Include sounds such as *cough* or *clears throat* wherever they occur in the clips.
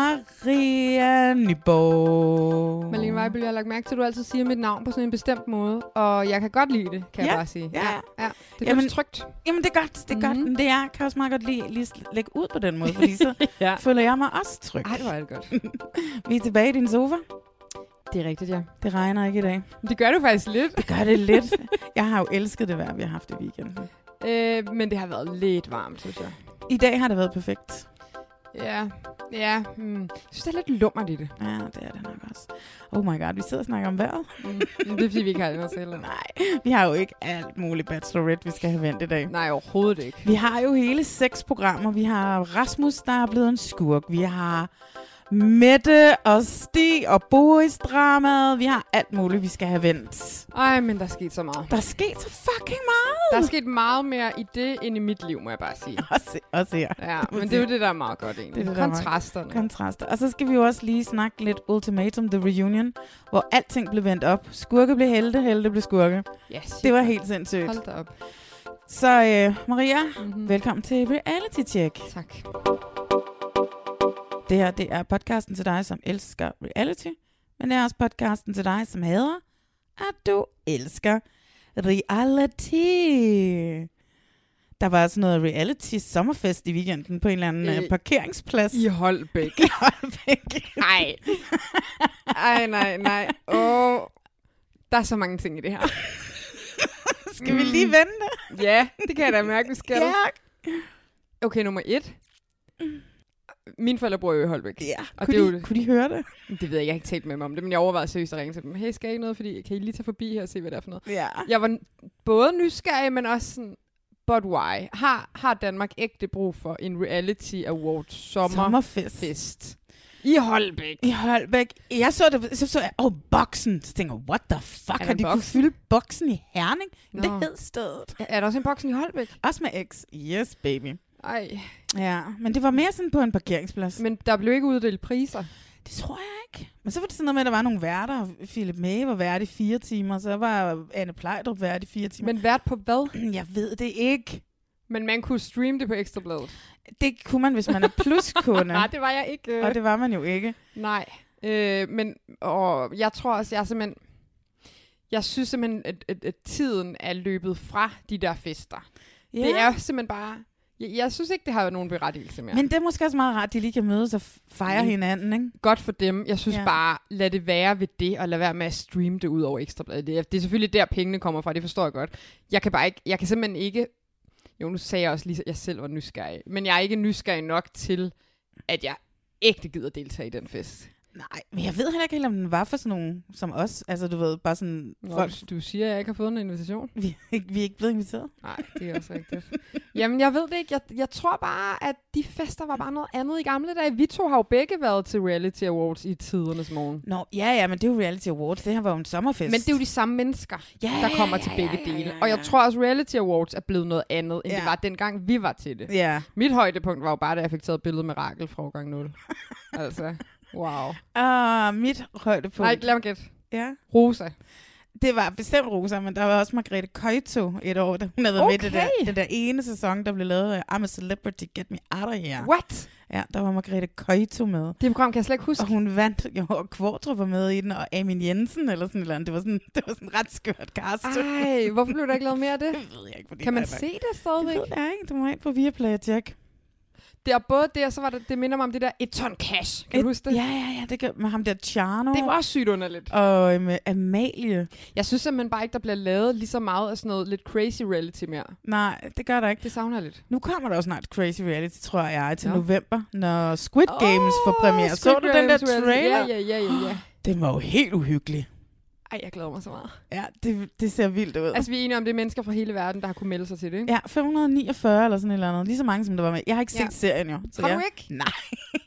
Maria Nyborg. Malene Weibel, jeg har lagt mærke til, at du altid siger mit navn på sådan en bestemt måde, og jeg kan godt lide det, kan Ja, jeg bare sige. ja, ja. ja. Det føles Jamen- trygt. Jamen, det er godt, det er mm-hmm. godt. Mhm. Men det er, jeg kan også meget godt lide lige at lægge ud på den måde, *laughs* fordi så *laughs* Ja. føler jeg mig også tryg. Ej, hvor er det godt. Vi er tilbage i din sofa. Det er rigtigt, ja. Det regner ikke i dag. Men det gør du faktisk lidt, Det gør det *laughs* lidt. jeg har jo elsket det vejr, vi har haft i weekenden. øh, men det har været lidt varmt, synes jeg. I dag har det været perfekt. Ja, ja. Mm. Jeg synes, det er lidt lummert i det. Ja, det er det nok også. Oh my god, vi sidder og snakker om vejret. Mm. Men det er, fordi vi ikke har noget til. *laughs* eller? Nej, vi har jo ikke alt muligt bachelorette, vi skal have vendt i dag. Nej, overhovedet ikke. Vi har jo hele seks programmer. Vi har Rasmus, der er blevet en skurk. Vi har Mette og Stig og Boris dramaet. Vi har alt muligt, vi skal have vendt. Ej, men der er sket så meget. Der er sket så fucking meget. Der er sket meget mere i det, end i mit liv, må jeg bare sige. *laughs* Også, også her. *laughs* Ja, men det er jo det, der er meget godt egentlig. Det er det, der er meget- Kontrasterne. Kontraster. Og så skal vi jo også lige snakke lidt Ultimatum, The Reunion, hvor alting blev vendt op. Skurke blev helte, helte blev skurke. Ja, Det var shit, helt sindssygt. Hold da op. Så øh, Maria, Mm-hmm. velkommen til Reality Check. Tak. Det her, det er podcasten til dig, som elsker reality, men det er også podcasten til dig, som hader, at du elsker reality. Der var sådan noget reality sommerfest i weekenden på en eller anden øh, Øh, parkeringsplads. *laughs* I Holbæk. I Holbæk. Nej. Ej, nej, nej. Åh. Der er så mange ting i det *laughs* her. Skal vi Mm. lige vente? Ja, det kan jeg da mærke, vi skal. Ja. Okay, nummer et. Mine forældre bor jo i Holbæk. ja. Og Kunne, det er de, jo det. kunne de høre det? Det ved jeg, jeg har ikke talt med dem om det, men jeg overvejede seriøst at ringe til dem. Hey, skal I ikke noget? Fordi kan I lige tage forbi her og se, hvad det er for noget? Ja. Jeg var n- både nysgerrig, men også sådan, but why? Har, har Danmark ægte brug for en reality award sommerfest Sommerfest. i Holbæk? I Holbæk. Jeg så det, så, så jeg, åh, boksen. Så tænker jeg, what the fuck, der har de kunne Boxen? fylde boksen i Herning? Men Nå. Det hed stedet. Er der også en boksen i Holbæk? Også med X. Yes, baby. Ej, Ja, men det var mere sådan på en parkeringsplads. Men, men der blev ikke uddelt priser. det tror jeg ikke. Men så var det sådan noget med, at der var nogle værter. Philip May var vært i fire timer, så var Anne Plejdrup vært i fire timer. Men vært på hvad? Men *clears throat* jeg ved det ikke. Men man kunne streame det på Ekstrabladet. Det kunne man, hvis man er pluskunde. *laughs* Nej, det var jeg ikke. Øh, og det var man jo ikke. Nej. Øh, men og jeg tror også, jeg er simpelthen... Jeg synes simpelthen, at, at, at tiden er løbet fra de der fester. Ja. Yeah. Det er simpelthen bare... Jeg, jeg synes ikke, det har nogen berettigelse mere. Men det er måske også meget rart, at de lige kan mødes og f- fejre Mm. hinanden, ikke? Godt for dem. Jeg synes Ja. yeah. bare, lad det være ved det, og lad være med at streame det ud over Ekstrabladet. Det er, det er selvfølgelig der, pengene kommer fra, det forstår jeg godt. Jeg kan bare ikke... Jeg kan simpelthen ikke... Jo, nu sagde jeg også lige, at jeg selv var nysgerrig. Men jeg er ikke nysgerrig nok til, at jeg ægte gider deltage i den fest. Nej, men jeg ved heller ikke helt, om den var for sådan nogen som os. Altså, du ved, bare sådan Nå, folk. *laughs* du, du siger, at jeg ikke har fået en invitation? Vi, er ikke- vi er ikke blevet inviteret. Nej, *laughs* det er også rigtigt. Jamen, jeg ved det ikke. Jeg, jeg tror bare, at de fester var bare noget andet i gamle dage. Vi to har jo begge været til Reality Awards i tidernes morgen. Nå, ja, ja, men det er jo Reality Awards. Det her var jo en sommerfest. Men det er jo de samme mennesker, ja, der kommer ja, til ja, begge ja, dele. ja, ja. Og jeg tror også, Reality Awards er blevet noget andet, end Ja. det var dengang, vi var til det. Ja. Mit højdepunkt var jo bare, da jeg fik taget et billede med Rakel fra *laughs* årgang 0. altså, wow. Og Ah, mit højdepunkt. Nej, lad mig gætte. Ja. Rosa. Det var bestemt Rosa, men der var også Margrethe Køjto et år, der hun havde været med i det der, Okay. den der ene sæson, der blev lavet af I'm a Celebrity, Get Me Out of Here. What? Ja, der var Margrethe Køjto med. Det program kan jeg slet ikke huske. Og hun vandt, jo, og Kvartrup var med i den, og Amin Jensen eller sådan et eller andet. Det var sådan, det var sådan ret skørt cast. Ej, hvorfor blev der ikke lavet mere af det? *laughs* Det ved jeg ikke, fordi Kan man der er- se det Det stadigvæk? ved jeg ikke. Du må ind på Viaplay og tjekke. Det er både det, og så var det, det minder mig om det der et ton cash. Kan du huske det? Ja, ja, ja. Det gør, med ham der Tjerno. Det var også sygt underligt. Og øh, med Amalie. Jeg synes simpelthen bare ikke, der bliver lavet lige så meget af sådan noget lidt crazy reality mere. Nej, det gør der ikke. Det savner jeg lidt. Nu kommer der også snart Crazy Reality, tror jeg, til Nå. ja. november, når Squid Games oh, får premiere. Så Squid du den der Games reality. trailer? Ja, ja, ja, ja, ja. Den var jo helt uhyggelig. *gasps* Ej, jeg glæder mig så meget. Ja, det, det ser vildt ud. Altså, vi er enige om, det er mennesker fra hele verden, der har kunne melde sig til det, ikke? Ja, 549 eller sådan et eller andet. Lige så mange, som der var med. Jeg har ikke set Ja. serien jo. Så Har du jeg... ikke? Nej.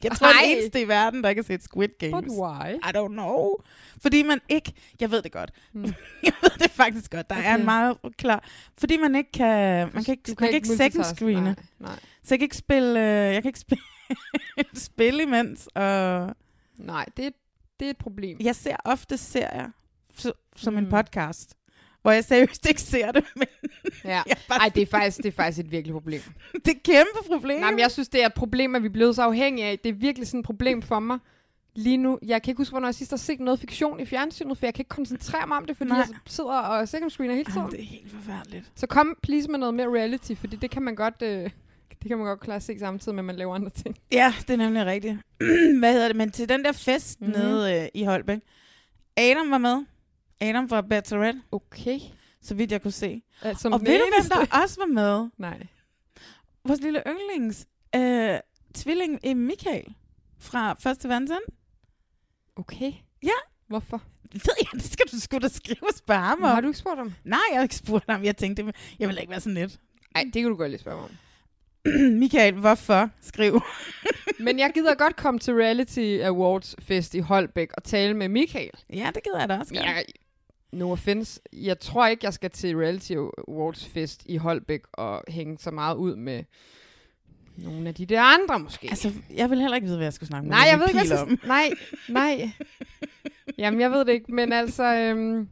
Jeg tror, det er Nej. den eneste i verden, der ikke har set Squid But Games. why? I don't know. Fordi man ikke... Jeg ved det godt. *laughs* jeg ved det faktisk godt. Der er en Mm. Okay. meget klar... Fordi man ikke kan... Man kan ikke, Du man kan ikke second multitaske. screene. Nej, nej. Så jeg kan ikke spille... Øh, jeg kan ikke spille, *laughs* spille imens. Og nej det, er, det er et problem. jeg ser ofte serier s- som mm. Mm. en podcast. Hvor jeg seriøst ikke ser det, *laughs* men Ja. jeg er bare, Ej, det er faktisk, det er faktisk et virkelig problem. *laughs* det er et kæmpe problem. Nej, men jeg synes, det er et problem, at vi er blevet så afhængige af. Det er virkelig sådan et problem for mig lige nu. Jeg kan ikke huske, hvornår jeg sidst har set noget fiktion i fjernsynet, for jeg kan ikke koncentrere mig om det, fordi Nej. Nej. jeg sidder og second screener hele Jamen, tiden. det er helt forfærdeligt. Så kom please med noget mere reality, fordi det kan man godt, øh, det kan man godt klare at se samtidig med, at man laver andre ting. Ja, det er nemlig rigtigt. *clears throat* Hvad hedder det? Men til den der fest Mhm. mm-hmm. nede øh, i Holbæk. Adam var med. Adam fra Bachelorette, Okay. så vidt jeg kunne se. Altså, som og den ved du, hvem eneste- der også var med? Nej. Vores lille yndlings øh, tvilling øh, Michael fra Første Vandsand. Okay. Ja. Hvorfor? Ved jeg, det skal du sgu da skrive og spørge ham Hvor? om. Har du ikke spurgt om? Nej, jeg har ikke spurgt ham. Jeg tænkte, jeg vil ikke være sådan lidt. *clears throat* Nej, det kan du godt lige spørge mig om. Michael, hvorfor? Skriv. Men jeg gider godt komme til Reality Awards fest i Holbæk og tale med Michael. ja, det gider jeg da også. Men godt. Jeg, no offense, jeg tror ikke, jeg skal til Reality Awards fest i Holbæk og hænge så meget ud med nogle af de der andre måske. Altså, jeg vil heller ikke vide, hvad jeg skulle snakke med nej, jeg ved ikke, Michael hvad jeg skal... Nej, nej. Jamen, jeg ved det ikke, men altså... Øhm...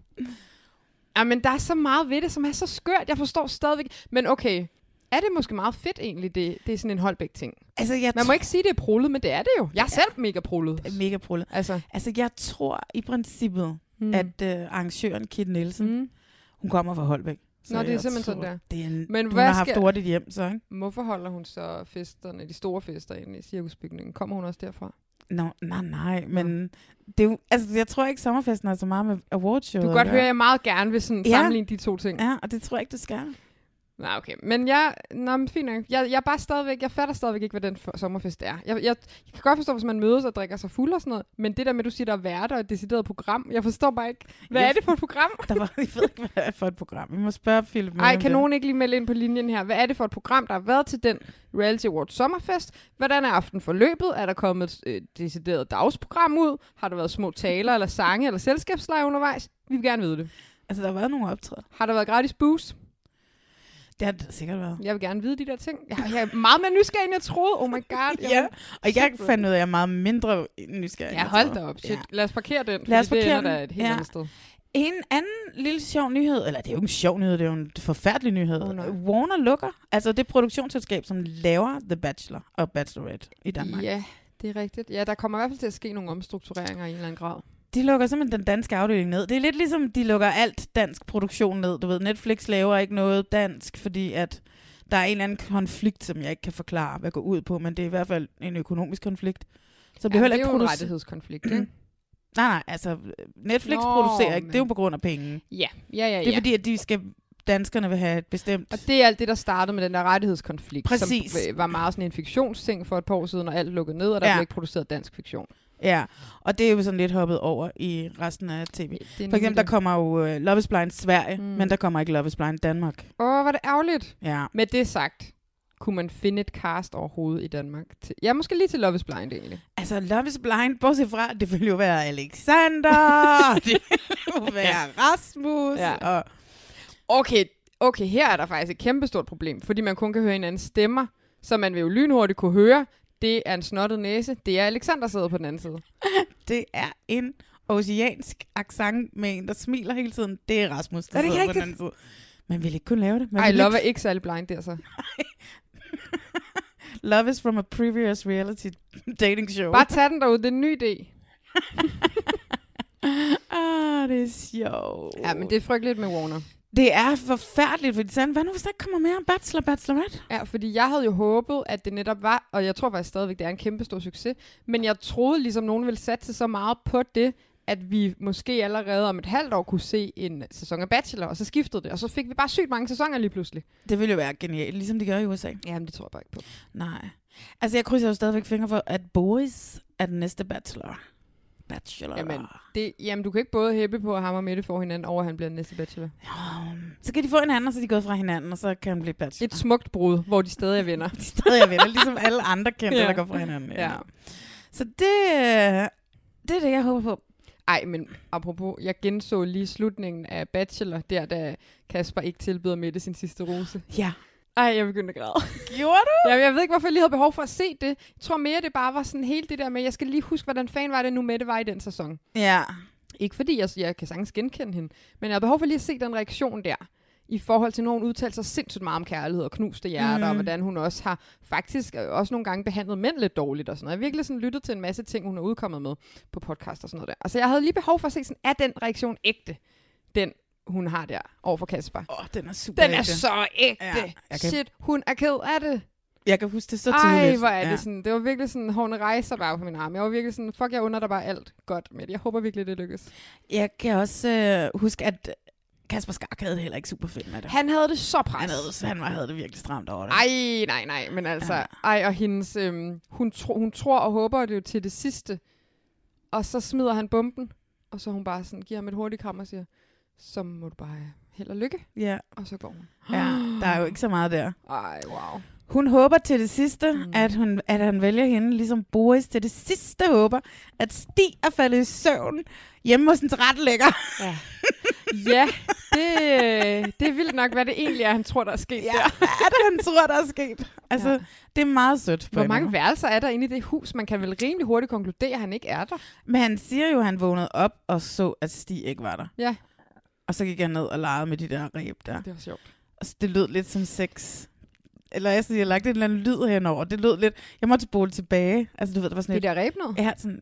Jamen, der er så meget ved det, som er så skørt. Jeg forstår stadigvæk... Men okay, er det måske meget fedt egentlig, det, det er sådan en Holbæk-ting? Altså, jeg Man må ikke sige, det er prullet, men det er det jo. Jeg er selv mega prullet. er mega prullet. Altså, Altså, jeg tror i princippet, mm. mm. at øh, arrangøren Kit Nielsen, mm. Mm. hun kommer fra Holbæk. Nå, det er jeg simpelthen tror, sådan, det er. Det er en, Men Men hun hvad har haft skal- hurtigt hjem, så ikke? Hvorfor holder hun så festerne, de store fester inde i cirkusbygningen? Kommer hun også derfra? Nå, nej, nej, men det er jo, altså, jeg tror ikke, sommerfesten har så meget med Du awardshowet. kan godt at høre, at gøre. jeg meget gerne vil sådan Ja. sammenligne de to ting. Ja, og det tror jeg ikke, du skal. Nej, okay. Men jeg... Nå, men fint nok. Jeg, jeg, er bare stadigvæk, jeg fatter stadigvæk ikke, hvad den for, sommerfest er. Jeg, jeg, jeg, kan godt forstå, hvis man mødes og drikker sig fuld og sådan noget, men det der med, at du siger, der er værter og et decideret program, jeg forstår bare ikke, hvad Jeg- er det for et program? Der var, jeg ved ikke, hvad det er for et program. Vi må spørge Philip. Møller Ej, om kan det. nogen ikke lige melde ind på linjen her? Hvad er det for et program, der har været til den Reality Awards sommerfest? Hvordan er aften forløbet? Er der kommet et øh, decideret dagsprogram ud? Har der været små taler eller sange eller selskabsleje undervejs? Vi vil gerne vide det. Altså, der har været nogle optræder. Har der været gratis booze? Det har det sikkert været. Jeg vil gerne vide de der ting. Jeg, jeg er meget mere nysgerrig, end jeg troede. Oh my god. Jeg, *laughs* Ja, og jeg Shit, fandt ud af, at jeg er meget mindre nysgerrig. end Ja, jeg hold troede. da op. Shit. Ja. Lad os parkere den, Lad os fordi parkere det ender den. da et helt Ja. andet sted. En anden lille sjov nyhed, eller det er jo ikke en sjov nyhed, det er jo en forfærdelig nyhed. Åh, nej. Warner lukker, altså det produktionsselskab, som laver The Bachelor og Bachelorette i Danmark. Ja, det er rigtigt. Ja, der kommer i hvert fald til at ske nogle omstruktureringer i en eller anden grad. De lukker simpelthen den danske afdeling ned. Det er lidt ligesom, de lukker alt dansk produktion ned. Du ved, Netflix laver ikke noget dansk, fordi at der er en eller anden konflikt, som jeg ikke kan forklare, hvad går ud på, men det er i hvert fald en økonomisk konflikt. Så bliver Ja, heller det ikke er Mm. jo en produceret. rettighedskonflikt, ikke? Nej, nej, altså Netflix Nå, Nå, producerer ikke. Det er jo men- på grund af penge. Ja, ja, ja. Det er ja. fordi, at de skal, danskerne vil have et bestemt... Og det er alt det, der startede med den der rettighedskonflikt, Præcis. som øh, var meget sådan en fiktionsting for et par år siden, og alt lukkede ned, og der ja. Ja. blev ikke produceret dansk fiktion. Ja, og det er jo sådan lidt hoppet over i resten af tv. For eksempel, der kommer jo uh, Love is Blind Sverige, Mm. mm. men der kommer ikke Love is Blind Danmark. Åh, oh, var det ærgerligt. Ja. Med det sagt, kunne man finde et cast overhovedet i Danmark? Til, ja, måske lige til Love is Blind egentlig. Altså, Love is Blind, bortset fra, det ville jo være *laughs* Alexander, og det ville jo være Rasmus, Ja. ja. og Okay, okay, her er der faktisk et kæmpestort problem, fordi man kun kan høre hinandens stemmer, så man vil jo lynhurtigt kunne høre, det er en snottet næse, det er Alexander sidder på den anden side. det er en oceansk accent med en, der smiler hele tiden, det er Rasmus, der Er det ikke sidder på den anden rigtigt? side. Man ville ikke kunne lave det. Man Ej, ville Love er ikke... ikke særlig blind der, så. Love is from a previous reality *laughs* dating show. Bare tag den derude, det er en ny idé. ah, det er sjovt. Ja, men det er frygteligt med Warner. det er forfærdeligt, fordi sådan, hvad nu hvis der ikke kommer mere Bachelor Bachelorette? Ja, fordi jeg havde jo håbet, at det netop var, og jeg tror faktisk stadigvæk, det er en kæmpe stor succes, men jeg troede ligesom, nogen ville satse så meget på det, at vi måske allerede om et halvt år kunne se en sæson af Bachelor, og så skiftede det, og så fik vi bare sygt mange sæsoner lige pludselig. Det ville jo være genialt, ligesom de gør i USA. Jamen, det tror jeg bare ikke på. Nej. Altså, jeg krydser jo stadigvæk fingre for, at Boris er den næste bachelor. Bachelor. Jamen, det, jamen, du kan ikke både hæppe på, at ham og Mette får hinanden, og at han bliver den næste Bachelor. Um, så kan de få hinanden, og så er de gået fra hinanden, og så kan han blive bachelor. Et smukt brud, hvor de stadig er venner. *laughs* De er stadig er venner, ligesom alle andre kendte, Ja. der går fra hinanden. *laughs* Ja. Så det, øh, det er det, jeg håber på. Ej, men apropos, jeg genså lige slutningen af Bachelor, der da Kasper ikke tilbyder Mette sin sidste rose. Ja. Ej, jeg begyndte at græde. Gjorde du? Jeg, jeg ved ikke, hvorfor jeg lige havde behov for at se det. Jeg tror mere, det bare var sådan hele det der med, jeg skal lige huske, hvordan fan var det nu, Mette var i den sæson. Ja. Ikke fordi, jeg, jeg kan sagtens genkende hende, men jeg havde behov for lige at se den reaktion der. I forhold til, når hun udtalte sig sindssygt meget om kærlighed og knuste hjerter, Mhm. mm. og hvordan hun også har faktisk øh, også nogle gange behandlet mænd lidt dårligt og sådan noget. Jeg har virkelig sådan lyttet til en masse ting, hun er udkommet med på podcast og sådan noget der. Altså, jeg havde lige behov for at se sådan, er den reaktion ægte, den hun har der over for Kasper? Åh, oh, den er super Den er ægte. så ægte! Ja, Ja, jeg kan- Shit, hun er ked af det. Jeg kan huske det så Ej, tydeligt. hvor er det ja. sådan. Det var virkelig sådan, hårene rejser bare på min arm. Jeg var virkelig sådan, fuck, jeg under dig bare alt godt med det. Jeg håber virkelig, det lykkes. Jeg kan også øh, huske, at Kasper Skark havde det heller ikke super fedt med det. Han havde det så Han, pres. havde, han var, havde det virkelig stramt over det. Ej, nej, nej, men altså, Ja. ej, og hendes, øhm, hun, tro, hun tror og håber det jo til det sidste, og så smider han bomben, og så er hun bare sådan, giver ham et hurtigt kram og siger, så må du bare have held og lykke, Ja, og så går hun. ja, der er jo ikke så meget der. Ej, wow. Hun håber til det sidste, mm. at, hun, at han vælger hende, ligesom Boris til det sidste håber, at Stig er faldet i søvn hjemme hos en tilrettelægger. Ja, ja det, øh, det er vildt nok, hvad det egentlig er, han tror, der er sket *laughs* ja, der. hvad er det, han tror, der er sket? Altså, Ja. ja. det er meget sødt. på Hvor en mange måde. værelser er der inde i det hus? Man kan vel rimelig hurtigt konkludere, at han ikke er der. Men han siger jo, at han vågnede op og så, at Stig ikke var der. Ja. Og så gik han ned og legede med de der ræb der. Det var sjovt. Og så det lød lidt som sex. Eller jeg sådan, jeg lagt en eller anden lyd henover. Det lød lidt... Jeg måtte spole tilbage. Altså, du ved, der var sådan Det et... der ræb noget? Ja, sådan,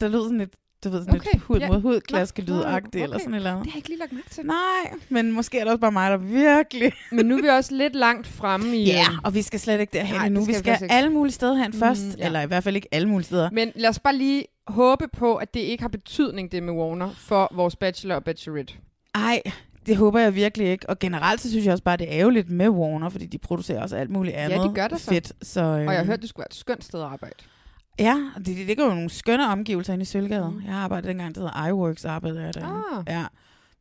der lød sådan et... Du ved, sådan okay. Okay, et hud ja. mod hud klaske Nå, nå, lydagtigt okay. eller okay. sådan et eller andet. Det har jeg ikke lige lagt mærke til. Nej, men måske er det også bare mig, der virkelig... Men nu er vi også lidt langt fremme i... øh, og vi skal slet ikke derhen Nej, det endnu. skal Vi vi skal faktisk ikke. Mm, alle mulige steder hen først. ja. Eller i hvert fald ikke alle mulige steder. Men lad os bare lige håbe på, at det ikke har betydning, det med Warner, for vores bachelor og bachelorette. Ej, det håber jeg virkelig ikke. Og generelt så synes jeg også bare, det er ærgerligt med Warner, fordi de producerer også alt muligt andet. de gør det så. Fedt, så øh, Og jeg har hørt, det skulle være et skønt sted at arbejde. Ja, det, det, det gør jo nogle skønne omgivelser inde i Sølvgade. Mm. Mm. Jeg har arbejdet dengang, det hedder iWorks, arbejdede jeg der. Ah. Ja,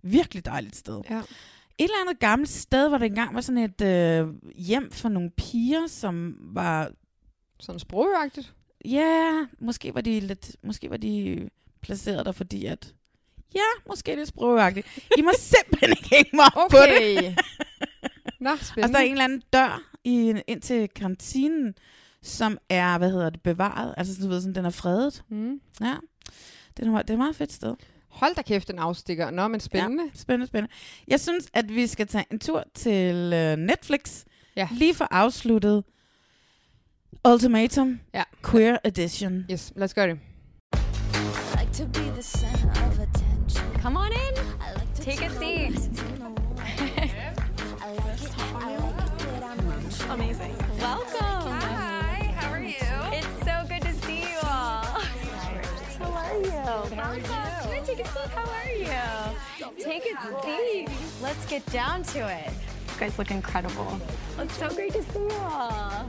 virkelig dejligt sted. Ja. Et eller andet gammelt sted, hvor det engang var sådan et øh, hjem for nogle piger, som var Sådan sprogagtigt. Ja, måske var de lidt, måske var de placeret der, fordi at... Ja, måske lidt sprogagtigt. I må simpelthen ikke hænge mig op okay. på det. Okay. *laughs* Nå, spændende. Altså, der er en eller anden dør i, en- ind til kantinen, som er, hvad hedder det, bevaret. Altså, sådan, du ved, sådan, den er fredet. mm. Ja. Det er, det er et meget fedt sted. Hold da kæft, en afstikker. Nå, men spændende. Ja, spændende, spændende. Jeg synes, at vi skal tage en tur til øh, Netflix. Ja. Lige for afsluttet Ultimatum Ja. Queer Edition. Ja. Yes, lad os gøre det. like to be the center of attention. Come on in. I like to Take a seat. Amazing. Welcome. Hi, how are you? It's so good to see you all. How are you? Welcome. Can I take a seat? How are you? Take a seat. Let's get down to it. You guys look incredible. It's so great to see you all.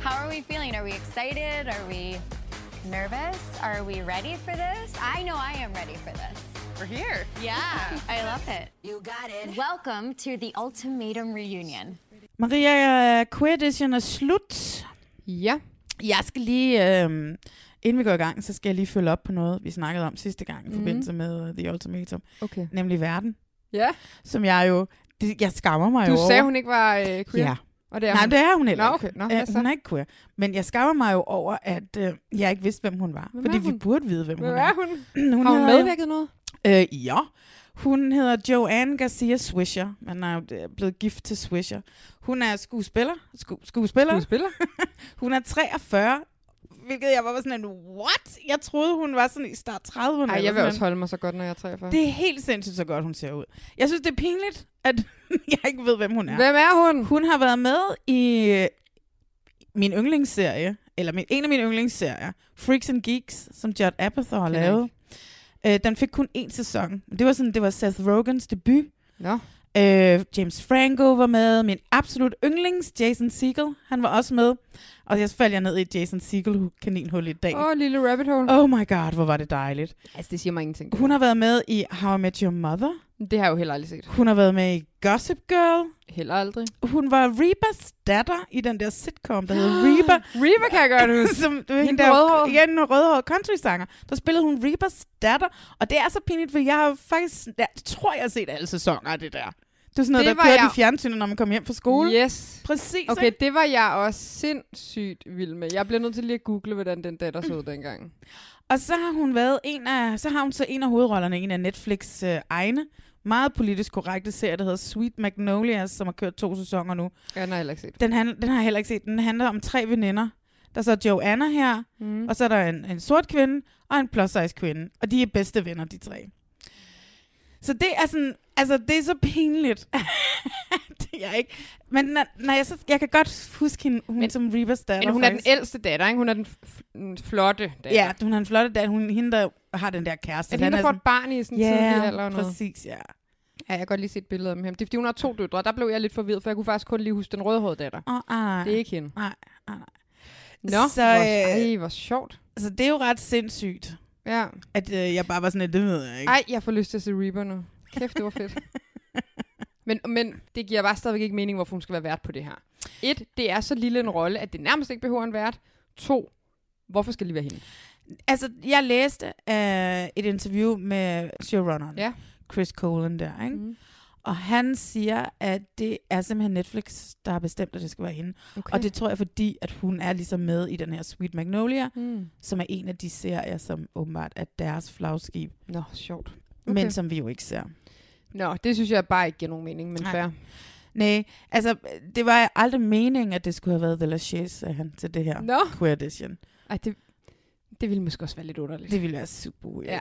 How are we feeling? Are we excited? Are we nervous? Are we ready for this? I know I am ready for this. We're here. Yeah, I love it. You got it. Welcome to the ultimatum reunion. Maria, øh, Queer Edition er slut. Ja. Jeg skal lige, øh, inden vi går i gang, så skal jeg lige følge op på noget, vi snakkede om sidste gang Mhm. i mm. forbindelse med øh, The Ultimatum, Okay. nemlig verden, Ja. som jeg jo, det, jeg skammer mig Du over. sagde, hun ikke var øh, queer. Ja, Og det er Nej, hun. det er hun heller Nå, ikke. okay. Nå, Øh, hvad så? hun er ikke queer. Men jeg skammer mig jo over, at øh, jeg ikke vidste, hvem hun var. Hvem fordi er vi hun? burde vide, hvem Hvad hun er er. hun? *clears throat* Hun Har hun hedder- medvirket noget? Øh, ja. Hun hedder Joanne Garcia Swisher. Man er jo øh, blevet gift til Swisher. Hun er skuespiller. Sku- skuespiller. Hun spiller. Hun er 43, hvilket jeg var bare sådan en, what? Jeg troede, hun var sådan i start 30'erne. Ej, eller jeg vil sådan også holde mig så godt, når jeg er 43. Det er helt sindssygt, så godt hun ser ud. Jeg synes, det er pinligt, at *laughs* jeg ikke ved, hvem hun er. Hvem er hun? Hun har været med i øh, min yndlingsserie, eller min, en af mine yndlingsserier, Freaks and Geeks, som Judd Apatow har Kender lavet. Øh, den fik kun én sæson. Det var, sådan, det var Seth Rogans debut. Nå, Øh, James Franco var med. Min absolut yndlings, Jason Segel, han var også med. Og jeg faldt jeg ned i et Jason Segel-kaninhul i dag. åh, oh, lille rabbit hole. Oh. Oh my god, hvor var det dejligt. Altså, det siger mig ingenting. Hun har været med i How I Met Your Mother. Det har jeg jo heller aldrig set. Hun har været med i Gossip Girl. Heller aldrig. Hun var Rebas datter i den der sitcom, der hedder Reba. Reba kan jeg *laughs* godt huske. *laughs* som du ved, Hende hende der rødhåret. rødhåret. Ja, en rødhåret country-sanger. Der spillede hun Rebas datter, og det er så pinligt, for jeg har faktisk, jeg tror, jeg har set alle sæsoner af det der. Det er sådan noget, Det det der var kørte jeg- jeg... i fjernsynet, når man kom hjem fra skole. Yes. Præcis, Okay, ikke? det var jeg også sindssygt vild med. Jeg bliver nødt til lige at google, hvordan den datter så ud dengang. Og så har hun været en af, så har hun så en af hovedrollerne, i en af Netflix øh, egne, meget politisk korrekte serie, der hedder Sweet Magnolias, som har kørt to sæsoner nu. Ja, den har jeg heller ikke set. Den, handl- den har jeg heller ikke set. Den handler om tre veninder. Der er så Joanna her, Mm. og så er der en, en sort kvinde og en plus size kvinde. Og de er bedste venner, de tre. Så det er sådan, altså det er så pinligt. *laughs* det er jeg ikke. Men når, når jeg, så, jeg kan godt huske hende, hun Men- Men, som Reavers datter. Men hun er den faktisk. ældste datter, ikke? Hun er den, f- den flotte datter. Ja, hun har en flot datter. Hun, hende, der har den der kæreste. Er det hende, der får et barn i sådan en yeah, tidlig alder? Ja, eller Noget? præcis, ja. Ja, jeg kan godt lige se et billede af dem her. Det er, fordi hun har to døtre. Der blev jeg lidt forvirret, for jeg kunne faktisk kun lige huske den rødhårede datter. Åh, oh, Det er ikke hende. Nej, nej, Nå, Så, så, hvor, øh, ej, hvor sjovt. Så Altså, det er jo ret sindssygt, Ja. at øh, jeg bare var sådan, at det ved jeg ikke. Ej, jeg får lyst til at se Reaper nu. Kæft, det var *laughs* fedt. men, men det giver bare stadigvæk ikke mening, hvorfor hun skal være vært på det her. Et, det er så lille en rolle, at det nærmest ikke behøver en vært. To, hvorfor skal det lige være hende? Altså, jeg læste øh, et interview med showrunneren, Ja. Chris Colin der, ikke? Mm. Mm. Og han siger, at det er simpelthen Netflix, der har bestemt, at det skal være hende. Okay. Okay. Og det tror jeg, fordi at hun er ligesom med i den her Sweet Magnolia, Mm. som er en af de serier, som åbenbart er deres flagskib, Nå, sjovt. okay. men som vi jo ikke ser. Nå, det synes jeg bare ikke giver nogen mening, men Nej. fair. Nej, altså, det var aldrig meningen, at det skulle have været The Lachaise, sagde han til det her Nå, queer edition. Ej, det, det ville måske også være lidt underligt. Det ville være super weird. Ja.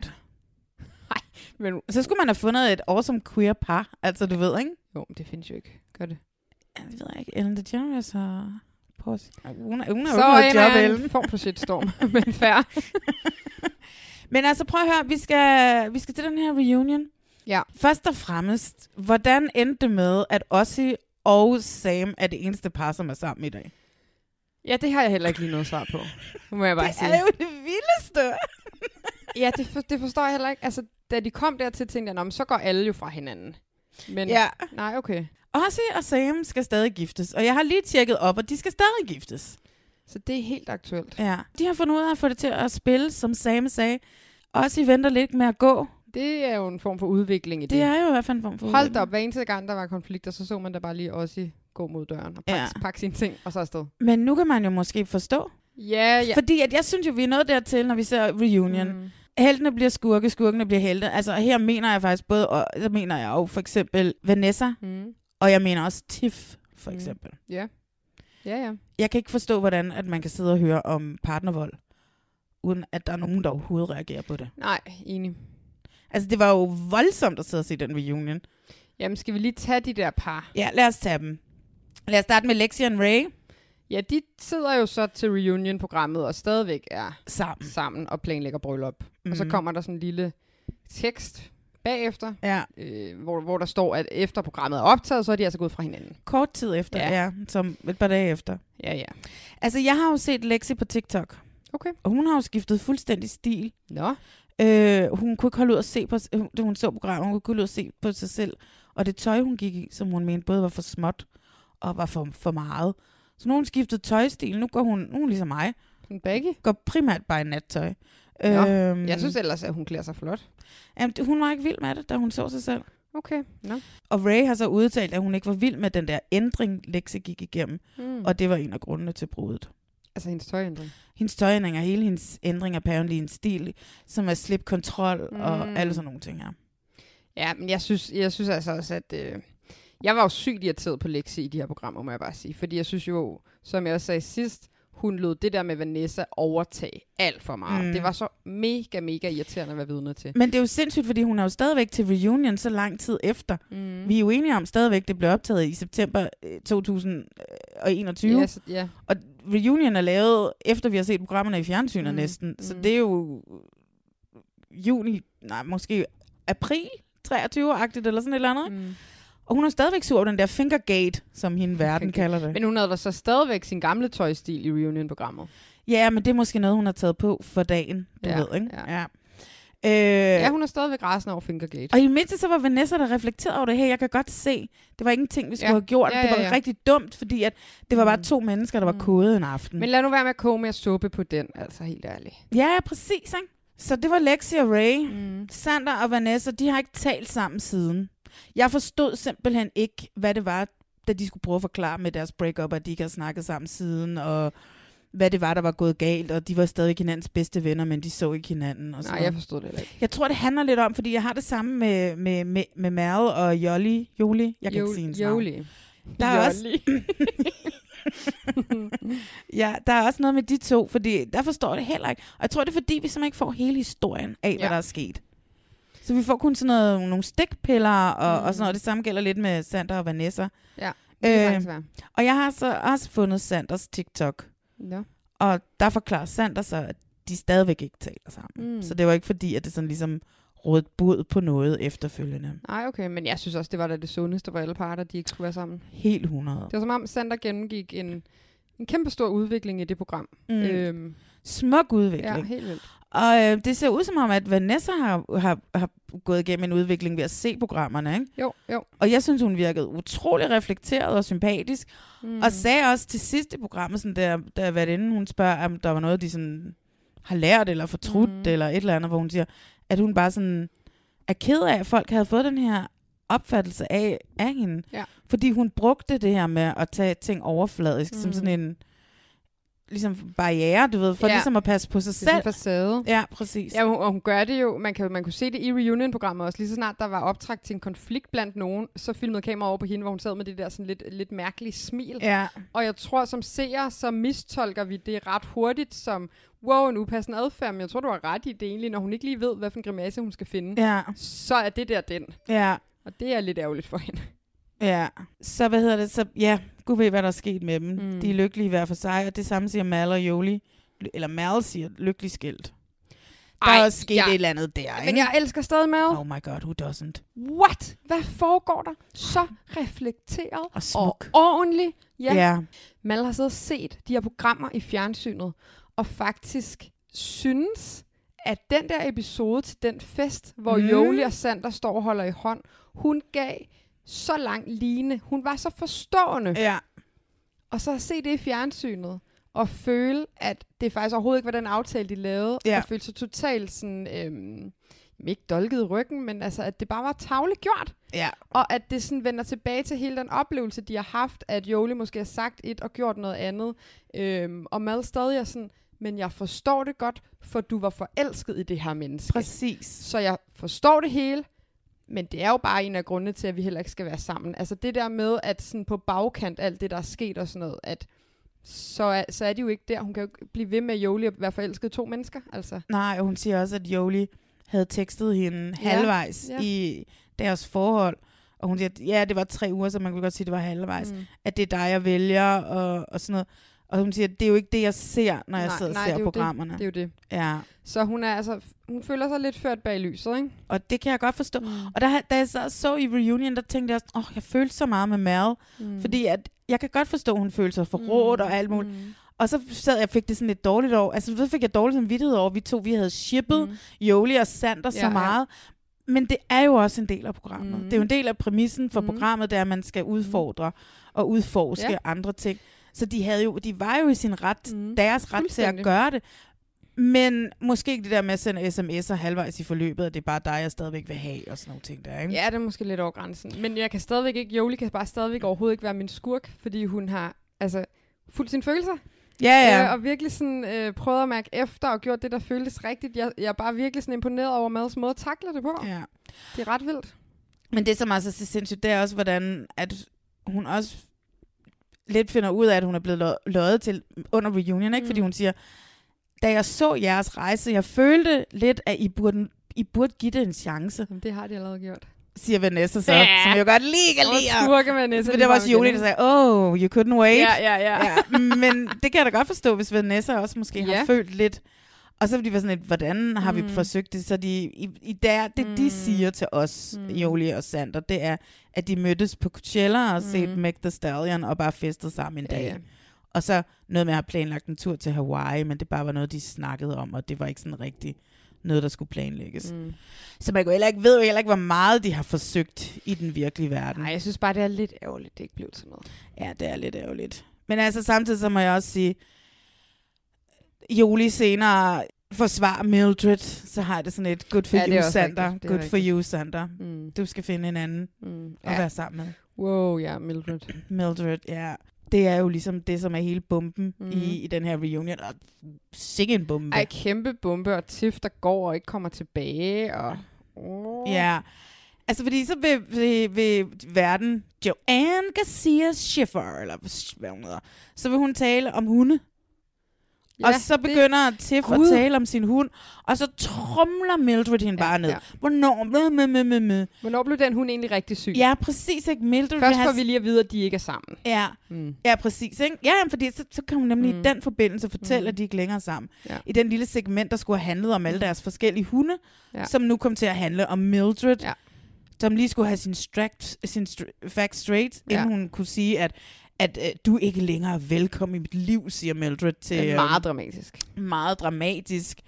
Ja. Men Så skulle man have fundet et awesome queer par, altså du ved, ikke? Jo, men det findes jo ikke. Gør det. Ja, Det ved jeg ikke. Ellen DeGeneres og Pause. Hun er, hun er Så jo ikke en, noget job, er en Ellen. form for shitstorm, *laughs* men fair. Men altså prøv at høre, vi skal, vi skal til den her reunion. Ja. Først og fremmest, hvordan endte det med, at Ossie og Sam er det eneste par, som er sammen i dag? Ja, det har jeg heller ikke lige noget svar på. Det *laughs* må jeg bare Det sige. er jo det vildeste. *laughs* Ja, det, for, det forstår jeg heller ikke. Altså, da de kom dertil, tænkte jeg, "Nå, men så går alle jo fra hinanden. Men ja. Ja. nej, okay. Ossie og Sam skal stadig giftes, og jeg har lige tjekket op, og de skal stadig giftes. Så det er helt aktuelt. Ja. De har fundet ud af at få det til at spille, som Sam sagde. Også I venter lidt med at gå. Det er jo en form for udvikling i det. Det er jo i hvert fald en form for Hold da op, hver eneste gang, der var konflikter, så så man da bare lige også i- gå mod døren og pakke, ja. Ja. pakke sine ting, og så afsted. Men nu kan man jo måske forstå. Ja, Ja. ja. Fordi at jeg synes jo, vi er nået dertil, når vi ser reunion. Mm. Heltene bliver skurke, skurkene bliver helte. Altså her mener jeg faktisk både, og, så mener jeg jo for eksempel Vanessa, Mm. og jeg mener også Tiff, for Mm. eksempel. Mm. Ja. Ja, ja. Jeg kan ikke forstå, hvordan at man kan sidde og høre om partnervold, uden at der er nogen, der overhovedet reagerer på det. Nej, enig. Altså det var jo voldsomt at sidde og se den reunion. Jamen, skal vi lige tage de der par? Ja, lad os tage dem. Lad os starte med Lexi og Ray Ja, de sidder jo så til reunion-programmet og stadigvæk er sammen. sammen og planlægger bryllup. Mm. Og så Mhm. kommer der sådan en lille tekst bagefter, Ja, øh, hvor, hvor der står, at efter programmet er optaget, så er de altså gået fra hinanden. kort tid efter, Ja. ja. ja, som et par dage efter. Ja, ja. Altså, jeg har jo set Lexi på TikTok, Okay. og hun har jo skiftet fuldstændig stil. Nå, øh, Øh, hun kunne ikke holde ud at se på, hun- da hun så programmet, hun kunne ikke holde ud at se på sig selv. Og det tøj, hun gik i, som hun mente både var for småt og var for, for meget. Så nu har hun skiftet tøjstil. Nu går hun, nu er hun ligesom mig, en baggy. går primært bare i nattøj. Nå, Øhm, Mm. Jeg synes ellers, at hun klæder sig flot. jamen, det- hun var ikke vild med det, da hun så sig selv. Okay. No. Og Ray har så udtalt, at hun ikke var vild med den der ændring, Lexe gik igennem, Mm. og det var en af grundene til bruddet. altså hendes tøjændring. Hendes tøjændring og hele hendes ændring er apparently en stil, som er slip kontrol mm. og Mm. alle sådan nogle ting her. Ja, men jeg synes, jeg synes altså også, at... Øh, jeg var jo sygt irriteret på Lexi i de her programmer, må jeg bare sige. Fordi jeg synes jo, som jeg også sagde sidst, hun lod det der med Vanessa overtage alt for meget. Mm. Mm. Det var så mega, mega irriterende at være vidne til. Men det er jo sindssygt, fordi hun er jo stadigvæk til reunion så lang tid efter. Mm. Vi er jo enige om stadigvæk, det blev optaget i september øh, 2021. Yes, ja. Og reunion er lavet, efter vi har set programmerne i fjernsynet mm. Mm, næsten. Så mm. det er jo juni, nej, måske april 23-agtigt eller sådan et eller andet. Mm. Mm. Og hun er stadigvæk sur over den der fingergate, som hende verden Fingergate. kalder det. Men, Men hun havde da så stadigvæk sin gamle tøjstil i reunion-programmet. ja, men det er måske noget, hun har taget på for dagen, du Ja, ved, ikke? ja. Øh, Ja, hun er stadigvæk rasende over Fingergate. Og i midten så var Vanessa, der reflekterede over det her. Jeg kan godt se, det var ikke en ting, vi skulle ja. have gjort. Ja, ja, ja. Det var rigtig dumt, fordi at det var bare to mennesker, der var kodet en aften. Mm. Men lad nu være med at koge mere suppe på den, altså helt ærligt. Ja, ja, præcis. Ikke? Så det var Lexi og Ray. Mm. Sander og Vanessa, de har ikke talt sammen siden. Jeg forstod simpelthen ikke, hvad det var, da de skulle prøve at forklare med deres breakup, at de ikke har snakket sammen siden, og hvad det var, der var gået galt, og de var stadig hinandens bedste venner, men de så ikke hinanden. Og Nej, sådan jeg noget. forstod det heller ikke. jeg tror, det handler lidt om, fordi jeg har det samme med, med, med, med Mal og Jolly. Jolly? Jeg kan jo, ikke sige hendes navn. Jolie. Der er også- *clears throat* Ja, der er også noget med de to, fordi der forstår jeg det heller ikke. Og jeg tror, det er fordi, vi simpelthen ikke får hele historien af, ja. hvad Ja. der er sket. Så vi får kun sådan noget, nogle stikpiller og, mm. og sådan noget. Det samme gælder lidt med Sander og Vanessa. Ja, Øh, øh. og jeg har så også fundet Sanders TikTok. Nå. Og der forklarer Sander så, at de stadigvæk ikke taler sammen. Mm. Mm. Så det var ikke fordi, at det sådan ligesom rådet bud på noget efterfølgende. Nej, okay, men jeg synes også, det var da det sundeste for alle parter, de ikke skulle være sammen. Helt 100. Det var som om, Sander gennemgik en, en kæmpe stor udvikling i det program. Mm. Øh, Øhm, Smuk udvikling. ja, helt vildt. Og øh, det ser ud som om, at Vanessa har, har, har gået igennem en udvikling ved at se programmerne. Ikke? Jo, jo. Og jeg synes, hun virkede utrolig reflekteret og sympatisk. Mm. Mm. Og sagde også til sidste program, sådan der, der var inden hun spørger, om der var noget, de sådan har lært eller fortrudt mm. Mm. eller et eller andet, hvor hun siger, at hun bare sådan er ked af, at folk havde fået den her opfattelse af, af hende. Ja. Fordi hun brugte det her med at tage ting overfladisk mm. som Mm. sådan en ligesom barriere, du ved, for ja. Ja. ligesom at passe på sig Det er sådan selv. en facade. Ja, præcis. Ja, hun, og hun gør det jo. Man, kan, man kunne se det i reunion-programmet også. Lige så snart der var optræk til en konflikt blandt nogen, så filmede kameraet over på hende, hvor hun sad med det der sådan lidt, lidt mærkelige smil. ja. Og jeg tror, som seere, så mistolker vi det ret hurtigt som, wow, en upassende adfærd, men jeg tror, du har ret i det egentlig, når hun ikke lige ved, hvad for en grimasse hun skal finde. Ja, Så er det der den. ja, Og det er lidt ærgerligt for hende. ja. Så hvad hedder det? Så, ja, gud ved, hvad der er sket med dem. Mm. Mm. De er lykkelige hver for sig, og det samme siger Mal og Jolie. Ly- Eller Mal siger lykkelig skilt. Der er også sket jeg, et eller andet der, Men ikke? jeg elsker stadig mad. Oh my god, who doesn't? What? Hvad foregår der? Så reflekteret Og smuk. og ordentlig. Ja. Ja. ja. ja. Man har siddet og set de her programmer i fjernsynet, og faktisk synes, at den der episode til den fest, hvor Mm. mm. Jolie og Sander står og holder i hånd, hun gav så lang line. Hun var så forstående. Ja, Og så at se det i fjernsynet, og føle, at det faktisk overhovedet ikke var den aftale, de lavede, Ja. og føle sig totalt sådan, øhm, ikke dolket i ryggen, men altså, at det bare var tavligt gjort, ja. og at det sådan vender tilbage til hele den oplevelse, de har haft, at Jolie måske har sagt et og gjort noget andet, øhm, og Mad stadig er sådan, men jeg forstår det godt, for du var forelsket i det her menneske. præcis. Så jeg forstår det hele, men det er jo bare en af grundene til, at vi heller ikke skal være sammen. Altså det der med, at sådan på bagkant alt det, der er sket og sådan noget, at så er, så er de jo ikke der. Hun kan jo ikke blive ved med Jolie at være forelsket i to mennesker. Altså. Nej, og hun siger også, at Jolie havde tekstet hende Ja, halvvejs ja. i deres forhold. Og hun siger, at ja, det var tre uger, så man kunne godt sige, at det var halvvejs. Mm. At det er dig, jeg vælger, og, og sådan noget. Og hun siger, at det er jo ikke det, jeg ser, når jeg Nej, sidder og nej, ser det er jo programmerne. Det er jo det. Ja, Så hun, er, altså, hun føler sig lidt ført bag lyset, ikke? og det kan jeg godt forstå. Mm. Og der, da jeg så, så i Reunion, der tænkte jeg også, åh, oh, jeg følte så meget med Mal, mm. fordi at jeg kan godt forstå, at hun følte sig forrådt mm. og alt muligt. Mm. Og så sad jeg fik det sådan lidt dårligt over. Altså, så fik jeg dårlig samvittighed over, at vi to, vi havde shippet mm. Jolie og Sander ja, Ja, så ja. meget. Men det er jo også en del af programmet. Mm. Mm. Det er jo en del af præmissen for mm. Mm. programmet, det er, at man skal udfordre og udforske Ja. andre ting. Så de, havde jo, de var jo i sin ret, mm. Mm. deres ret til at Fuldstændig. gøre det. Men måske ikke det der med at sende sms'er halvvejs i forløbet, at det er bare dig, jeg stadigvæk vil have, og sådan nogle ting der, ikke? Ja, det er måske lidt over grænsen. Men jeg kan stadigvæk ikke, Jolie kan bare stadigvæk overhovedet ikke være min skurk, fordi hun har altså fuldt sine følelser. Ja, ja. Øh, og virkelig sådan, øh, prøvet at mærke efter og gjort det, der føltes rigtigt. Jeg, jeg er bare virkelig sådan imponeret over Mads måde at takle det på. Ja. ja. Det er ret vildt. Men det, som altså er så sindssygt, det er også, hvordan at hun også lidt finder ud af, at hun er blevet lø- løjet til under reunion, ikke? Mm. Fordi hun siger, da jeg så jeres rejse, jeg følte lidt, at I burde, I burde give det en chance, Jamen, det har de allerede gjort. siger Vanessa så, Ja. ja. som jeg godt lige kan Og lide. at- skurke med næse. For det var også Julie, der sagde, oh, you couldn't wait. Ja, ja, ja. ja. ja. Men det kan jeg da godt forstå, hvis Vanessa også måske ja. Ja. har følt lidt. Og så vil de være sådan lidt, hvordan har mm. vi forsøgt det? Så de, i, i der, det mm. de siger til os, mm. Jolie og Sander, det er, at de mødtes på Coachella og mm. set Meg The Stallion og bare festet sammen en dag. ja. Og så noget med at have planlagt en tur til Hawaii, men det bare var noget, de snakkede om, og det var ikke sådan rigtigt noget, der skulle planlægges. Mm. Så man kan jo heller ikke, ved jo heller ikke, hvor meget de har forsøgt i den virkelige verden. Nej, jeg synes bare, det er lidt ærgerligt, det ikke blev til noget. Ja, det er lidt ærgerligt. Men altså samtidig så må jeg også sige, Jolie senere forsvarer Mildred, så har jeg det sådan et good for Ja, det er you, også Sander. rigtigt. Det er Good for rigtigt. you, Sander. Mm. Du skal finde en anden Mm. ja. at Ja. være sammen med. Wow, ja, Mildred. Mildred, ja. Det er jo ligesom det, som er hele bomben mm. Mhm. i, i den her reunion. Og sikke en bombe. Ej, kæmpe bombe og Tiff, der går og ikke kommer tilbage. Og... Oh. Ja. Altså, fordi så vil, vil, vil verden Joanne Garcia Schiffer, eller hvad hun hedder, så vil hun tale om hunde. Ja, og så begynder det... Tiff Gud. at tale om sin hund, og så trumler Mildred hende Ja, bare ned. ja. Ja. Hvornår? Med, med, med, med, med. Det... Hvornår blev den hund egentlig rigtig syg? Ja, præcis, ikke? Mildred Først vil have- får vi lige at vide, at de ikke er sammen. Ja, Mm. ja præcis, ikke? Ja, jamen, fordi så, så kan hun nemlig mm. Mm. i den forbindelse fortælle, mm. at de ikke længere er sammen. Ja. Mm. I den lille segment, der skulle have handlet om alle deres forskellige hunde, Ja. ja. som nu kom til at handle om Mildred, Ja. som lige skulle have sin, strakt, sin str- facts straight, Ja. inden hun kunne sige, at at øh, du er ikke længere er velkommen i mit liv, siger Mildred til... Det er øh, meget dramatisk. meget dramatisk.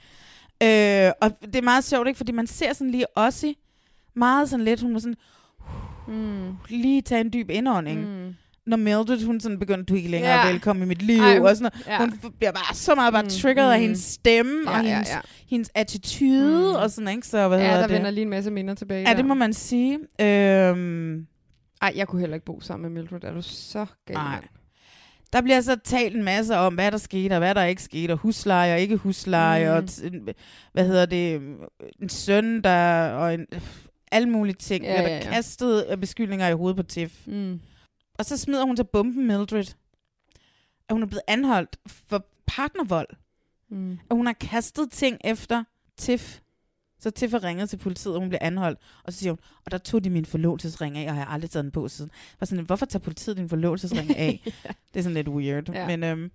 Øh, og det er meget sjovt, ikke? Fordi man ser sådan lige Ossie, meget sådan lidt, hun var sådan, Mm. lige tage en dyb indånding. Mm. Mm. Når Mildred, hun sådan begyndte, du er ikke længere Ja. ja. velkommen i mit liv, Ej, Ej, hun- og sådan noget. Ja. Hun f- bliver bare så meget bare Mm, triggeret mm. af mm. hendes stemme, ja, og ja, hendes, ja, ja. ja. hendes attitude, Mm. mm. og sådan, ikke? Så hvad ja, hedder der det? vender lige en masse minder tilbage. Ja, der. det må man sige. Øhm, Ej, jeg kunne heller ikke bo sammen med Mildred. Er du så gal? Nej. mand? der bliver så talt en masse om, hvad der skete, og hvad der ikke skete, og husleje og ikke husleje, mm. Mm. og t- hvad hedder det, øh, en søn, der, og en, øh, alle mulige ting, Ja, ja, der ja, ja, ja. kastet af beskyldninger i hovedet på Tiff. Mm. Og så smider hun til bomben Mildred, at hun er blevet anholdt for partnervold, Mm. at hun har kastet ting efter Tiff. Så Tiff har ringet til politiet, og hun bliver anholdt. Og så siger hun, og der tog de min forlovelsesring af, og jeg har aldrig taget den på siden. Jeg Var sådan, lidt, hvorfor tager politiet din forlovelsesring af? Det er sådan lidt weird. Ja. Ja. Men, øhm,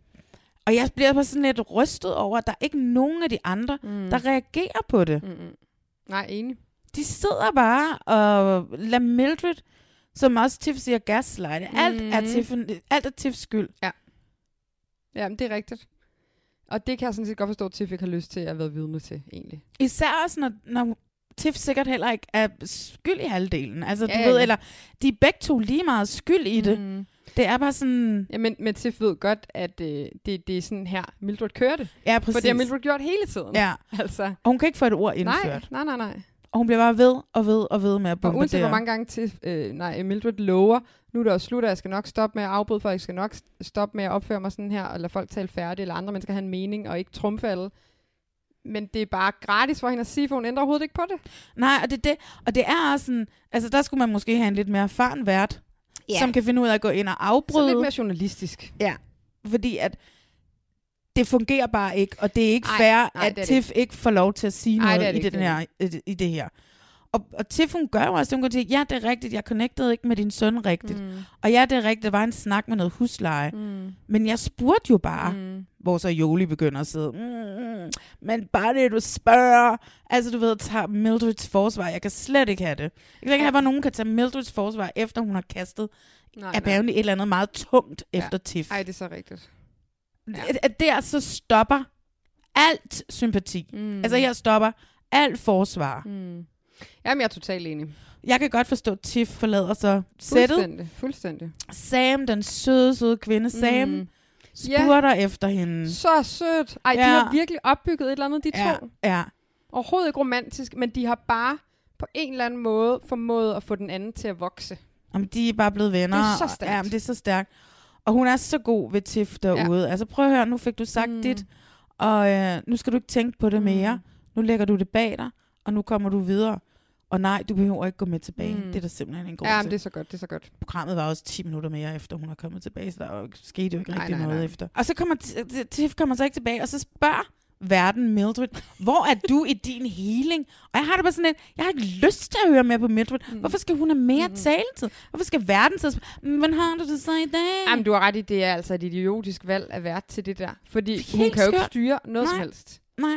og jeg bliver bare sådan lidt rystet over, at der er ikke nogen af de andre, *laughs* Mm. mm. der reagerer på det. Mm, mm. Nej, enig. De sidder bare og lader Mildred, som også Tiff siger, gaslighte. Alt, mm. er, Mhm. Tiff, alt er Tiffs skyld. Ja, men det er rigtigt. Og det kan jeg sådan set godt forstå, at Tiff ikke har lyst til at være vidne til, egentlig. Især også, når, når Tiff sikkert heller ikke er skyld i halvdelen. Altså, Ja, du ved, ja. eller de er begge to lige meget skyld i det. Mm. Mm. Det er bare sådan... Ja, men, men Tiff ved godt, at øh, det, det er sådan her, Mildred kører det. Ja, For præcis. det har Mildred gjort hele tiden. ja. Altså, Og hun kan ikke få et ord indført. Nej. nej, nej, nej, nej. Og hun bliver bare ved og ved og ved med at Og bombe uanset hvor mange gange til, øh, nej, Mildred lover, nu er det også slut, og jeg skal nok stoppe med at afbryde folk, jeg skal nok s- stoppe med at opføre mig sådan her, og lade folk tale færdigt, eller andre mennesker have en mening, og ikke trumfe alle. Men det er bare gratis for hende at sige, for hun ændrer overhovedet ikke på det. Nej, og det, er det, og det er også sådan... Altså, der skulle man måske have en lidt mere erfaren vært, yeah. som kan finde ud af at gå ind og Så afbryde. lidt mere journalistisk. Fordi at det fungerer bare ikke, og det er ikke Ej, fair, nej, at det er det Tiff ikke får lov til at sige Ej, det er noget det i, ikke, det, den det er her, i, det- i det her. Og, og Tiff, hun gør jo også, hun går til, ja, det er rigtigt, jeg connectede ikke med din søn rigtigt. Mm. Og ja, det er rigtigt, der var en snak med noget husleje. Mm. Men jeg spurgte jo bare, mm. Mm. hvor så Jolie begynder at sidde, mm, men bare det, du spørger. Altså, du ved, tager Mildreds forsvar, jeg kan slet ikke have det. Jeg kan ikke have, hvor nogen kan tage Mildreds forsvar, efter hun har kastet Nej, nej. apparently et eller andet meget tungt Ja. efter Tiff. Ej, det er så rigtigt. Ja. At- at der så stopper alt sympati. Mm. Mm. Altså her stopper alt forsvar. Mm. Mm. Jamen, jeg er totalt enig. Jeg kan godt forstå, at Tiff forlader så sættet. Fuldstændig. Fuldstændig. Sam, den søde, søde kvinde Sam, mm. Ja. spurter ja. efter hende. Så sødt. Ej, ja. de Ja. har virkelig opbygget et eller andet, de Ja, to. ja. Overhovedet ikke romantisk, men de har bare på en eller anden måde formået at få den anden til at vokse. Om de er bare blevet venner. Det er så og- stærkt. Ja, men det er så stærkt. Og hun er så god ved Tiff derude. Ja. Altså prøv at høre, nu fik du sagt Mm. mm. dit, og øh, nu skal du ikke tænke på det Mm. mere. Nu lægger du det bag dig, og nu kommer du videre. Og nej, du behøver ikke gå med tilbage. Mm. Mm. Det er der simpelthen en god Ja, ja, men til. det er Det... så godt, det er så godt. Programmet var også 10 minutter mere, efter hun er kommet tilbage, så der var jo ikke- skete jo ikke Nej, rigtig nej, noget nej. efter. Og så kommer T- T- Tiff kommer så ikke tilbage, og så spørger verden Mildred, hvor er du i din healing? Og jeg har det bare sådan lidt, jeg har ikke lyst til at høre mere på Mildred. Mm. Hvorfor skal hun have mere Mm-hmm. mm. taletid? Hvorfor skal verden så spørge, hvordan har du det så i dag? Jamen, du har ret i, det er altså et idiotisk valg at være til det der. Fordi Helt hun kan jo ikke skørt. styre noget som Nej. helst. Nej,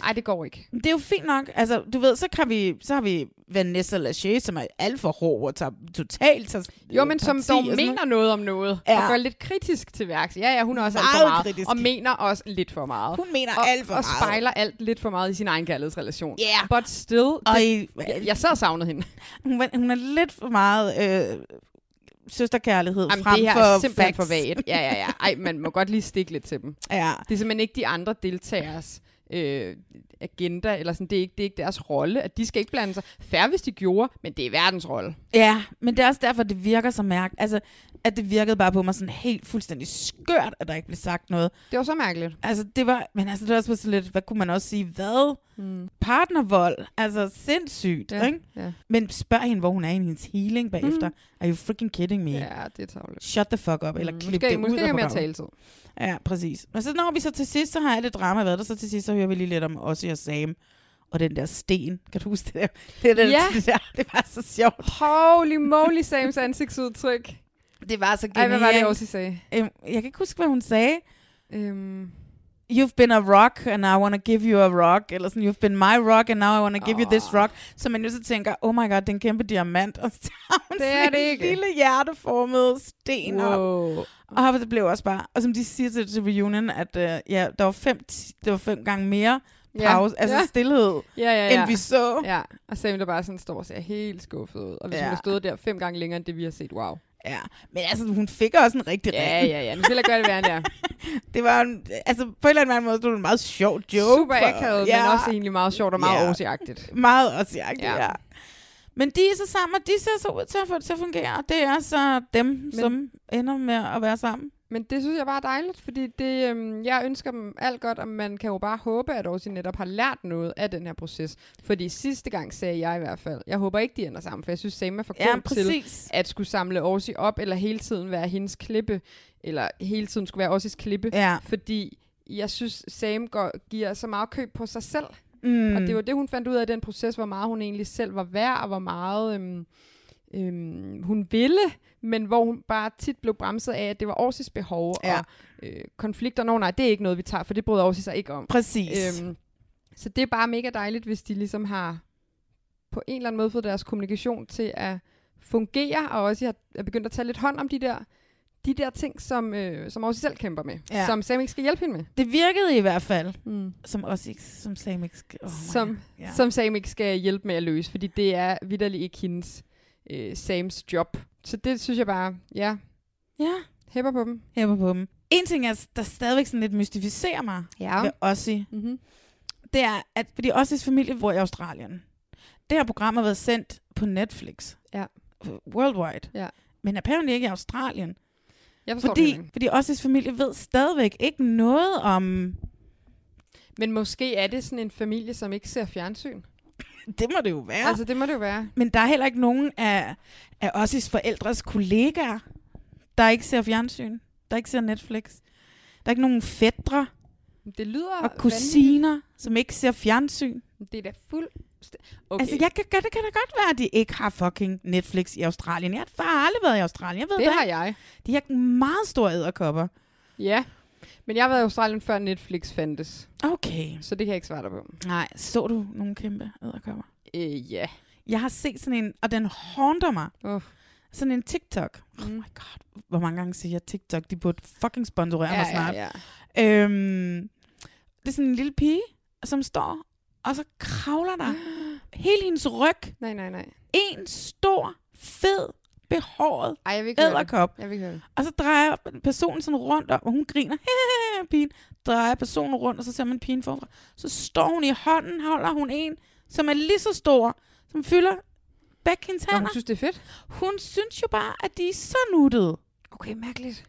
Nej, det går ikke. men det er jo fint nok. Altså, du ved, så, kan vi, så har vi Vanessa Lachey, som er alt for rå og tager totalt tager, Jo, men som parti dog og sådan noget. mener noget om noget. Ja. Ja. Og går lidt kritisk til værks. Ja, ja, hun er også alt for Meget meget. kritisk. Og mener også lidt for meget. Hun mener og, alt for og meget. Og spejler alt lidt for meget i sin egen kærlighedsrelation. Ja. But still, Og det, i, jeg, jeg så har savnet hende. hun, var- hun er lidt for meget øh, søsterkærlighed Jamen, frem det her for er simpelthen facts. for vagt. Ja, ja, ja. Ej, man må godt lige stikke lidt til dem. Ja. Det er simpelthen ikke de andre deltagers øh, agenda, eller sådan. Det er ikke, det er ikke deres rolle, at de skal ikke blande sig. Færre, hvis de gjorde, men det er verdens rolle. ja, men det er også derfor, det virker så mærkeligt. Altså, at det virkede bare på mig sådan helt fuldstændig skørt, at der ikke blev sagt noget. Det var så mærkeligt. Altså, det var, men altså, det var også bare sådan lidt, hvad kunne man også sige, hvad? Mm. Partnervold, altså sindssygt, ja. ikke? Hmm. Ja, Mhm. Men spørg hende, hvor hun er i hendes healing bagefter. Mm. Are you freaking kidding me? Yeah. ja det er tavligt. Shut the fuck up, eller klip Måske, det ud måske af har mere programmet. taletid. Ja, præcis. Og så når vi så til sidst, så har jeg lidt drama været der, så til sidst, så hører vi lige lidt om Ossie og Sam. Og den der sten, kan du huske det der? *laughs* Det, der, Ja. det, der, det var så sjovt. Holy moly, Sams ansigtsudtryk. Det var så Ej, genialt. hvad var det, også I sagde? Øhm, Jeg kan ikke huske, hvad hun sagde. Øhm, You've been a rock, and I want to give you a rock. Eller sådan, you've been my rock, and now I want to give oh. you this rock. Så man jo så tænker, oh my god, det er en kæmpe diamant. Og så tager hun Det er sådan det en ikke. lille hjerteformet sten op. wow. Og det blev også bare, og som de siger til, til reunion, at øh, ja, der var, fem, ti- det var fem gange mere pause, ja. altså ja. ja. stillhed, ja, ja, ja. ja. end vi så. Ja. Ja, og Sam der bare sådan står og ser helt skuffet ud. Og hvis ja. hun Ja. har stået der fem gange længere end det, vi har set, wow. ja. Men altså, hun fik også en rigtig Ja, ring. ja, ja. Nu vil jeg gøre det værre, end det er. Det var en, altså, på en eller anden anden måde, det var en meget sjov joke. *laughs* Super for- akavet, ja. men også egentlig meget sjovt og meget Ja. årsigagtigt. Meget også ja. Ja. ja. Men de er så sammen, og de ser så ud til at få det til at fungere. Og det er så dem, Men... som ender med at være sammen. Men det synes jeg bare er dejligt, fordi det, øhm, jeg ønsker dem alt godt, og man kan jo bare håbe, at Aarhus netop har lært noget af den her proces. Fordi sidste gang sagde jeg i hvert fald, jeg håber ikke, de ender sammen, for jeg synes, Sam er for Ja, god til præcis. at skulle samle Aarhus op, eller hele tiden være hendes klippe, eller hele tiden skulle være Aarhus' klippe. Ja. Fordi jeg synes, Sam går, giver så meget køb på sig selv. Mm. Og det var det, hun fandt ud af i den proces, hvor meget hun egentlig selv var værd, og hvor meget øhm, øhm, hun ville, men hvor hun bare tit blev bremset af, at det var Aarhus' behov, ja. Ja. og øh, konflikter, no, nej, det er ikke noget, vi tager, for det bryder Aarhus sig ikke om. Præcis. Øhm. Øhm, så det er bare mega dejligt, hvis de ligesom har på en eller anden måde fået deres kommunikation til at fungere, og også har er begyndt at tage lidt hånd om de der de der ting, som, øh, som Aarhus selv kæmper med, ja. Ja. som Sam ikke skal hjælpe hende med. Det virkede i hvert fald, Mm som også ikke, som Sam ikke skal... Oh my som, God. ja. som Sam ikke skal hjælpe med at løse, fordi det er vidderligt ikke hendes øh, Sams job. Så det synes jeg bare, ja, ja. hæpper på dem. hæpper på dem. En ting, er, der stadigvæk sådan lidt mystificerer mig ja. ved Ossie, Mm-hmm. det er, at fordi Ossies familie bor i Australien. Det her program har været sendt på Netflix. Ja. Worldwide. Ja. Men apparently ikke i Australien. Jeg forstår Fordi... det. Fordi, ikke. fordi Ossies familie ved stadigvæk ikke noget om... Men måske er det sådan en familie, som ikke ser fjernsyn. Det må det jo være. Ja. Altså, Altså, det må det jo være. men der er heller ikke nogen af, af Ossies forældres kollegaer, der ikke ser fjernsyn. Der ikke ser Netflix. Der er ikke nogen fædre Det lyder... og kusiner, som ikke ser fjernsyn. vanvittigt. Det er da fuld... Okay. Okay. Altså, jeg kan, godt- det kan da godt være, at de ikke har fucking Netflix i Australien. Jeg har bare aldrig været i Australien. Jeg ved det det har jeg. De har meget store æderkopper. Ja. Men jeg har været i Australien, før Netflix fandtes. Okay. Så det kan jeg ikke svare dig på. Nej, så du nogle kæmpe æderkopper? Øh, ja. Jeg har set sådan en, og den haunter mig. Uh. Sådan en TikTok. Mm. Oh my god. Hvor mange gange siger jeg TikTok? De burde fucking sponsorere Ja, mig snart. ja, *gasps* ja. Øhm, det er sådan en lille pige, som står, og så Mm. kravler der hele hendes ryg. Nej, nej, nej. En stor, fed behåret Ej, jeg vil ikke høre det. æderkop. Jeg vil ikke høre det. Og så drejer personen sådan rundt, og hun griner, *laughs* pigen, drejer personen rundt, og så ser man pigen forfra. Så står hun i hånden, holder hun en, som er lige så stor, som fylder begge hendes Nå, hænder. hun synes, det er fedt. Hun synes jo bare, at de er så nuttede. Okay, mærkeligt.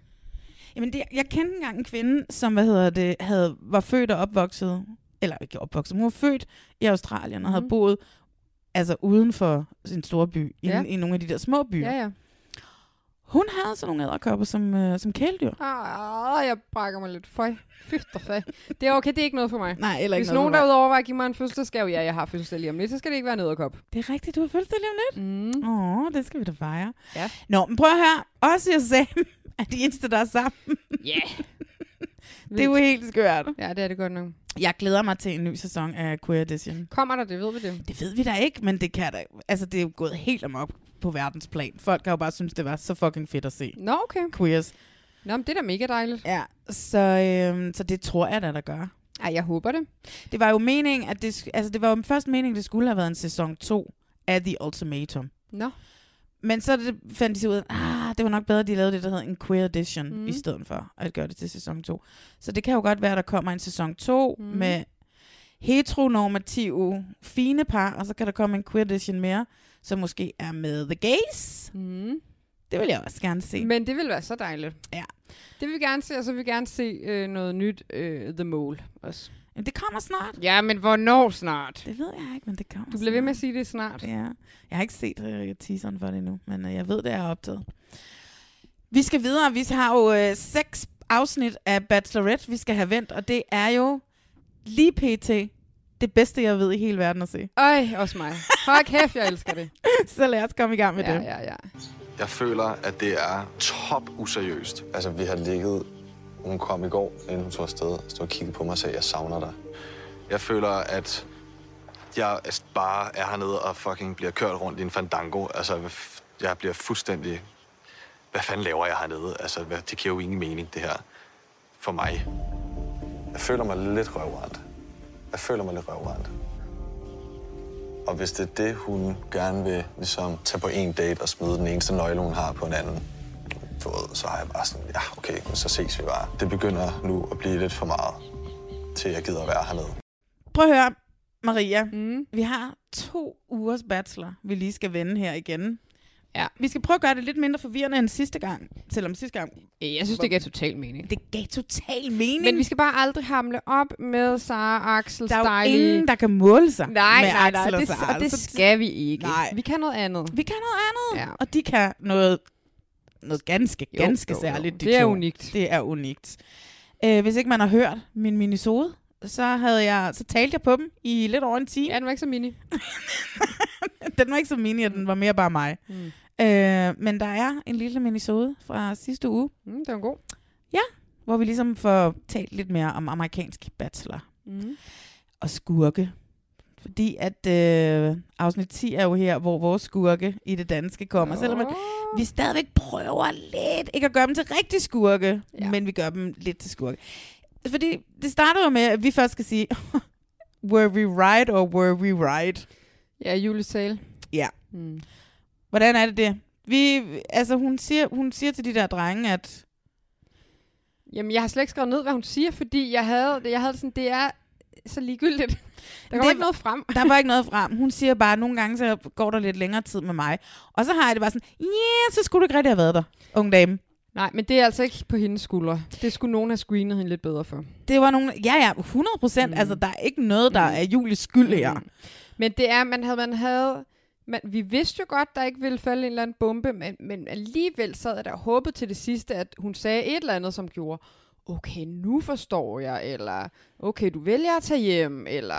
Jamen, det, jeg kendte engang en kvinde, som hvad hedder det, havde, var født og opvokset, eller ikke opvokset, men hun var født i Australien og havde Mhm. boet altså uden for sin store by, i, Ja. i nogle af de der små byer. Ja, ja. Hun havde sådan nogle æderkopper som, øh, som kæledyr. Ah, jeg brækker mig lidt. Føj. Fyft og fag. Det er okay, det er ikke noget *laughs* for mig. Nej, eller Hvis ikke nogen noget, derude overvejer at give mig en fødselsdagsgave, ja, jeg har fødselsdag lige om lidt, så skal det ikke være en æderkop. Det er rigtigt, du har følt det lige om lidt. Mm. Åh, det skal vi da fejre. Ja. Nå, men prøv at høre. Også jeg sagde, *laughs* at de eneste, der er sammen, Ja. det er jo helt skørt. Ja, det er det godt nok. Jeg glæder mig til en ny sæson af Queer Edition. Kommer der, det ved vi det. Det ved vi da ikke, men det kan da. Altså, det er jo gået helt amok på verdensplan. Folk har jo bare synes det var så fucking fedt at se. Nå, okay. Queers. Nå, men det er da mega dejligt. Ja, så, øhm, så det tror jeg da, der gør. Ej, jeg håber det. Det var jo meningen, at det, sk- altså, det var jo først meningen, det skulle have været en sæson 2 af The Ultimatum. Nå. Men så det, fandt de sig ud af, ah, det var nok bedre, at de lavede det, der hedder en queer edition, Mm. mm. i stedet for at gøre det til sæson 2. Så det kan jo godt være, at der kommer en sæson 2 Mm. mm. med heteronormative, fine par, og så kan der komme en queer edition mere, som måske er med The Gays. Mm. Det vil jeg også gerne se. Men det vil være så dejligt. Ja. Det vil vi gerne se, og så vil vi gerne se øh, noget nyt øh, The Mole også. Men det kommer snart. Ja, men hvornår snart? Det ved jeg ikke, men det kommer Du bliver ved med at snart. sige det er snart. Ja. Jeg har ikke set øh, teaseren for det endnu, men øh, jeg ved, det er optaget. Vi skal videre. Vi har jo øh, seks afsnit af Bachelorette, vi skal have vendt, og det er jo lige pt. det bedste, jeg ved i hele verden at se. *laughs* Øj, også mig. Hold kæft, jeg elsker det. Så lad os komme i gang med Ja, det. ja, ja. Jeg føler, at det er top useriøst. Altså, vi har ligget... Hun kom i går, inden hun tog afsted, og stod og kiggede på mig og sagde, jeg savner dig. Jeg føler, at jeg altså, bare er hernede og fucking bliver kørt rundt i en fandango. Altså, hvad f- jeg bliver fuldstændig... Hvad fanden laver jeg hernede? Altså, hvad- det giver jo ingen mening, det her. For mig. Jeg føler mig lidt røvrendt. Jeg føler mig lidt røvrendt. Og hvis det er det, hun gerne vil ligesom, tage på en date og smide den eneste nøgle, hun har på en anden, du ved, så har jeg bare sådan, ja, okay, men så ses vi bare. Det begynder nu at blive lidt for meget, til jeg gider at være hernede. Prøv at høre, Maria. Mm. Vi har to ugers bachelor, vi lige skal vende her igen. Ja. Vi skal prøve at gøre det lidt mindre forvirrende end sidste gang, selvom sidste gang Jeg synes, det giver total mening. det gav total mening. Men vi skal bare aldrig hamle op med Sara, Axel, der er jo Styling. ingen, der kan måle sig nej, med nej, nej, Axel og det, Sara. og det Så skal vi ikke. Nej. Vi kan noget andet. Vi kan noget andet. Ja. Ja. Og de kan noget, noget ganske, Jo, ganske jo, jo. særligt. de Det er to. unikt. Det er unikt. Øh, hvis ikke man har hørt min minisode, så, havde jeg, så talte jeg på dem i lidt over en time. Ja, den var ikke så mini. *laughs* Den var ikke så mini, og den var mere bare mig. Mm. Øh, men der er en lille minisode fra sidste uge, Mm, det var god. hvor vi ligesom får talt lidt mere om amerikansk bachelor Mm. og skurke. Fordi at øh, afsnit 10 er jo her, hvor vores skurke i det danske kommer. Oh. Selvom at vi stadigvæk prøver lidt, ikke at gøre dem til rigtig skurke, Ja. ja. men vi gør dem lidt til skurke. Fordi det starter jo med, at vi først skal sige, *laughs* were we right or were we right? Ja, Julie Sale. Ja. Mm. Hvordan er det det? Vi, altså hun siger, hun siger til de der drenge, at Jamen, jeg har slet ikke skrevet ned, hvad hun siger, fordi jeg havde, jeg havde det sådan, det er så ligegyldigt. *laughs* Der kommer Det- ikke noget frem. der var ikke noget frem. Hun siger bare, at nogle gange så går der lidt længere tid med mig. Og så har jeg det bare sådan, ja, yeah, så skulle du ikke rigtig have været der, unge dame. Nej, men det er altså ikke på hendes skuldre. Det skulle nogen have screenet hende lidt bedre for. Det var nogle, ja ja, 100 procent. Mm. Mm. Altså, der er ikke noget, der Mm. er Julies skyld her. Mm. Men det er, man havde, man havde man, vi vidste jo godt, der ikke ville falde en eller anden bombe, men, men alligevel sad jeg der og håbede til det sidste, at hun sagde et eller andet, som gjorde, okay, nu forstår jeg, eller okay, du vælger at tage hjem, eller...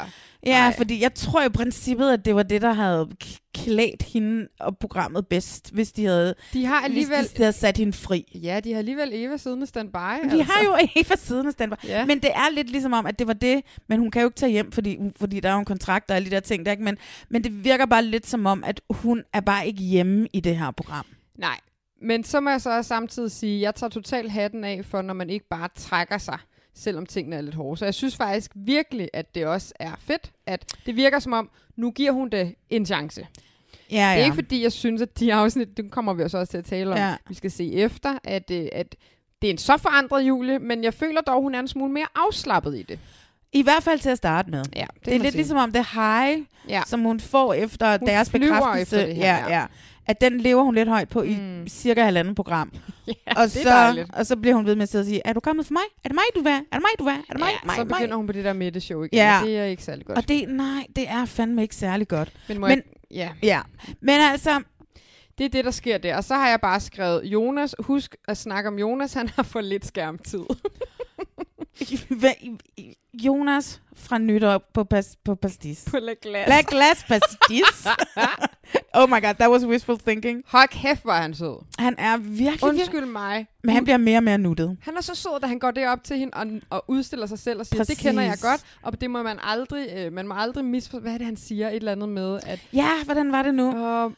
Ja, Ej. Ej. fordi jeg tror i princippet, at det var det, der havde k- klædt hende og programmet bedst, hvis de havde, De har Alligevel... alligevel... hvis de havde sat hende fri. Ja, de har alligevel Eva siddende standby. altså. Vi har jo *laughs* Eva siden af standby. Ja. Men det er lidt ligesom om, at det var det, men hun kan jo ikke tage hjem, fordi, fordi der er jo en kontrakt og alle de der ting. Der, ikke? Men, men det virker bare lidt som om, at hun er bare ikke hjemme i det her program. Nej, men så må jeg så også samtidig sige, at jeg tager totalt hatten af for, når man ikke bare trækker sig, selvom tingene er lidt hårde. Så jeg synes faktisk virkelig, at det også er fedt, at det virker som om, nu giver hun det en chance. Ja, ja. Det er ikke fordi, jeg synes, at de afsnit, det kommer vi jo så også til at tale om, Ja. ja. vi skal se efter, at, øh, at det er en så forandret Julie, men jeg føler dog, hun er en smule mere afslappet i det. I hvert fald til at starte med. Ja, Det er lidt må jeg sige. ligesom om det high, Ja. ja. som hun får efter hun Hun deres flyver bekræftelse. efter det her, ja, ja. Mm. ja. At den lever hun lidt højt på i cirka halvanden program. *laughs* ja, og, det er så, dejligt. og så bliver hun ved med at sidde og sige, er du kommet for mig? Er det mig, du vil? have? Er det mig, du vil? have? Er det mig, ja, mig, så begynder mig? hun på det der midteshow igen, Ja. ja. det er ikke særlig godt. Og det, nej, det er fandme ikke særlig godt. men, må men- jeg, ja. Ja, men altså, *laughs* Det er det, der sker der. Og så har jeg bare skrevet, Jonas, husk at snakke om Jonas, han har for lidt skærmtid. *laughs* hvad- Jonas fra nytår på, pas, på pastis. på Le Glas. Black *laughs* glass pastis. oh my god, that was wishful thinking. Hold kæft, hvor er han sød. Han er virkelig, virkelig Undskyld mig. men han bliver mere og mere nuttet. Han er så sød, da han går derop til hende og, og udstiller sig selv og siger, Præcis. det kender jeg Præcis. godt, og det må man aldrig, øh, man må aldrig misforstå, hvad er det, han siger, et eller andet med, at Ja, hvordan var det nu? øh,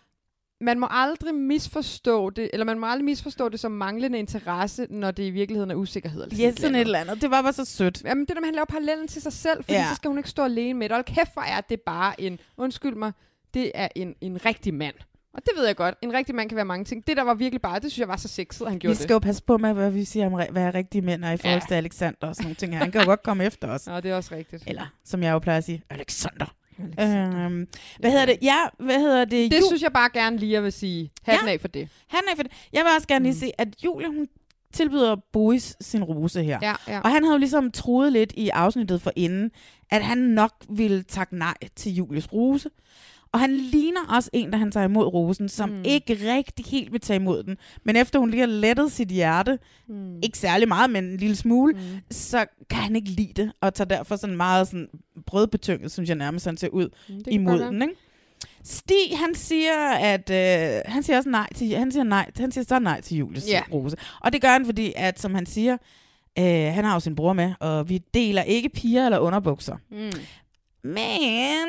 man må aldrig misforstå det, eller man må aldrig misforstå det som manglende interesse, når det i virkeligheden er usikkerhed. Altså, Eller Ja, sådan et eller andet. Det var bare så sødt. Jamen, det der med, at han laver parallellen til sig selv, fordi Ja. ja. så skal hun ikke stå alene med det. Hold kæft, hvor er det bare en, undskyld mig, det er en, en rigtig mand. Og det ved jeg godt, en rigtig mand kan være mange ting. Det der var virkelig bare, det synes jeg var så sexet, at han gjorde Vi skal jo passe på med, hvad vi siger om, re- hvad rigtige mænd er i forhold Ja. til Alexander og sådan nogle ting. her. Han kan jo godt komme efter os. det. Nå, det er også rigtigt. Eller, som jeg jo plejer at sige, Alexander. Øhm, hvad hedder det? Ja, hvad hedder det? Det Ju- synes jeg bare gerne lige, jeg vil sige. Hatten Ja. ja. af for det. Han er for det. Jeg vil også gerne Mm. lige se, at Julie, hun tilbyder Boris sin rose her. Ja, ja. Og han havde jo ligesom troet lidt i afsnittet for inden, at han nok ville takke nej til Julies rose. Og han ligner også en, der han tager imod rosen, som mm. ikke rigtig helt vil tage imod den. Men efter hun lige har lettet sit hjerte, mm. ikke særlig meget, men en lille smule, mm. så kan han ikke lide det, og tager derfor sådan meget sådan brødbetynget, synes jeg nærmest, han ser ud det kan imod godt være. den. Ikke? Stig, han siger, at øh, han siger også nej til, han siger nej, han siger så nej til Julies Ja. rose. Og det gør han, fordi at, som han siger, øh, han har jo sin bror med, og vi deler ikke piger eller underbukser. Mm. Men,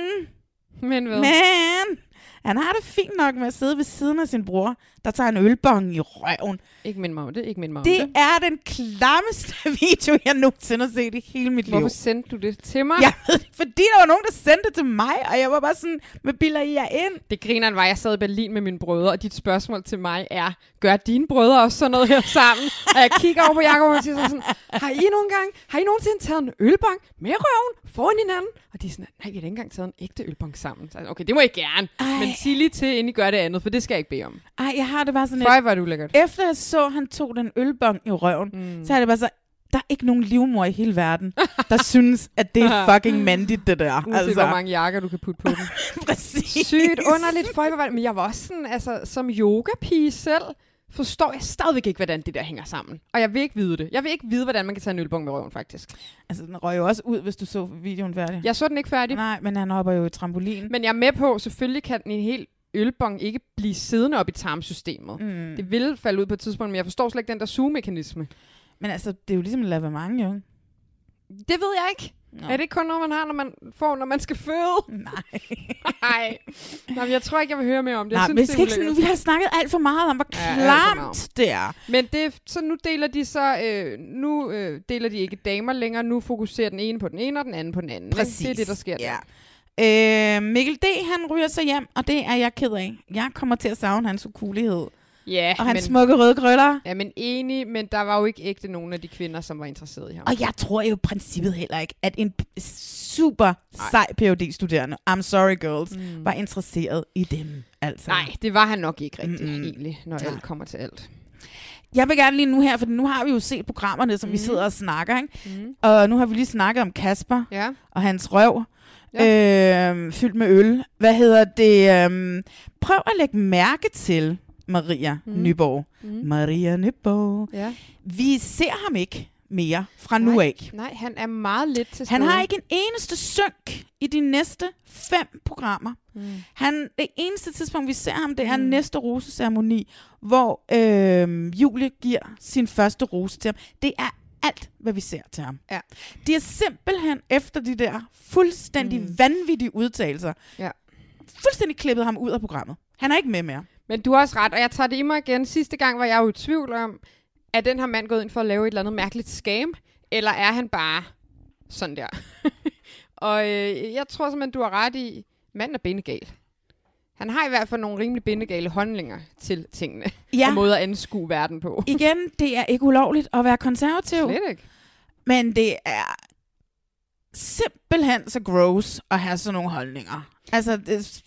Men hvad? men, han har det fint nok med at sidde ved siden af sin bror, der tager en ølbong i røven. Ikke mind mig om det. Ikke mind mig om det. Det er den klammeste *laughs* video, jeg nogensinde har set i hele mit liv. Hvorfor sendte du det til mig? Jeg ved det, fordi der var nogen, der sendte det til mig, og jeg var bare sådan, hvad bilder I jer ind? Det grineren var, at jeg sad i Berlin med mine brødre, og dit spørgsmål til mig er, gør dine brødre også sådan noget her sammen? og jeg kigger over på Jacob og siger så sådan, har I nogle gange, har I nogensinde taget en ølbong med røven foran hinanden? Og de er sådan, nej, vi har da ikke engang taget en ægte ølbong sammen. Så, jeg, okay, det må I gerne, Ej. men sig lige til, inden I gør det andet, for det skal jeg ikke bede om. Ej, jeg har det bare sådan, Føj, var du lækkert. efter jeg så, at han tog den ølbong i røven, mm. så er det bare så, der er ikke nogen livmor i hele verden, der *laughs* synes, at *laughs* det er fucking mandigt, det der. Uanset altså. hvor Altså, mange jakker, du kan putte på *laughs* den. præcis. Sygt underligt. Føj, hvor var det. Men jeg var også sådan, altså, som yogapige selv, forstår jeg stadigvæk ikke, hvordan det der hænger sammen. Og jeg vil ikke vide det. Jeg vil ikke vide, hvordan man kan tage en ølbong med røven, faktisk. Altså, den røg jo også ud, hvis du så videoen færdig. Jeg så den ikke færdig. Nej, men han hopper jo i trampolin. Men jeg er med på, selvfølgelig kan en hel ølbong ikke blive siddende op i tarmsystemet. Mm. Det vil falde ud på et tidspunkt, men jeg forstår slet ikke den der sugemekanisme. Men altså, det er jo ligesom en lavemang, jo. Det ved jeg ikke. Nå. Nå. Er det ikke kun noget, man har, når man får, når man skal *laughs* føde? Nej. Nej. Nå, men jeg tror ikke, jeg vil høre mere om det. Nej, jeg men vi, synes, skal ikke det er sådan, ulækkert. vi har snakket alt for meget om, hvor Ja, alt for meget. klamt det er. Men det, så nu deler de så, øh, nu øh, deler de ikke damer længere, nu fokuserer den ene på den ene, og den anden på den anden. ikke? Præcis. Det er det, der sker ja. der. Øh, Mikkel D., han ryger sig hjem, og det er jeg ked af. Jeg kommer til at savne hans ukulighed. Ja, Og hans men, smukke røde krøller. ja, men enig, men der var jo ikke ægte nogen af de kvinder, som var interesseret i ham. Og jeg tror jo i princippet heller ikke, at en p- super sej phd studerende I'm sorry girls, mm. var interesseret i dem. Altså. Nej, det var han nok ikke rigtigt, Mm-mm. mm-hmm. egentlig, når alt kommer til alt. Jeg vil gerne lige nu her, for nu har vi jo set programmerne, som mm. vi sidder og snakker. Ikke? Mm. Og nu har vi lige snakket om Kasper Ja. og hans røv. Ja. Øh, fyldt med øl. Hvad hedder det? Øh, prøv at lægge mærke til Maria mm. Nyborg. Mm. Maria Nyborg. ja. Vi ser ham ikke mere fra nu Nej. af. Nej, han er meget lidt til Han har stede. ikke en eneste synk i de næste fem programmer. Mm. Han, det eneste tidspunkt, vi ser ham, det er mm. næste roseceremoni, hvor øh, Julie giver sin første rose til ham. Det er alt, hvad vi ser til ham. Ja. Det er simpelthen efter de der fuldstændig mm. vanvittige udtalelser, Ja. fuldstændig klippet ham ud af programmet. Han er ikke med mere. Men du har også ret, og jeg tager det i mig igen. Sidste gang var jeg jo i tvivl om, er den her mand gået ind for at lave et eller andet mærkeligt scam, eller er han bare sådan *laughs* der? og øh, jeg tror simpelthen, du har ret i, manden er benegal. Han har i hvert fald nogle rimelig bindegale håndlinger til tingene. Ja. Og måder at anskue verden på. Igen, det er ikke ulovligt at være konservativ, Slet ikke. men det er simpelthen så gross at have sådan nogle holdninger. Altså, det,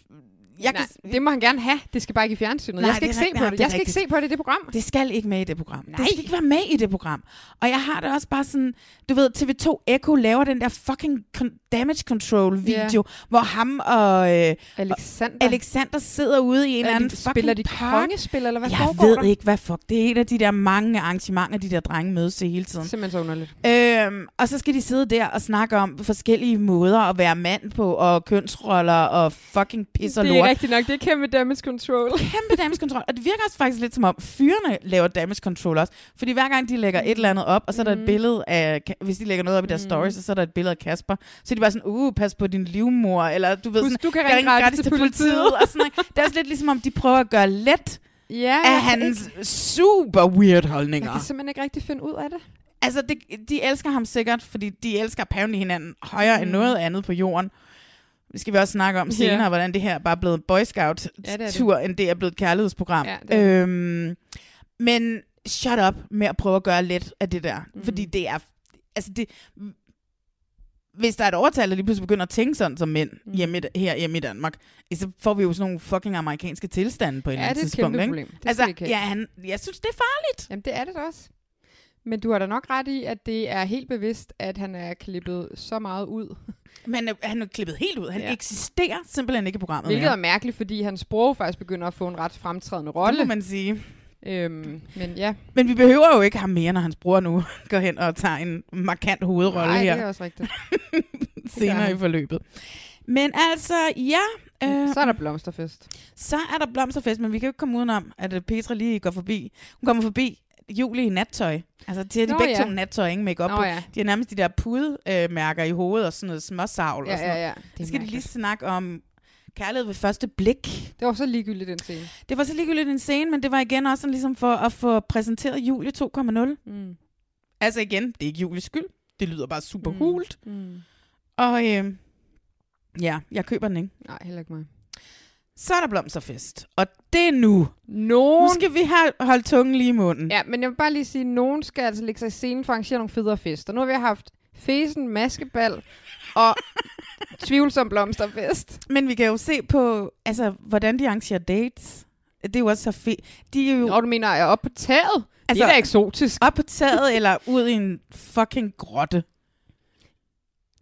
jeg Nej, kan, det må han gerne have. Det skal bare ikke i fjernsynet. Nej, jeg det skal ikke er se rigtigt. på Nej, det. det er Jeg skal ikke se rigtigt. på det i det program. Det skal ikke med i det program. Nej. Nej. Det skal ikke være med i det program. Og jeg har det også bare sådan, du ved, TV2 Echo laver den der fucking con- damage control video, yeah. hvor ham og øh, Alexander. Alexander sidder ude i en eller anden de, spiller fucking de park. kongespil, eller hvad jeg foregår ved der? ikke, hvad fuck. Det er et af de der mange arrangementer, de der drenge mødes til hele tiden. Simpelthen så underligt. Øhm, og så skal de sidde der og snakke om forskellige måder at være mand på, og kønsroller, og fucking pis og det er lort. rigtigt nok. Det er kæmpe damage control. kæmpe damage control. Og det virker også faktisk lidt som om, fyrene laver damage control også. Fordi hver gang de lægger et eller andet op, og så er der Mhm. et billede af, Ka- hvis de lægger noget op i deres stories, og så er der et billede af Kasper. Så er de bare sådan, uh, pas på din livmor, eller du ved Husk, sådan, du kan "Jeg ringe ringer gratis til politiet." og sådan noget. Det er også lidt ligesom om, de prøver at gøre let ja, af hans super weird Jeg kan holdninger. simpelthen ikke rigtig finde ud af det. Altså, det, de elsker ham sikkert, fordi de elsker apparently hinanden højere mm. end noget andet på jorden. Det skal vi også snakke om senere, Ja. hvordan det her bare er blevet en Boy Ja, det er det. Scout-tur, end det er blevet et kærlighedsprogram. Ja, det er øhm, men shut up med at prøve at gøre lidt af det der. Mm. Fordi det er... Altså det, hvis der er et overtal, der lige pludselig begynder at tænke sådan som mænd Mm. hjemme i, her hjemme i Danmark, eh, så får vi jo sådan nogle fucking amerikanske tilstande på et eller Ja, andet det er et tidspunkt. kæmpe ikke? problem. Det skal vi altså, ikke have. ja, han, jeg synes, det er farligt. Jamen, det er det da også. Men du har da nok ret i, at det er helt bevidst, at han er klippet så meget ud. Men øh, han er klippet helt ud. Han ja. Ja. eksisterer simpelthen ikke i programmet. Hvilket er mere. mærkeligt, fordi hans sprog faktisk begynder at få en ret fremtrædende det må rolle. man sige. Øhm, men ja, Men vi behøver jo ikke ham mere, når hans bror nu *laughs* går hen og tager en markant hovedrolle nej, det her er også rigtigt. senere han. i forløbet. Men altså, ja, øh, Så er der blomsterfest. så er der blomsterfest, men vi kan jo ikke komme udenom, at øh, Petra lige går forbi. Hun kommer forbi Julie i nattøj. Altså, det er de Nå, begge ja. to nattøj, ingen make Nå på. ja. De har nærmest de der pudemærker i hovedet og sådan noget småsavl og Ja, sådan ja, noget. ja. Det, Så er skal de lige mærkeligt. snakke om kærlighed ved første blik. det var så ligegyldigt, den scene. Det var så ligegyldigt en scene, men det var igen også sådan ligesom for at få præsenteret Julie 2.0. Mm. Altså igen, det er ikke Julies skyld. Det lyder bare super mm. Mm. hult. Mm. Og øh, ja, jeg køber den ikke. Nej, heller ikke mig. Så er der blomsterfest. Og det er nu. Nu Nogen... skal vi have, holde tungen lige i munden. Ja, men jeg vil bare lige sige, at nogen skal altså lægge sig i scenen for at arrangere nogle federe fester. Nu har vi haft fesen, maskebal *laughs* og tvivlsom blomsterfest. Men vi kan jo se på, altså, hvordan de arrangerer dates. Det er jo også så fedt. De er jo Og du mener, at jeg er oppe på taget? Altså, det Altså- er da eksotisk. op på taget eller ud i en fucking grotte.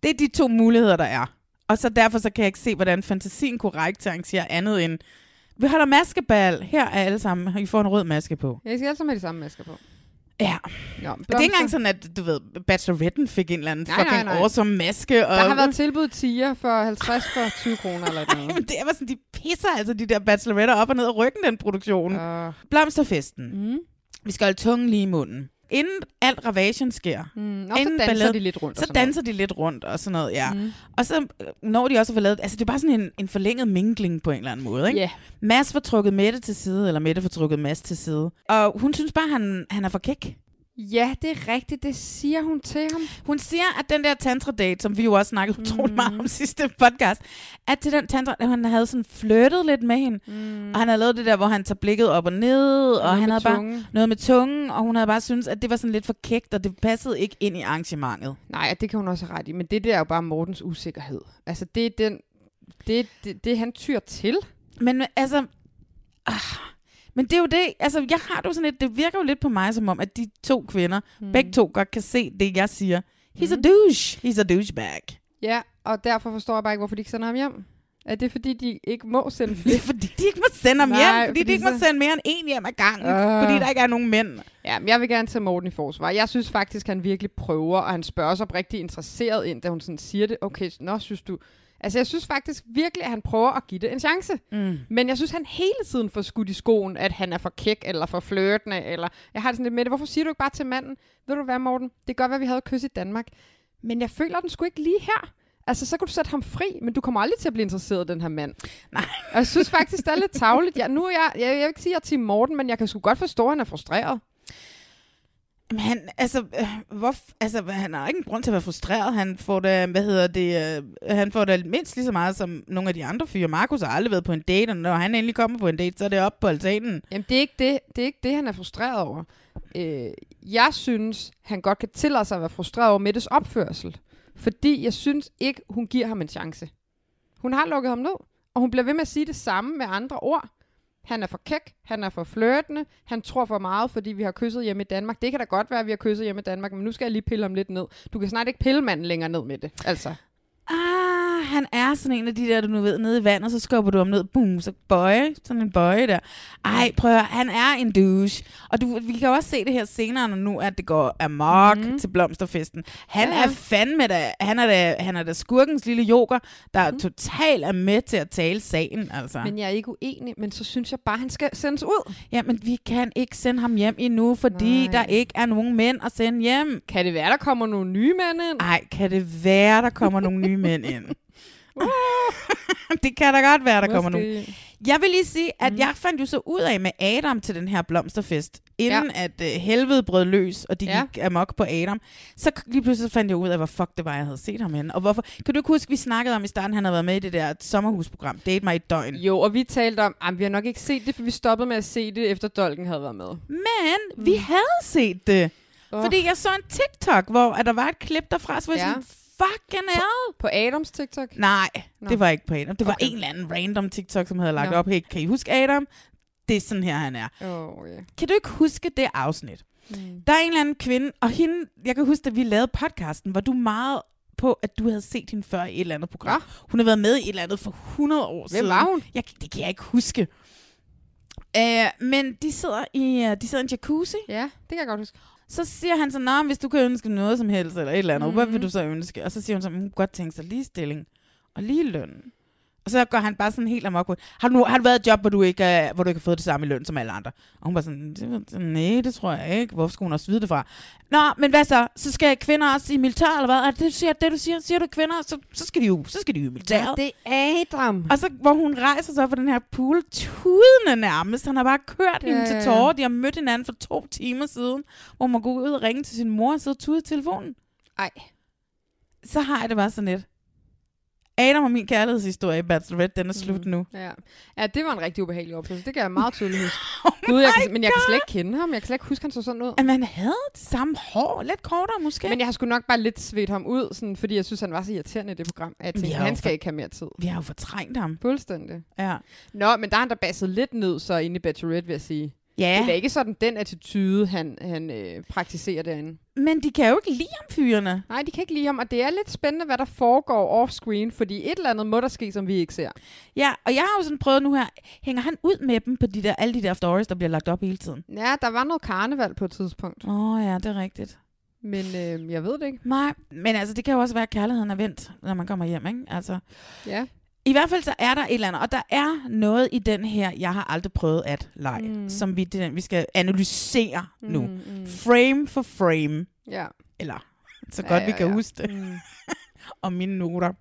Det er de to muligheder, der er. Og så derfor så kan jeg ikke se, hvordan fantasien korrekt arrangerer andet end, vi holder maskebal, her er alle sammen, I får en rød maske på. Jeg skal altid have de samme masker på. Nå, Ja, og det er blomster. ikke engang sådan, at du ved, bacheloretten fik en eller anden Nej, nej, fucking nej. awesome maske. Og Der har været tilbud tiger for 50 for 20 kroner eller noget. *laughs* Jamen, det var sådan, de pisser altså de der bacheloretter op og ned og ryggen, den produktion. Ja. Uh, Blomsterfesten. mm, Vi skal holde tungen lige i munden. Inden alt ravagen sker, mm. Og så Inden danser ballade- de lidt rundt. og så sådan danser de lidt rundt og sådan noget, ja. noget. Mm. Og så øh, når de også at få lavet... Altså, det er bare sådan en, en forlænget mingling på en eller anden måde, ikke? Ja, Mads får trukket Mette til side, eller Mette får trukket Mads til side. Og hun synes bare, han, han er for kæk. Ja, det er rigtigt. Det siger hun til ham. Hun siger, at den der tantra-date, som vi jo også Mm. snakkede utrolig meget om *laughs* sidste podcast, at til den tantra, at han havde sådan flirtet lidt med hende. Mm. Og han havde lavet det der, hvor han tager blikket op og ned, og, og han med havde tungen. bare noget med tungen, og hun havde bare syntes, at det var sådan lidt for kægt, og det passede ikke ind i arrangementet. Nej, og det kan hun også have ret i. Men det der er jo bare Mortens usikkerhed. Altså, det er den... Det, det, det han tyr til. Men altså... Ah, men det er jo det, altså jeg har det jo sådan lidt, det virker jo lidt på mig som om, at de to kvinder, Hmm. mm. begge to godt kan se det, jeg siger. He's mm. a douche, he's a douchebag. Ja, og derfor forstår jeg bare ikke, hvorfor de ikke sender ham hjem. Er det, fordi de ikke må sende Det er flere? *laughs* fordi, de ikke må sende ham Nej, hjem, fordi, fordi de ikke må så- sende mere end en hjem ad gangen, Ah. fordi der ikke er nogen mænd. Ja, men jeg vil gerne tage Morten i forsvar. Jeg synes faktisk, han virkelig prøver, og han spørger sig rigtig interesseret ind, da hun sådan siger det. Okay, nå, synes du... Altså, jeg synes faktisk virkelig, at han prøver at give det en chance. Mm. Men jeg synes, han hele tiden får skudt i skoen, at han er for kæk, eller for flirtende, eller... Jeg har det sådan lidt med det. Hvorfor siger du ikke bare til manden? Ved du hvad, Morten? Det kan godt være, at vi havde et kys i Danmark. Men jeg føler den sgu ikke lige her. Altså, så kan du sætte ham fri, men du kommer aldrig til at blive interesseret i den her mand. Nej. Og jeg synes faktisk, det er lidt tavligt. Jeg, nu er jeg, jeg, jeg vil ikke sige, at jeg er Team Morten, men jeg kan sgu godt forstå, at han er frustreret. Men Han, altså, øh, hvor, altså, hvad- han har ikke en grund til at være frustreret. Han får da, hvad hedder det, øh, han får da mindst lige så meget som nogle af de andre fyre. Markus har aldrig været på en date, og når han endelig kommer på en date, så er det op på altanen. Jamen, det er ikke det, det, er ikke det han er frustreret over. Øh, jeg synes, han godt kan tillade sig at være frustreret over Mettes opførsel. Fordi jeg synes ikke, hun giver ham en chance. Hun har lukket ham ned, og hun bliver ved med at sige det samme med andre ord. Han er for kæk, han er for flirtende, han tror for meget, fordi vi har kysset hjemme i Danmark. Det kan da godt være, at vi har kysset hjemme i Danmark, men nu skal jeg lige pille ham lidt ned. Du kan snart ikke pille manden længere ned med det, altså. Ah, han er sådan en af de der, du nu ved, nede i vandet, så skubber du ham ned, boom, så bøje, sådan en bøje der. Ej, prøv at høre, han er en douche. Og du, vi kan jo også se det her senere, når nu at det går amok mm. til blomsterfesten. Han Ja, ja. Mhm. ja. er fandme da, han er da, han er da skurkens lille joker, der mm. totalt er med til at tale sagen, altså. Men, Mhm. Men jeg er ikke uenig, men så synes jeg bare, han skal sendes ud. ja, men vi kan ikke sende ham hjem endnu, fordi Nej. Nej. der ikke er nogen mænd at sende hjem. Kan det være, der kommer nogle nye mænd ind? Ej, kan det være, der kommer nogle nye mænd *laughs* ind? *laughs* det kan da godt være, der kommer nogle Måske. Jeg vil lige sige, Mhm. at mm. jeg fandt jo så ud af med Adam til den her blomsterfest, inden ja. at øh, helvede brød løs, og de Ja. ja. gik amok på Adam. Så k- lige pludselig fandt jeg ud af, hvor fuck det var, jeg havde set ham henne. Og hvorfor? Kan du ikke huske, vi snakkede om i starten, han havde været med i det der sommerhusprogram, Date Mig i et døgn. Jo, og vi talte om, at vi har nok ikke set det, for vi stoppede med at se det, efter Dolken havde været med. Men mm. vi havde set det. Åh. Oh. Fordi jeg så en TikTok, hvor at der var et klip derfra, så var jeg Ja. sådan, fucking hell. På Adams TikTok? Nej, Nå. det var ikke på Adam. Det var Okay. okay. en eller anden random TikTok, som havde lagt Nå. op. Hey, kan I huske Adam? Det er sådan her, han er. Åh, oh, ja. Kan du ikke huske det afsnit? Mm. Der er en eller anden kvinde, og hende, jeg kan huske, at vi lavede podcasten, var du meget på, at du havde set hende før i et eller andet program. Nå. Hun har været med i et eller andet for 100 år siden. Hvem var hun? Jeg, det kan jeg ikke huske. Uh, men de sidder, i, uh, de sidder i en jacuzzi, Ja, det kan jeg godt huske. så siger han så, Nå, men hvis du kan ønske noget som helst, eller et eller andet, mm. hvad Mhm. vil du så ønske? Og så siger hun så, "Mm, hun kunne godt tænke sig ligestilling og ligeløn. Og så går han bare sådan helt amok på, har du, nu, har du været i et job, hvor du, ikke, er, hvor du ikke har fået det samme i løn som alle andre? Og hun var sådan, "Det- nej, det tror jeg ikke. Hvorfor skulle hun også vide det fra? Nå, men hvad så? Så skal kvinder også i militæret, eller hvad? Er det det, du siger, det, du siger? Siger du kvinder, så, så skal de jo, så skal de jo i militæret. det er Adam. Og så, hvor hun rejser sig op på den her pool, tudende nærmest. Han har bare kørt hende Ja, ja, til ja. tårer. De har mødt hinanden for to timer siden, hvor man går ud og ringe til sin mor og sidder og tude i telefonen. Ej. Så har jeg det bare sådan lidt. Adam og min kærlighedshistorie i Bachelorette, den er Mm. slut *laughs* nu. Ja. ja, det var en rigtig ubehagelig oplevelse. Det kan jeg meget tydeligt huske. Oh Gud, Oh jeg kan, men jeg kan slet ikke kende ham. Jeg kan slet ikke huske, han så sådan ud. At man havde det samme hår, lidt kortere måske. Men Men jeg har sgu nok bare lidt svedt ham ud, sådan, fordi jeg synes, han var så irriterende i det program. at Jeg tænkte, Ja, han og skal for- ikke have mere tid. vi har jo fortrængt ham. Fuldstændig. Ja. Nå, men der er han da basset lidt ned så inde i Bachelorette, vil jeg sige. Det er da ja. ikke sådan den attitude, han, han øh, praktiserer derinde. Men de kan jo ikke lide ham, fyrene. Nej, de kan ikke lide ham, og det er lidt spændende, hvad der foregår off-screen, fordi et eller andet må der ske, som vi ikke ser. Ja, og jeg har jo sådan prøvet nu her, hænger han ud med dem på de der, alle de der stories, der bliver lagt op hele tiden? Ja, der var noget karneval på et tidspunkt, Åh oh, ja, det er rigtigt. men øh, jeg ved det ikke. Nej, men altså, det kan jo også være, at kærligheden er vendt, når man kommer hjem, ikke? Altså, Ja. I hvert fald så er der et eller andet, og der er noget i den her, jeg har aldrig prøvet at lege, Mm. mm. som vi, det er den, vi skal analysere mm. nu. Mm, mm. Frame for frame, Ja. eller så Ja, godt ja, vi ja, kan ja. huske det, Mm. og mine noter.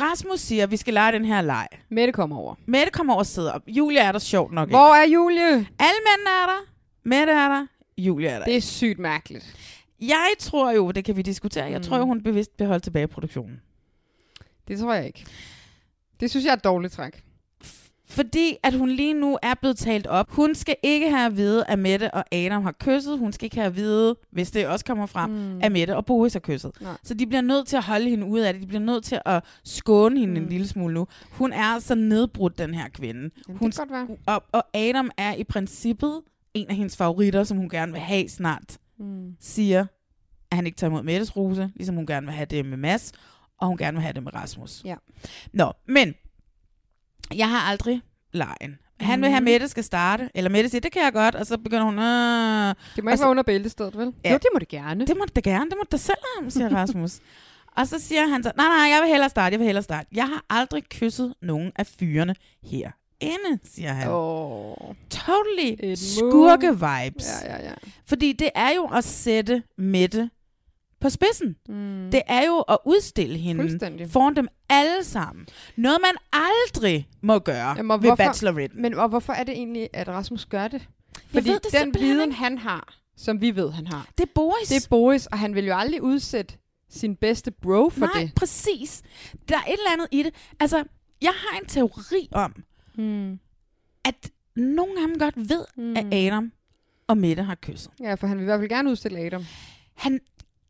Rasmus siger, at vi skal lege den her leg. Mette kommer over. Mette kommer over og sidder op. Julia er der sjovt nok. Okay. ikke. Hvor er Julie? Alle mændene er der. Mette er der. Julia er der. Det er sygt mærkeligt. Jeg tror jo, det kan vi diskutere, jeg tror jo, Mm. hun bevidst bliver holdt tilbage i produktionen. Det tror jeg ikke. Det synes jeg er et dårligt træk. Fordi at hun lige nu er blevet talt op. Hun skal ikke have at vide, at Mette og Adam har kysset. Hun skal ikke have at vide, hvis det også kommer frem, mm. at Mette og Boris har kysset. Nej. Så de bliver nødt til at holde hende ude af det. De bliver nødt til at skåne hende mm. en lille smule nu. Hun er så nedbrudt, den her kvinde. Jamen, hun det kan godt være. og, og Adam er i princippet en af hendes favoritter, som hun gerne vil have snart. Mm. Siger, at han ikke tager imod Mettes rose, ligesom hun gerne vil have det med Mads, og hun gerne vil have det med Rasmus. Ja. Nå, men jeg har aldrig lejen. Han vil Mhm. have, at Mette skal starte, eller Mette siger, det kan jeg godt, og så begynder hun, "Øh, Det må Og ikke så- være under bæltestedet, vel? Ja. Jo, det må det gerne. det må du da gerne, det må du da selv om, *laughs* siger Rasmus. og så siger han så, nej, nej, jeg vil hellere starte, jeg vil hellere starte. Jeg har aldrig kysset nogen af fyrene herinde, siger han. Åh. Totally Et skurke-vibes. Ja, ja, ja. Fordi det er jo at sætte Mette på spidsen. Mm. Det er jo at udstille hende Fuldstændig. foran dem alle sammen. Noget, man aldrig må gøre Jamen, og ved hvorfor- Bachelorette. Men og hvorfor er det egentlig, at Rasmus gør det? Fordi ved det den simpelthen viden, ikke. han har, som vi ved, han har, Det er Boris. det er Boris, og han vil jo aldrig udsætte sin bedste bro for Nej, det. præcis. Der er et eller andet i det. Altså, jeg har en teori om, Hmm. at nogen af dem godt ved, mm. at Adam og Mette har kysset. Ja, for han vil i hvert fald gerne udstille Adam. Han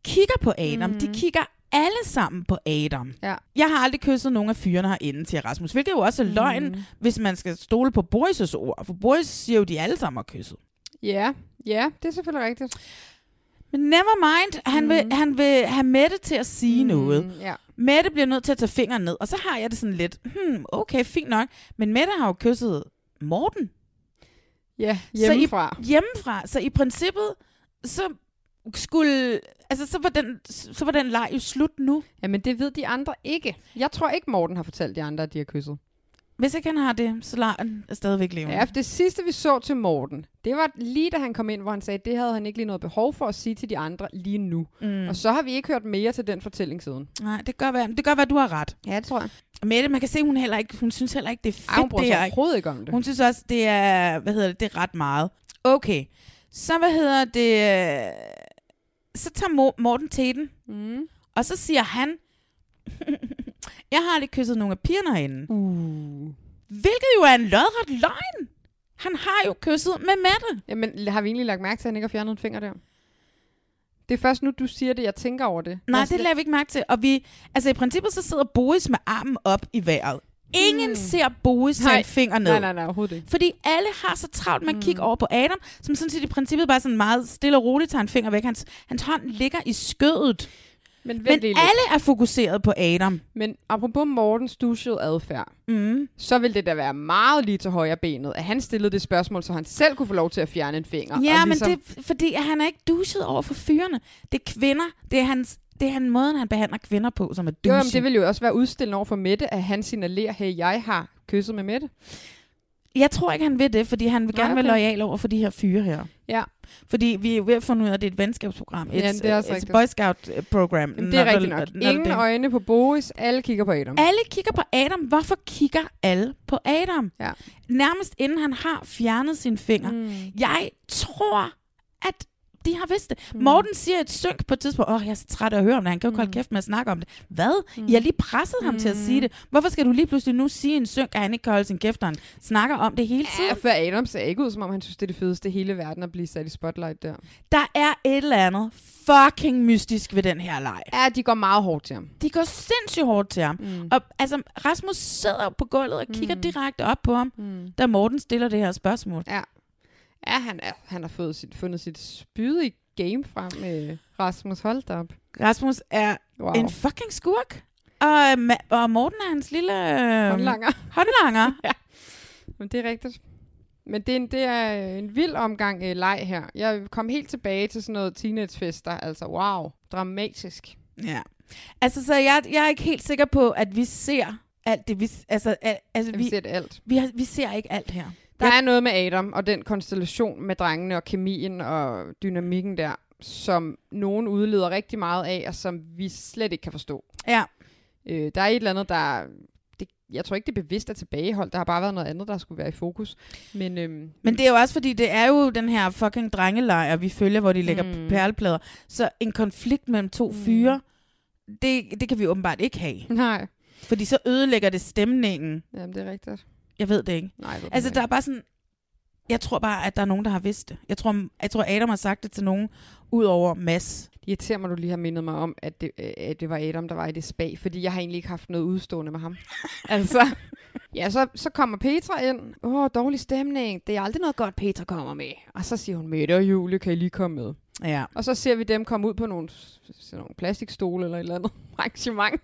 kigger på Adam. Mm. De kigger alle sammen på Adam. Ja. Jeg har aldrig kysset nogen af fyrene herinde til Rasmus, hvilket jo også er løgn, Mm. hvis man skal stole på Boris' ord. For Boris siger jo, at de alle sammen har kysset. Ja, ja, det er selvfølgelig rigtigt. Men never mind, han, mm. vil, han vil have Mette til at sige mm. noget. Mm, ja. Mette bliver nødt til at tage fingeren ned, og så har jeg det sådan lidt, hmm, okay, fint nok. Men Mette har jo kysset Morten Ja, Så I- hjemmefra. hjemmefra, så i princippet, så skulle, altså så var den, så var den leg jo slut nu. Jamen, det ved de andre ikke. Jeg tror ikke, Morten har fortalt de andre, at de har kysset. Hvis ikke han har det, så legen er stadigvæk levende. Ja, for det sidste, vi så til Morten, det var lige da han kom ind, hvor han sagde, at det havde han ikke lige noget behov for at sige til de andre lige nu. Mm. Og så har vi ikke hørt mere til den fortælling siden. Nej, det kan godt være, det kan godt være, du har ret. Ja, det tror jeg. Mette, man kan se, hun heller ikke, hun synes heller ikke, det er fedt Ej, hun bruger det sig her. ikke? overhovedet ikke om det. Hun synes også, det er, hvad hedder det, det er ret meget. Okay, så hvad hedder det, øh, så tager Mo- Morten teten, mm. og så siger han, *laughs* jeg har aldrig kysset nogen af pigerne herinde. Uh. Hvilket jo er en lodret løgn. Han har jo kysset med Mette. Jamen, har vi egentlig lagt mærke til, at han ikke har fjernet en finger der? Det er først nu, du siger det, jeg tænker over det. Nej, Altså, det lader vi ikke mærke til. Og vi, altså i princippet så sidder Boris med armen op i vejret. Ingen mm. ser Boris tage en finger ned. Nej, nej, nej, overhovedet ikke. Fordi alle har så travlt med at Mm. kigge over på Adam, som sådan set i princippet bare sådan meget stille og roligt tager en finger væk. Hans, hans hånd ligger i skødet. Men, vent Men lige lidt. alle er fokuseret på Adam. Men apropos Mortens duschede adfærd, mm. så vil det da være meget lige til højre benet, at han stillede det spørgsmål, så han selv kunne få lov til at fjerne en finger. Ja, og ligesom- men det er f- fordi, at han er ikke duset over for fyrene. Det er kvinder. Det er, hans, det er han, måden, han behandler kvinder på, som er Jo, douche. jamen, det vil jo også være udstillende over for Mette, at han signalerer, hey, jeg har kysset med Mette. Jeg tror ikke, han vil det, fordi han vil Nej, gerne være okay. lojal over for de her fyre her. Ja, Fordi vi er jo ved at finde ud af, at det er et venskabsprogram. Et, Ja, det er også et rigtigt. Boy eh, Scout-program. jamen, det er rigtigt nok. Ingen øjne på Boris, alle kigger på Adam. Alle kigger på Adam. Hvorfor kigger alle på Adam? Ja. Nærmest inden han har fjernet sine fingre. Mm. Jeg tror, at de har vidst det. Mm. Morten siger et synk på et tidspunkt. Åh, oh, jeg er så træt af at høre om det. Han kan jo ikke holde kæft med at snakke om det. Hvad? Mm. I har lige presset ham mm. til at sige det. Hvorfor skal du lige pludselig nu sige en synk, at han ikke kan holde sin kæft, når han snakker om det hele tiden? Ja, for Adam ser ikke ud, som om han synes, det er det fedeste i hele verden at blive sat i spotlight der. Der er et eller andet fucking mystisk ved den her leg. Ja, de går meget hårdt til ham. De går sindssygt hårdt til ham. Mm. Og altså, Rasmus sidder på gulvet og kigger mm. direkte op på ham, mm. da Morten stiller det her spørgsmål. Ja, ja han, er, han har fået sit, fundet sit spydige game frem med Rasmus Holdt op. Rasmus er Wow. wow. en fucking skurk. Og, øhm, og Morten er hans lille... Øh, Håndlanger. *laughs* Håndlanger. *laughs* Men det er rigtigt. Men det er en, det er øh, en vild omgang øh, leg her. Jeg kom helt tilbage til sådan noget teenagefester. Altså, wow. Dramatisk. ja. Altså, så jeg, jeg er ikke helt sikker på, at vi ser alt det, vi... s- Altså, al, altså vi, Vi, vi vi, ser det alt. vi, har, vi ser ikke alt her. Der er noget med Adam og den konstellation med drengene og kemien og dynamikken der, som nogen udleder rigtig meget af, og som vi slet ikke kan forstå. Ja. Øh, der er et eller andet, der... Det, jeg tror ikke, det er bevidst er tilbageholdt. Der har bare været noget andet, der skulle være i fokus. Men øhm, Men det er jo også fordi, det er jo den her fucking drengelejr, vi følger, hvor de lægger mm. perleplader. Så en konflikt mellem Mm. to fyre, det, det kan vi åbenbart ikke have. nej, Fordi så ødelægger det stemningen. Jamen, det er rigtigt. Jeg ved det ikke. Nej, det er Altså, det der er bare sådan... Jeg tror bare, at der er nogen, der har vidst det. Jeg tror, jeg tror Adam har sagt det til nogen, ud over Mads. Det irriterer mig, du lige har mindet mig om, at det, øh, at det var Adam, der var i det spag, fordi jeg har egentlig ikke haft noget udstående med ham. altså, ja, så, så kommer Petra ind. Åh, oh, dårlig stemning. Det er aldrig noget godt, Petra kommer med. Og så siger hun, Mette og Julie, kan I lige komme med? Ja. Og så ser vi dem komme ud på nogle, sådan nogle plastikstole eller et eller andet *laughs* arrangement.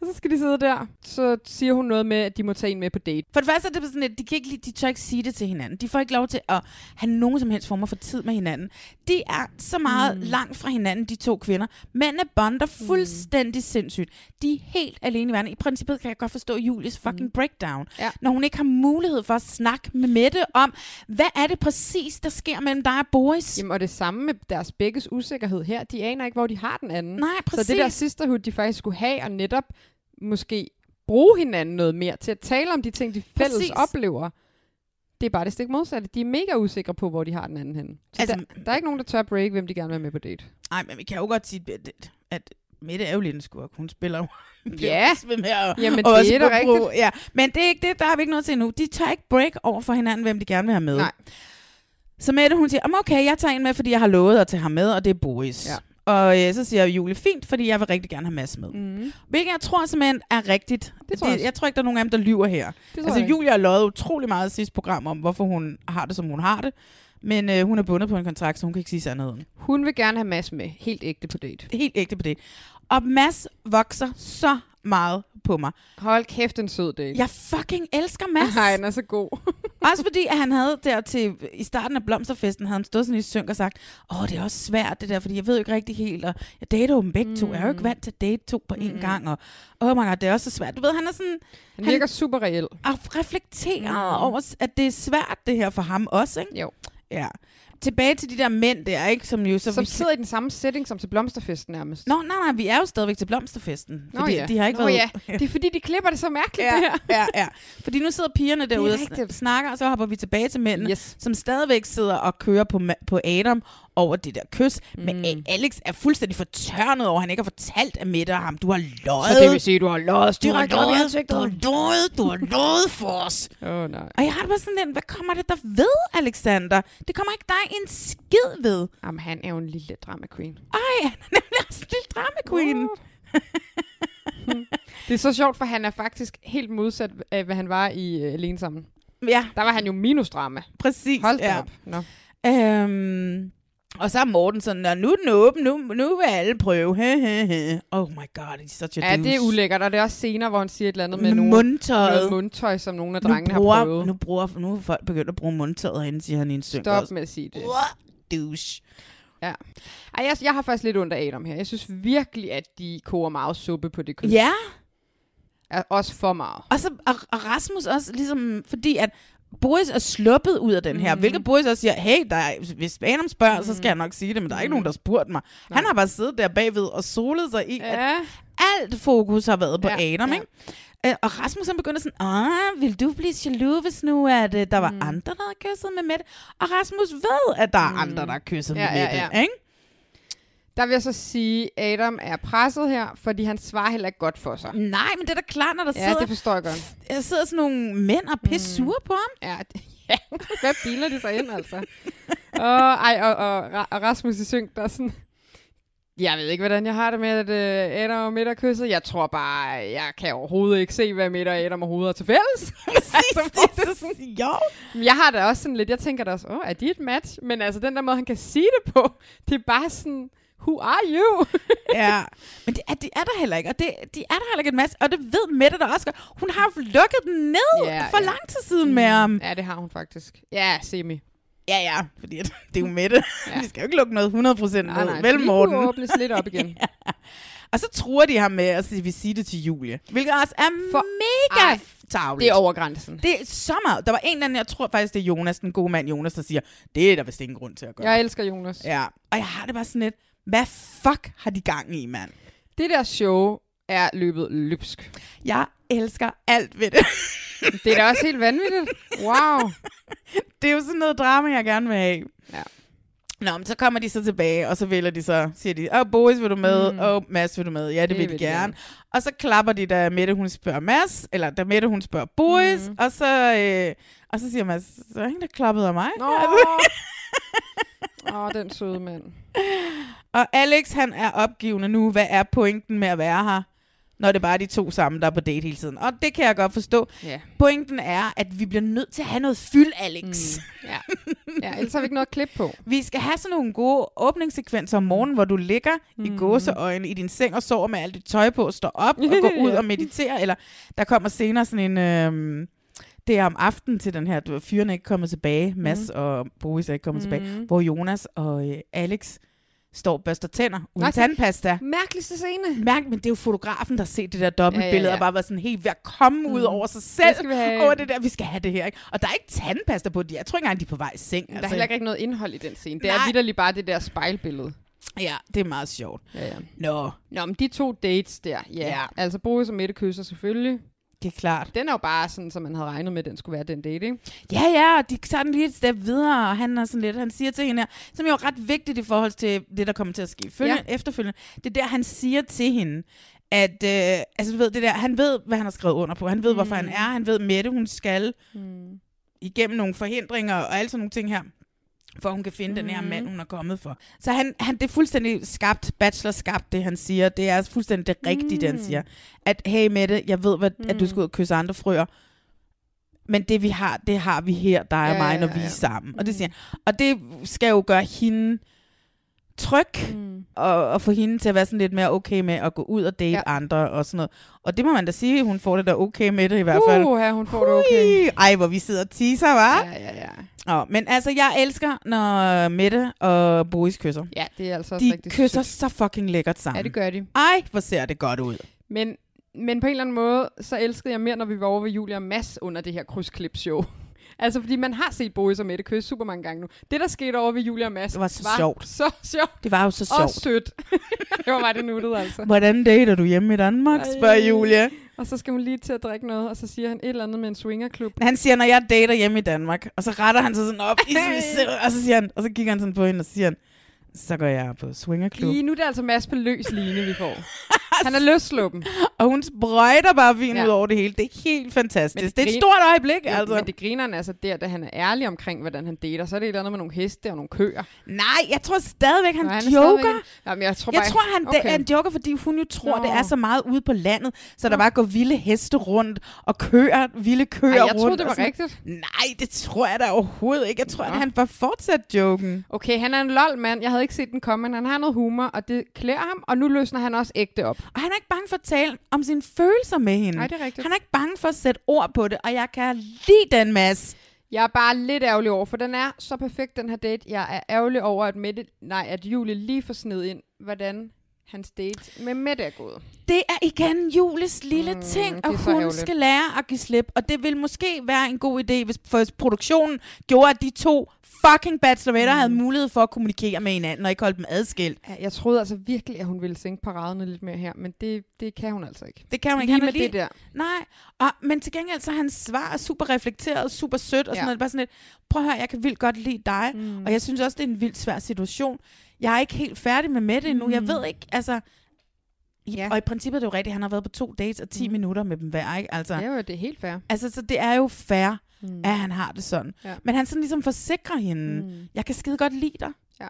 og så skal de sidde der. Så siger hun noget med, at de må tage en med på date. For det første er det sådan, at de, kan ikke, lide- de tør ikke sige det til hinanden. De får ikke lov til at have nogen som helst former for tid med hinanden. De er så meget mm. langt fra hinanden, de to kvinder. Mændene bonder Mm. fuldstændig sindssygt. De er helt alene i verden. I princippet kan jeg godt forstå Julies fucking breakdown. Mm. Ja. Når hun ikke har mulighed for at snakke med Mette om, hvad er det præcis, der sker mellem dig og Boris? Jamen, og det samme med deres begges usikkerhed her. De aner ikke, hvor de har den anden. Nej, præcis. Så det der sisterhood, de faktisk skulle have, og netop måske bruge hinanden noget mere til at tale om de ting, de fælles Præcis. oplever, Det er bare det stik modsatte. De er mega usikre på, hvor de har den anden henne. Så altså, Altså- der, der er ikke nogen, der tør break, hvem de gerne vil have med på date. Nej, men vi kan jo godt sige, at, at Mette er jo lidt en skurk. *laughs* Hun spiller jo Ja. ved med at, Jamen, og det også er da bruge- Ja. Men det er ikke det, der har vi ikke noget til nu. De tager ikke break over for hinanden, hvem de gerne vil have med. Nej. Så Mette, hun siger, "Jamen, okay, jeg tager en med, fordi jeg har lovet at tage ham med, og det er Boris. Ja. Og øh, så siger Julie, fint, fordi jeg vil rigtig gerne have Mads med. Mm. Hvilket jeg tror simpelthen er rigtigt. Det tror jeg også. jeg tror ikke, der er nogen af dem, der lyver her. Det tror Altså, jeg ikke. Julia har løjet utrolig meget i sidste program om, hvorfor hun har det, som hun har det. Men øh, hun er bundet på en kontrakt, så hun kan ikke sige sandheden. Hun vil gerne have Mads med. Helt ægte på date. Helt ægte på det. Og Mads vokser så meget på mig. Hold kæft, en sød date. Jeg fucking elsker Mads. Nej, den er så god. *laughs* Også fordi, at han havde der til, i starten af blomsterfesten, havde han stået sådan i synk og sagt, åh, det er også svært det der, fordi jeg ved jo ikke rigtig helt, og jeg dater jo dem begge to, jeg er jo Mm. ikke vant til at date to på én Mm-hmm. gang, og oh my god, det er også så svært. Du ved, han er sådan Han virker super reelt. og reflekteret mm. over, at det er svært det her for ham også, ikke? Jo. Ja. Tilbage til de der mænd der, ikke? Som jo så... Som vi sidder i den samme setting som til blomsterfesten nærmest. Nå, nej, nej, vi er jo stadigvæk til blomsterfesten. Nå fordi ja. de har ikke Nå været... ja. Det er fordi, de klipper det så mærkeligt, det her. ja, *laughs* ja. Fordi nu sidder pigerne derude og sn- rigtigt. snakker, og så hopper vi tilbage til mændene, Yes. som stadigvæk sidder og kører på, ma- på Adam over det der kys. Mm. Men A- Alex er fuldstændig fortørnet over, at han ikke har fortalt at Mette og ham, du har løjet. sige, at du har lost. du har løjet, du har løjet, du har løjet for os. Åh, oh, nej. Og jeg har det bare sådan lidt, hvad kommer det der ved, Alexander? Det kommer ikke dig en skid ved. Jamen, han er jo en lille drama queen. Ej, han er nemlig også en lille drama queen. Det er så sjovt, for han er faktisk helt modsat af, hvad han var i uh, Alene Sammen. Ja, Der var han jo minus drama. præcis. Hold da ja. op. Nå. Øhm, og så er Morten sådan, "Nå, nu er den åben, nu, nu vil alle prøve. He, he, he. Oh my god, it's such a Ja, det er douche. ulækkert, og det er også senere, hvor han siger et eller andet med, Med nogle, mundtøjet. noget mundtøj, som nogle af drengene nu bruger, har prøvet. Nu, bruger, nu er folk begyndt at bruge mundtaget herinde, siger han i en synk Stop også. med at sige det. Uah, douche. Ja. Ej, jeg, jeg har faktisk lidt ondt af Adam her. Jeg synes virkelig, at de koger meget suppe på det kys. Ja, Er Også for meget. og, så, og, og Rasmus også, ligesom, fordi at Boris er sluppet ud af den Mhm. her, mm. hvilket Boris også siger, hey, der er, hvis Adam spørger, mm. så skal jeg nok sige det, men der er Mhm. ikke nogen, der har spurgt mig. Han har bare siddet der bagved og solet sig i, at Ja. alt fokus har været på Ja, ja, Adam, ja. ja. ikke? Øh, Og Rasmus han begyndte sådan, ah, vil du blive jaloux, hvis nu at, øh, der var mm. andre, der havde kysset med Mette? Og Rasmus ved, at der er andre, der har kysset Mm. Ja, med ja, Mette, ja. ikke? Der vil jeg så sige, at Adam er presset her, fordi han svarer heller ikke godt for sig. Nej, men det er da klart, når der Ja, sidder, det Mm. forstår jeg *laughs* godt. der sidder sådan nogle mænd og er pisse sure på *laughs* ham. Ja, det- ja. hvad biler de sig ind, altså? Og, ej, og, og, Ra- og Rasmus i synk, der er sådan... Jeg ved ikke, hvordan jeg har det med, at øh, Adam og Midt er kysset. Jeg tror bare, jeg kan overhovedet ikke se, hvad Midt og Adam overhovedet er til fælles. *laughs* *laughs* Altså, Præcis, hvor er det er så jo. Men Jeg har da også sådan lidt, jeg tænker da også, åh, er de et match? Men altså, den der måde, han kan sige det på, det er bare sådan, who are you? Ja, men det er, det er der heller ikke, og det, de er der heller ikke en masse, og det ved Mette der også godt. Hun har lukket den ned Ja, ja, for ja. ja. lang tid siden *laughs* med um, ham. ja, det har hun faktisk. Ja, semi. Ja, ja, fordi at, det er jo Mette. Ja. Ja. Vi skal jo ikke lukke noget 100% ned. Nej, nej, Vel, de Morten? kunne åbnes lidt op *laughs* igen. Og så truer de ham med at sige, vi siger det til Julie. Hvilket også er For- For, mega Ej, ej, tavligt. Det er over grænsen. det er så meget. Der var en eller anden, jeg tror faktisk, det er Jonas, den gode mand Jonas, der siger, det er der vist ingen grund til at gøre. Jeg elsker Jonas. ja. Og jeg har det bare sådan lidt, hvad fuck har de gang i, mand? Det der show er løbet løbsk. Jeg elsker alt ved det. Det er da også helt vanvittigt. Wow. *laughs* det er jo sådan noget drama, jeg gerne vil have. Ja. Nå, men så kommer de så tilbage, og så vælger de så, siger de, åh, Boris, vil du med? Mm. Åh, oh, Mads, vil du med? Ja, det, det vil de gerne. Og så klapper de, da Mette, hun spørger Mads, eller da Mette, hun spørger Boris, mm. og, så, øh, og så siger Mads, så er ingen, der klappede af mig. Nå. *laughs* Åh, den søde mand. *laughs* Og Alex, han er opgivende nu. Hvad er pointen med at være her? Når det bare er de to sammen, der er på date hele tiden. Og det kan jeg godt forstå. Ja. Pointen er, at vi bliver nødt til at have noget fyld, Alex. Mm. Ja. ja, ellers har vi ikke noget at klippe på. Vi skal have sådan nogle gode åbningssekvenser om morgenen, hvor du ligger mm. i gåseøjne i din seng og sover med alt dit tøj på, står op og går *laughs* ud og mediterer. Eller der kommer senere sådan en... Øhm, det er om aftenen til den her, du ved, fyren er ikke kommet tilbage, Mads mm. og Boris er ikke kommet mm. tilbage, hvor Jonas og øh, Alex står og børster tænder uden Nej, Nej, det- tandpasta. Mærkeligste scene. Mærk, men det er jo fotografen, der har set det der dobbeltbillede, ja, ja, ja. og bare været sådan helt ved at komme ud over sig selv. Mm. skal vi have. Over det der, vi skal have det her. Ikke? Og der er ikke tandpasta på det. Jeg tror ikke engang, de er på vej i seng. altså. Der er heller ikke rigtig noget indhold i den scene. Det er Nej. vidderligt bare det der spejlbillede. Ja, det er meget sjovt. Ja, ja. Nå, Nå, men de to dates der, ja. ja. Ja. Altså, Boris og Mette kysser selvfølgelig. Det er klart. Den er jo bare sådan, som man havde regnet med, at den skulle være den date, ikke? Ja, ja, og de tager den lige et step videre, og han er sådan lidt, han siger til hende her, som jo er ret vigtigt i forhold til det, der kommer til at ske følge, ja. efterfølgende. Det er der, han siger til hende, at øh, altså, du ved, det der, han ved, hvad han har skrevet under på. Han ved, mm. hvorfor han er. Han ved, Mette, hun skal Mm. igennem nogle forhindringer og alle sådan nogle ting her, for hun kan finde mm. den her mand, hun er kommet for. Så han, han, det er fuldstændig skabt, bachelor skabt, det han siger. Det er fuldstændig det rigtige, det han siger. At, hey Mette, jeg ved, hvad, mm. at du skal ud og kysse andre frøer, men det vi har, det har vi her, dig og Ja, mig, når ja, Mm. vi er ja. sammen. Og det siger han. Og det skal jo gøre hende tryg, Mm. og, og få hende til at være sådan lidt mere okay med at gå ud og date ja. Ja. andre og sådan noget. Og det må man da sige, hun får det da okay med det i hvert fald. Uh, her, hun får det okay. Ui, Ej, hvor vi sidder og teaser, var. Ja, ja, ja. Ja. Men altså, jeg elsker, når Mette og Boris kysser. Ja, det er altså også De rigtig kysser sødt. så fucking lækkert Ja, sammen. det gør de. Ej, hvor ser det godt ud. Men, men på en eller anden måde, så elskede jeg mere, når vi var over ved Julia og Mads under det her krydsklipshow. *laughs* altså, fordi man har set Boris og Mette kysse super mange gange nu. Det, der skete over ved Julia og Mads, Det var så sjovt. så sjovt Det var jo så og sjovt. sødt. *laughs* det var mig, det nuttede, altså. Hvordan dater du hjemme i Danmark, Ej. spørger Julie. Og så skal hun lige til at drikke noget, og så siger han et eller andet med en swingerklub. Han siger, når jeg dater hjemme i Danmark, og så retter han sig sådan op, i sådan, i se- og så siger han, og så kigger han sådan på hende og så siger han, så går jeg på swingerklub. Lige nu er det altså Mads på løs line, vi *laughs* får. Han er løsluppen. Og hun sprøjter bare vin ja. Ja. ud over det hele. Det er helt fantastisk. Men Det, det det er et grin- stort øjeblik, Ja, altså. Men det griner han altså der, da han er ærlig omkring, hvordan han dater. Så er det et eller andet med nogle heste og nogle køer. Nej, jeg tror stadigvæk, han, Og han er joker. stadigvæk- Jamen, jeg tror, Jeg bare, tror, han okay. er en joker, fordi hun jo tror, Nå. Nå. det er så meget ude på landet, så der bare går vilde heste rundt og kører, vilde køer rundt. jeg troede, det og var sådan- rigtigt. Nej, det tror jeg da overhovedet ikke. Jeg tror, at Nå. han bare fortsat joken. Okay, han er en lol mand. Jeg havde ikke set den komme, men han har noget humor, og det klæder ham, og nu løsner han også ægte op. Og han er ikke bange for at tale om sine følelser med hende. Nej, det er rigtigt. Han er ikke bange for at sætte ord på det, og jeg kan lide den, Mads. Jeg er bare lidt ærgerlig over, for den er så perfekt, den her date. Jeg er ærgerlig over, at, Mette, nej, at Julie lige får sned ind, hvordan hans date med Mette er gået. Det er igen Jules lille mm, ting, det er og så hun ærgerligt. skal lære at give slip. Og det ville måske være en god idé, hvis for hvis produktionen gjorde, at de to fucking bacheloretter mm. havde mulighed for at kommunikere med hinanden, og ikke holde dem adskilt. Ja, Jeg troede altså virkelig, at hun ville sænke paraderne lidt mere her, men det, det kan hun altså ikke. Det kan hun ikke. Lige Han er med det der. Nej, og, men til gengæld så er hans svar er super reflekteret, super sødt og sådan Ja. noget. Bare sådan lidt, prøv at høre, jeg kan vildt godt lide dig, mm. og jeg synes også, det er en vildt svær situation. Jeg er ikke helt færdig med Mette endnu. Jeg ved ikke, altså... Ja. Ja. Og i princippet er det jo rigtigt, han har været på to dates og 10 mm. minutter med dem hver, ikke? Altså, Ja, jo, det er helt fair. Altså, så det er jo fair, mm. at han har det sådan. Ja. Ja. Men han sådan ligesom forsikrer hende, mm. jeg kan skide godt lide dig. Ja.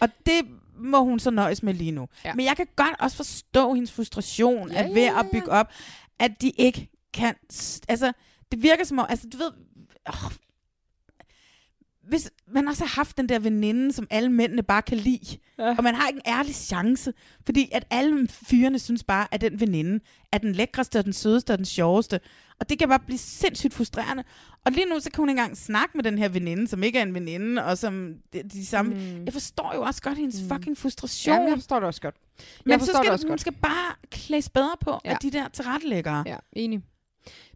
Og det må hun så nøjes med lige nu. Ja. Ja. Men jeg kan godt også forstå hendes frustration Ja, ja, at ja, ved ja, at bygge op, at de ikke kan... s- Altså, det virker som om... Altså, du ved... Oh, hvis man også har haft den der veninde, som alle mændene bare kan lide, ja. og man har ikke en ærlig chance, fordi at alle fyrene synes bare, at den veninde er den lækreste, og den sødeste og den sjoveste. Og det kan bare blive sindssygt frustrerende. Og lige nu, så kan hun ikke engang snakke med den her veninde, som ikke er en veninde, og som de, de samme... Mm. Jeg forstår jo også godt hendes mm. fucking frustration. Jamen, jeg forstår det også godt. Jeg Men så forstår det skal også hun godt. skal bare klædes bedre på ja. Ja. af de der tilrettelæggere. Ja. Ja, enig.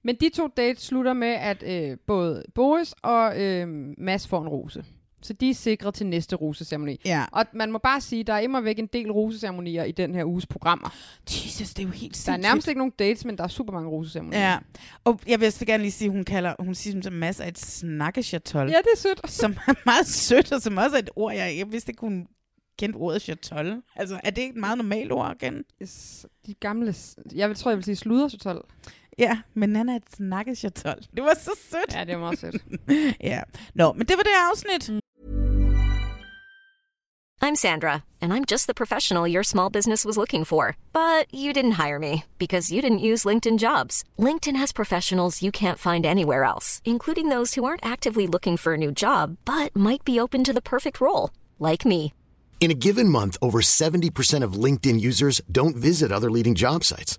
Men de to dates slutter med, at øh, både Boris og øh, Mads får en rose. Så de er sikre til næste roseceremoni. ja. Og man må bare sige, der er immer væk en del roseceremonier i den her uges programmer. Jesus, det er jo helt Der er sindssygt. nærmest ikke nogen dates, men der er super mange roseceremonier. Ja. Og jeg vil så gerne lige sige, hun kalder, hun siger som masser af et snakkechatol. ja, det er sødt. som er meget sødt, og som også er et ord, jeg, jeg vidste ikke, hun kendte ordet chatol. Altså, er det ikke et meget normalt ord igen? S- De gamle, s- jeg vil, tror, jeg vil sige sludersotol. Ja, men Nana er et snakkechatol. Det var så sødt. *laughs* Ja, det er meget sødt. *laughs* Ja. Nå, men det var det afsnit. I'm Sandra, and I'm just the professional your small business was looking for. But you didn't hire me because you didn't use LinkedIn jobs. LinkedIn has professionals you can't find anywhere else, including those who aren't actively looking for a new job but might be open to the perfect role, like me. In a given month, over 70% of LinkedIn users don't visit other leading job sites.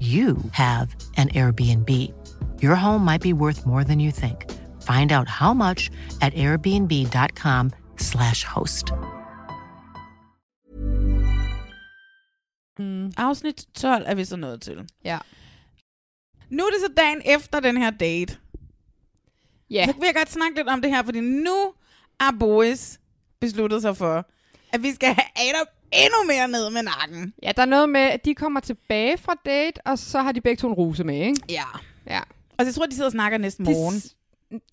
you have an Airbnb. Your home might be worth more than you think. Find out how much at airbnb.com/slash host. Mm. Afsnit 12 er vi så nået til. Ja. Nu er det så dagen efter den her date. Ja, Så vil jeg godt snakke lidt om det her, fordi nu er Boris besluttet sig for, at vi skal have Adam endnu mere ned med nakken. ja, der er noget med, at de kommer tilbage fra date, og så har de begge to en rose med, ikke? Ja. Ja. Og jeg tror, de sidder og snakker næste De morgen. s-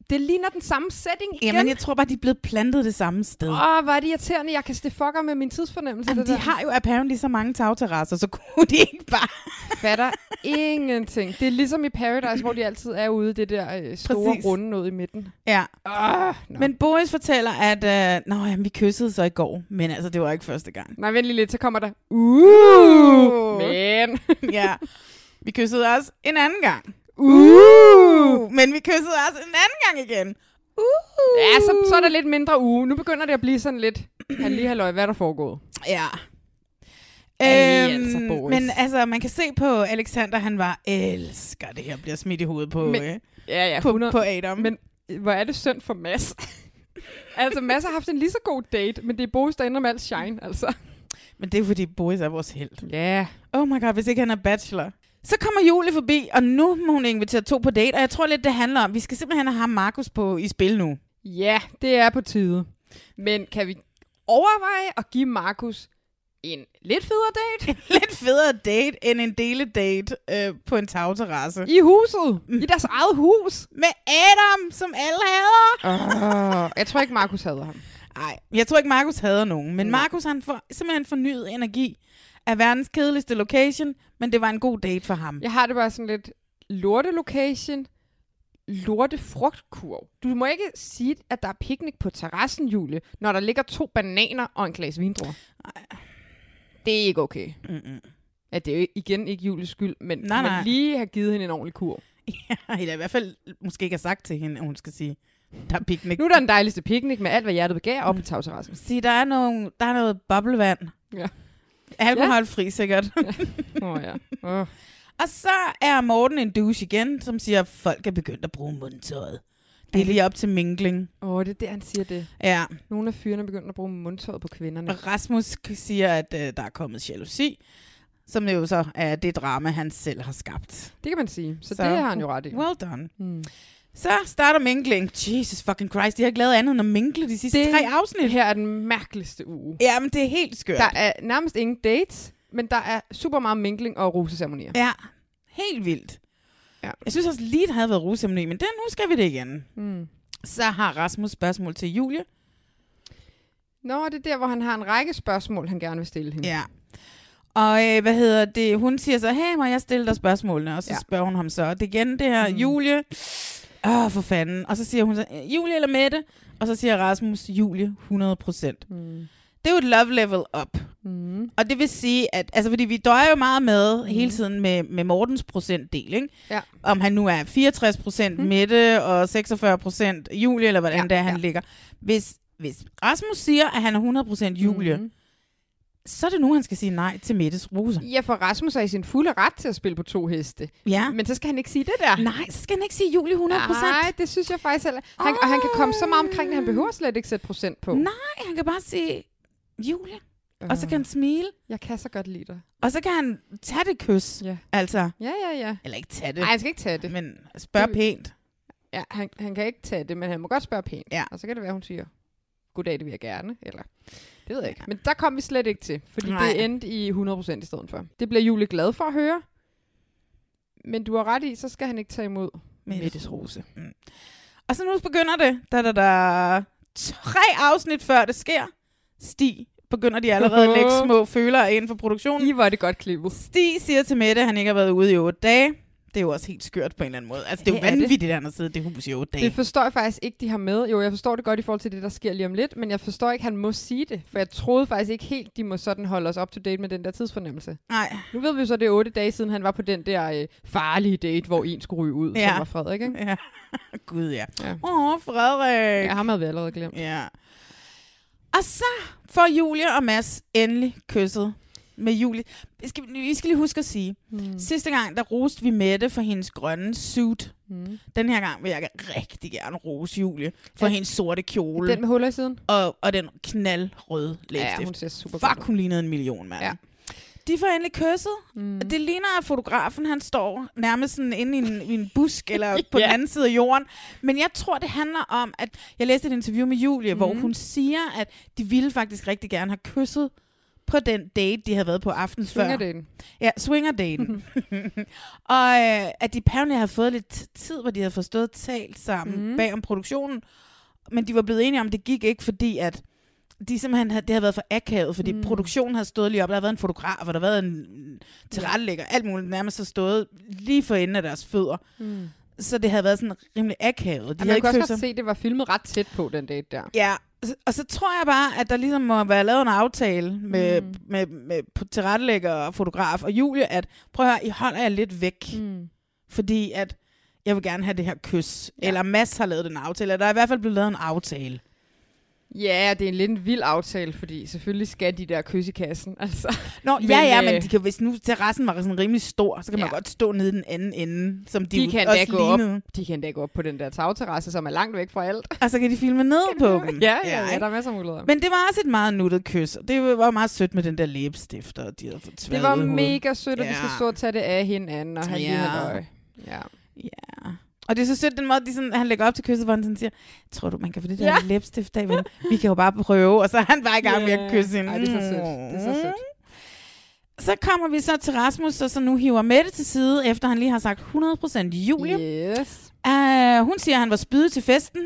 det ligner den samme setting igen. Jamen, jeg tror bare, de er blevet plantet det samme sted. Åh, hvor er det irriterende. Jeg kan det fucker med min tidsfornemmelse. Jamen, det de der. har jo apparently så mange tagterrasser, så *laughs* kunne de ikke bare... *laughs* fatter ingenting. Det er ligesom i Paradise, hvor de altid er ude i det der øh, store Præcis. runde noget i midten. Ja, Ah, nå. men Boris fortæller, at øh, Nå, jamen, vi kyssede så i går, men altså, det var ikke første gang. Nej, vent lige lidt, så kommer der... Uh, *laughs* men... ja, vi kyssede også en anden gang. uh. Uh, men vi kyssede også en anden gang igen. Uh. Ja, så, så er der lidt mindre uge. Nu begynder det at blive sådan lidt... Han lige halløj, hvad er der foregået? Ja. Ej, Øhm, altså, Boris. men altså, man kan se på Alexander, han var, elsker det her, bliver smidt i hovedet på, Men- men, øh, Ja, ja, på, på Adam. Men hvor er det synd for Mads. *laughs* altså, Mads har haft en lige så god date, men det er Boris, der ender med alt shine, altså. men det er fordi, Boris er vores held. Ja. Oh my god, hvis ikke han er bachelor. Så kommer Julie forbi, og nu må hun invitere to på date, og jeg tror lidt, det handler om, vi skal simpelthen have ham Markus på i spil nu. *laughs* Ja, det er på tide. Men kan vi overveje at give Markus en lidt federe *laughs* date Lidt federe date end en deledate øh, på en tagterrasse. i huset? I deres eget hus? Med Adam, som alle hader. Uh, jeg tror ikke, Markus hader ham. Nej, jeg tror ikke, Markus hader nogen. Men Markus han får simpelthen fornyet energi af verdens kedeligste location, men det var en god date for ham. Jeg har det bare sådan lidt lorte location, lorte frugtkurv. Du må ikke sige, at der er picnic på terrassen, Julie, når der ligger to bananer og en glas vindruer. Det er ikke okay. Mm-mm. *laughs* Ja, det er jo igen ikke Julies skyld, men Nej, nej, man nej. lige har givet hende en ordentlig kur. Ja, eller i hvert fald måske ikke har sagt til hende, at hun skal sige, der er picnic. Nu er der den dejligste picnic med alt, hvad hjertet begærer, op på tagterrassen. Sige, der er, nogle, der er noget boblevand. Ja. Alkoholfri sikkert. *laughs* Åh oh, ja. Oh. og så er Morten en douche igen, som siger, at folk er begyndt at bruge mundtøjet. Det er lige op til mingling. oh, det er der, han siger det. Ja, Nogle af fyrene er begyndt at bruge mundtøjet på kvinderne. og Rasmus siger, at øh, der er kommet jalousi, som jo så er det drama, han selv har skabt. Det kan man sige. Så, så. det har han jo ret i. Well done. Mm. Så starter mingling. Jesus fucking Christ, de har ikke lavet andet end at mingle de sidste Det- det... tre afsnit. Her er den mærkeligste uge. Jamen, det er helt skørt. Der er nærmest ingen dates, men der er super meget mingling og roseceremonier. Ja, helt vildt. Ja. Jeg synes også lige, det havde været rusemni, men det, nu skal vi det igen. Mm. Så har Rasmus spørgsmål til Julie. Nå, det er der, hvor han har en række spørgsmål, han gerne vil stille hende. Ja. Og øh, hvad hedder det? Hun siger så, hey, må jeg stille dig spørgsmålene? Og så Ja. ja. spørger hun ham så. Det er igen det her, Mm. mm. Julie. Åh, for fanden. Og så siger hun så, "Øh, Julie eller Mette? Og så siger Rasmus, Julie, 100 procent. Mm. Det er jo et love level up. Mm. Og det vil sige, at altså, fordi vi døjer jo meget med hele tiden med, med Mortens procentdel, ikke? Ja. om han nu er 64 procent Mm. Mette og 46 procent Julie, eller hvordan Ja, ja, det er, han ja. ja. ligger. Hvis, hvis Rasmus siger, at han er 100 procent Julie, mm. Mm. så er det nu, han skal sige nej til Mettes roser. Ja, for Rasmus er i sin fulde ret til at spille på to heste. Ja. Men så skal han ikke sige det der. Nej, så skal han ikke sige Julie 100 procent. Nej, det synes jeg faktisk heller. Han, og han kan komme så meget omkring det, han behøver slet ikke sætte procent på. Nej, han kan bare sige Julie, og så kan han smile, Øh, Jeg kan så godt lide dig. og så kan han tage det kys, Ja. altså. Ja, ja, ja. Eller ikke tage det, Nej, han skal ikke tage det. men spørg Det- pænt. Ja, han, han kan ikke tage det, men han må godt spørge pænt. Ja. Og så kan det være, hun siger, goddag, det vil jeg gerne, eller det ved jeg ikke. Men der kom vi slet ikke til, fordi Nej. Nej. det endte i 100% i stedet for. Det bliver Julie glad for at høre, men du har ret i, så skal han ikke tage imod Mettes rose. Mm. Og så nu begynder det. Da, da, da. Tre afsnit før det sker, Stig begynder de allerede at lægge små følere inden for produktionen. I var det godt klippet. Stig siger til Mette, at han ikke har været ude i otte dage. Det er jo også helt skørt på en eller anden måde. Altså, det er jo Det er det. vanvittigt, at han har siddet i det hus i otte dage. Det forstår jeg faktisk ikke, de har med. Jo, jeg forstår det godt i forhold til det, der sker lige om lidt, men jeg forstår ikke, han må sige det. For jeg troede faktisk ikke helt, de må sådan holde os up to date med den der tidsfornemmelse. Nej, Nu ved vi jo så, det er otte dage siden, han var på den der øh, farlige date, hvor en skulle ryge ud, ja. Ja. som var Frederik, ikke? ja. *laughs* Gud, ja. Ja. Åh, Frederik. Ja, ham havde vi allerede glemt. Ja. Og så får Julie og Mads endelig kysset med Julie. Vi skal, vi skal lige huske at sige, Hmm. mm. sidste gang, der roste vi Mette for hendes grønne suit. Mm. Den her gang vil jeg rigtig gerne rose Julie for Ja. hendes sorte kjole Den med huller i siden? og, og den knaldrøde Ja, læbstift. hun ser super Fuck, godt ud. hun lignede en million, mand. Ja. Ja. De får endelig kysset, mm. og det ligner, at fotografen han står nærmest sådan inde i en, i en busk eller på *laughs* ja. den anden side af jorden. Men jeg tror, det handler om, at jeg læste et interview med Julie, mm. hvor hun siger, at de ville faktisk rigtig gerne have kysset på den date, de havde været på aftenen før. Fingerdaten. Ja, swingerdaten. Mhm. *laughs* og øh, at de apparently havde fået lidt tid, hvor de havde forstået talt sammen Mhm. mm. bag om produktionen. Men de var blevet enige om, at det gik ikke, fordi at de simpelthen havde, det havde været for akavet, fordi Mhm. mm. produktionen havde stået lige op. Der havde været en fotograf, og der havde været en tilrettelægger, alt muligt nærmest har stået lige for enden af deres fødder. Mm. Så det havde været sådan rimelig akavet. De Ja, havde man ikke kunne også følt godt sig... se, at det var filmet ret tæt på, den date der. Ja, s- og så tror jeg bare, at der ligesom må være lavet en aftale med, mm. med, med p- tilrettelægger og fotograf og Julie, at prøv at høre, I holder jer lidt væk, mm. fordi at jeg vil gerne have det her kys. Ja. Eller Mads har lavet den aftale, eller der er i hvert fald blevet lavet en aftale. Ja, det er en lidt en vild aftale, fordi selvfølgelig skal de der kysse i kassen. *laughs* Altså. Nå, men, Men, ja, ja, men øh, de kan, hvis nu terrassen var sådan rimelig stor, så kan man Ja. godt stå nede i den anden ende, som de, De, jo kan da også gå op, lignede. de kan da gå op på den der tagterrasse, som er langt væk fra alt. Og så kan de filme ned på dem. Ja, ja, ja, Mm. ikke? der er masser af muligheder. Men det var også et meget nuttet kys, og det var meget sødt med den der læbestifter, de havde fået det tværet var i hovedet. mega sødt, at ja. de skal Ja. stå og tage det af hinanden og have Ja. ja. lige halløj. Ja. Ja. Og det er så sødt, den måde, de sådan, han lægger op til kysset, hvor han sådan siger, tror du, man kan få det der ja. Ja. læbstift af, men vi kan jo bare prøve. Og så er han bare i gang med Ja. at kysse hende. Mm. Ej, det er så sødt. Det er så sødt. Så kommer vi så til Rasmus, og så nu hiver Mette til side, efter han lige har sagt 100% Julie. Yeah. Yes. Uh, hun siger, at han var spydet til festen.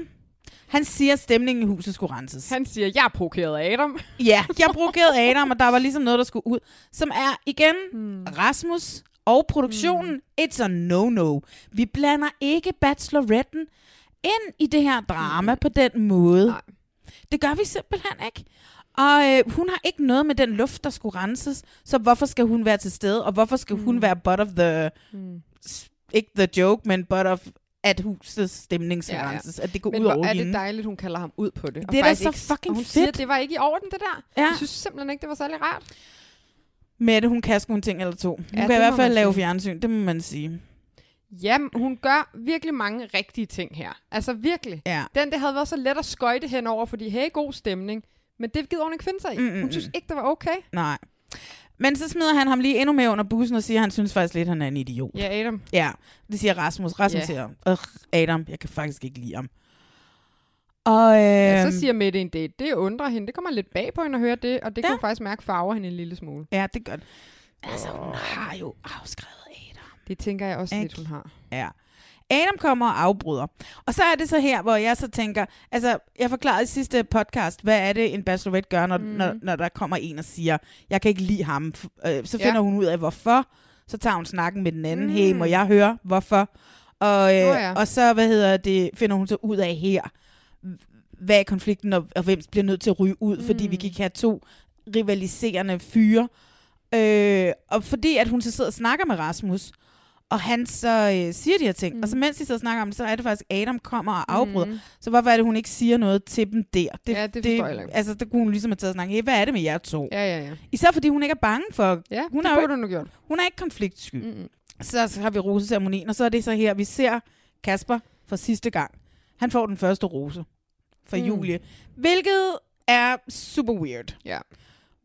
Han siger, at stemningen i huset skulle renses. Han siger, jeg er provokeret af Adam. Ja, jeg provokerede Adam, og der var ligesom noget, der skulle ud. Som er, igen, Hmm. mm. Rasmus og produktionen, mm. it's a no-no. Vi blander ikke bacheloretten ind i det her drama mm. på den måde. Nej. Hmm. Nej. Det gør vi simpelthen ikke. Og øh, hun har ikke noget med den luft, der skulle renses, så hvorfor skal hun være til stede, og hvorfor skal mm. Hmm. hun være butt of the... Mm. Ikke the joke, men butt of at husets stemning skal ja, Ja, ja. ja. renses, at det går Men ud over hvor er hende. det dejligt, hun kalder ham ud på det. Og Det er da faktisk så ikke- fucking og hun Siger, fedt. det var ikke i orden, det der. Ja. Ja. Jeg synes simpelthen ikke, det var særlig rart. Mette, hun kan sgu en ting eller to. Hun ja, Ja, kan det i hvert må fald man lave sige. fjernsyn, det må man sige. Jamen, hun gør virkelig mange rigtige ting her. Altså virkelig. Ja. Den der havde været så let at skøjte henover, fordi hey, god stemning. Men det gider hun ikke finde sig i. Mm, mm, Hun synes ikke, det var okay. Nej. Men så smider han ham lige endnu mere under bussen og siger, at han synes faktisk lidt, at han er en idiot. Ja, Adam. Ja, det siger Rasmus. Rasmus Ja. siger, "Ugh, Adam, jeg kan faktisk ikke lide ham. Og, øh, Ja, så siger Mette en date. Det undrer hende. Det kommer lidt bag på hende at høre det, og det ja. Ja. kan hun faktisk mærke farver hende en lille smule. ja, det er godt. Altså, hun har jo afskrevet Adam. Det tænker jeg også Ikke? lidt, hun har. Ja. Adam kommer og afbryder. Og så er det så her, hvor jeg så tænker, altså, jeg forklarede i sidste podcast, hvad er det, en bachelorette gør, når, mm. når, når der kommer en og siger, jeg kan ikke lide ham. F- Øh, så Ja. finder ja. hun ud af, hvorfor. Så tager hun snakken med den anden. Mm. Hey, må jeg høre, hvorfor? Og, øh, Nå ja. og så, hvad hedder det, finder hun så ud af her, hvad er konflikten, og, og hvem bliver nødt til at ryge ud, mm. fordi vi kan ikke have to rivaliserende fyre. Øh, og fordi at hun så sidder og snakker med Rasmus, og han så øh, siger de her ting, mm. og så mens de sidder og snakker om det, så er det faktisk, Adam kommer og afbryder. Mm. Så hvorfor er det, hun ikke siger noget til dem der? Ja, det forstår jeg heller ikke. Altså, der kunne hun ligesom have taget og snakket, hey, hvad er det med jer to? Ja. Ja, ja, ja. Især fordi hun ikke er bange for, Ja, Hun hun har det jo burde hun jo gjort. hun er ikke konfliktsky. Mm. Mm-mm. Så, så har vi roseceremonien, og så er det så her, vi ser Kasper for sidste gang. Han får den første rose fra mm. Mm. Julie, hvilket er super weird. Ja.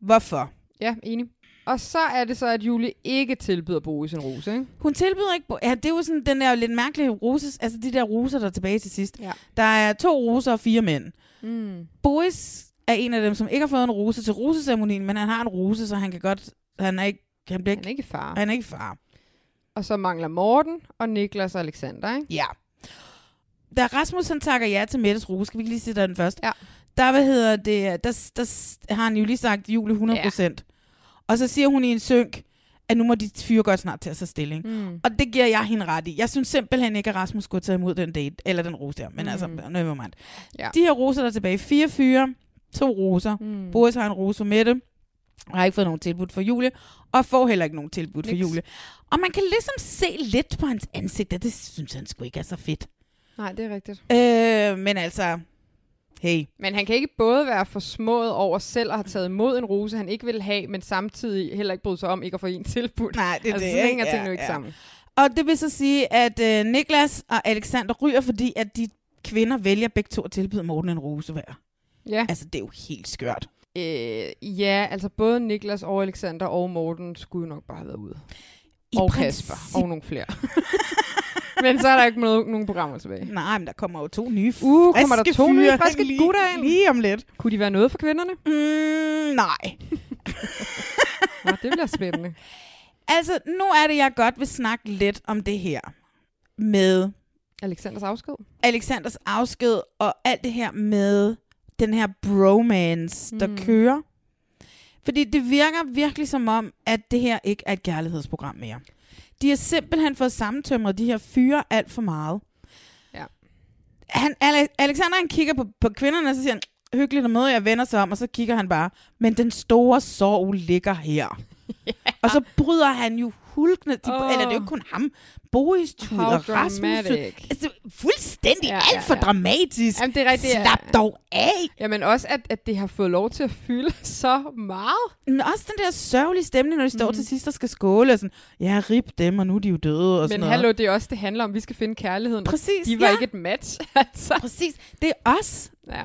Hvorfor? Ja, enig. Og så er det så, at Julie ikke tilbyder Boris en rose, ikke? Hun tilbyder ikke... bo- Ja, det er jo sådan den der lidt mærkelige roses, altså de der roser, der er tilbage til sidst. Ja. Der er to roser og fire mænd. Mm. Boris er en af dem, som ikke har fået en rose til roseceremonien, men han har en rose, så han kan godt... Han er ikke, han bliver Han ikke, er ikke far. han er ikke far. Og så mangler Morten og Niklas og Alexander, ikke? Ja. Da Rasmus han takker ja til Mettes rose, skal vi ikke lige sige der er den første? Ja. Der, hvad hedder det, der, der har han jo lige sagt Julie 100%. Ja. Og så siger hun i en synk, at nu må de fyre godt snart til at tage stilling. Mm. Og det giver jeg hende ret i. Jeg synes simpelthen ikke, at Rasmus skulle tage imod den date, eller den rose der, men mm. altså, nevermind. Ja. Ja. De her roser der er tilbage, fire fyre, to roser. Mm. Boris har en rose for Mette, og har ikke fået nogen tilbud for Julie, og får heller ikke nogen tilbud for Niks. Julie. Og man kan ligesom se lidt på hans ansigt, at det synes han sgu ikke er så fedt. Nej, det er rigtigt. Øh, men altså, hey, Men han kan ikke både være forsmået over selv at have taget imod en rose, han ikke vil have, men samtidig heller ikke bryde sig om ikke at få en tilbudt. Nej, det er altså, det, sådan ikke? hænger Ja, tingene jo ikke ja. sammen. Og det vil så sige, at øh, Niklas og Alexander ryger, fordi at de kvinder vælger begge to at tilbyde Morten en rose hver. Ja. Altså, det er jo helt skørt. Øh, ja, altså både Niklas og Alexander og Morten skulle jo nok bare have været ude. I og princip- Kasper. *laughs* Og nogle flere. men så er der ikke noget, nogen programmer tilbage. Nej, men der kommer jo to nye friske Uh, kommer der to nye fyre friske lige, gutter ind? Lige om lidt. Kunne de være noget for kvinderne? Mm, *laughs* nej. Nå, det bliver spændende. Altså, nu er det, jeg godt vil snakke lidt om det her med Alexanders afsked. Alexanders afsked og alt det her med den her bromance, Hmm. der mm. kører. Fordi det virker virkelig som om, at det her ikke er et kærlighedsprogram mere. De har simpelthen fået sammentømret de her fyre alt for meget. Ja. Han, Ale- Alexander han kigger på, på kvinderne, og så siger han, hyggeligt at møde jer, vender sig om, og så kigger han bare, men den store sorg ligger *laughs* her. Og så bryder han jo hulkende, de, Åh. oh. eller det er jo ikke kun ham, Boris How tuder, Rasmus tuder. dramatic. Altså, fuldstændig Ja, ja, ja, alt for ja. ja, dramatisk. Jamen, det er rigtigt, ja. Slap dog af. Jamen også, at, at det har fået lov til at fylde *laughs* så meget. Men også den der sørgelige stemning, når de står til sidst og skal skåle. Og sådan, ja, rip dem, og nu er de jo døde. Og sådan Men noget. hallo, det er også, det handler om, vi skal finde kærligheden. Præcis, De var ja. ikke et match, *laughs* altså. Præcis, det er os. Ja.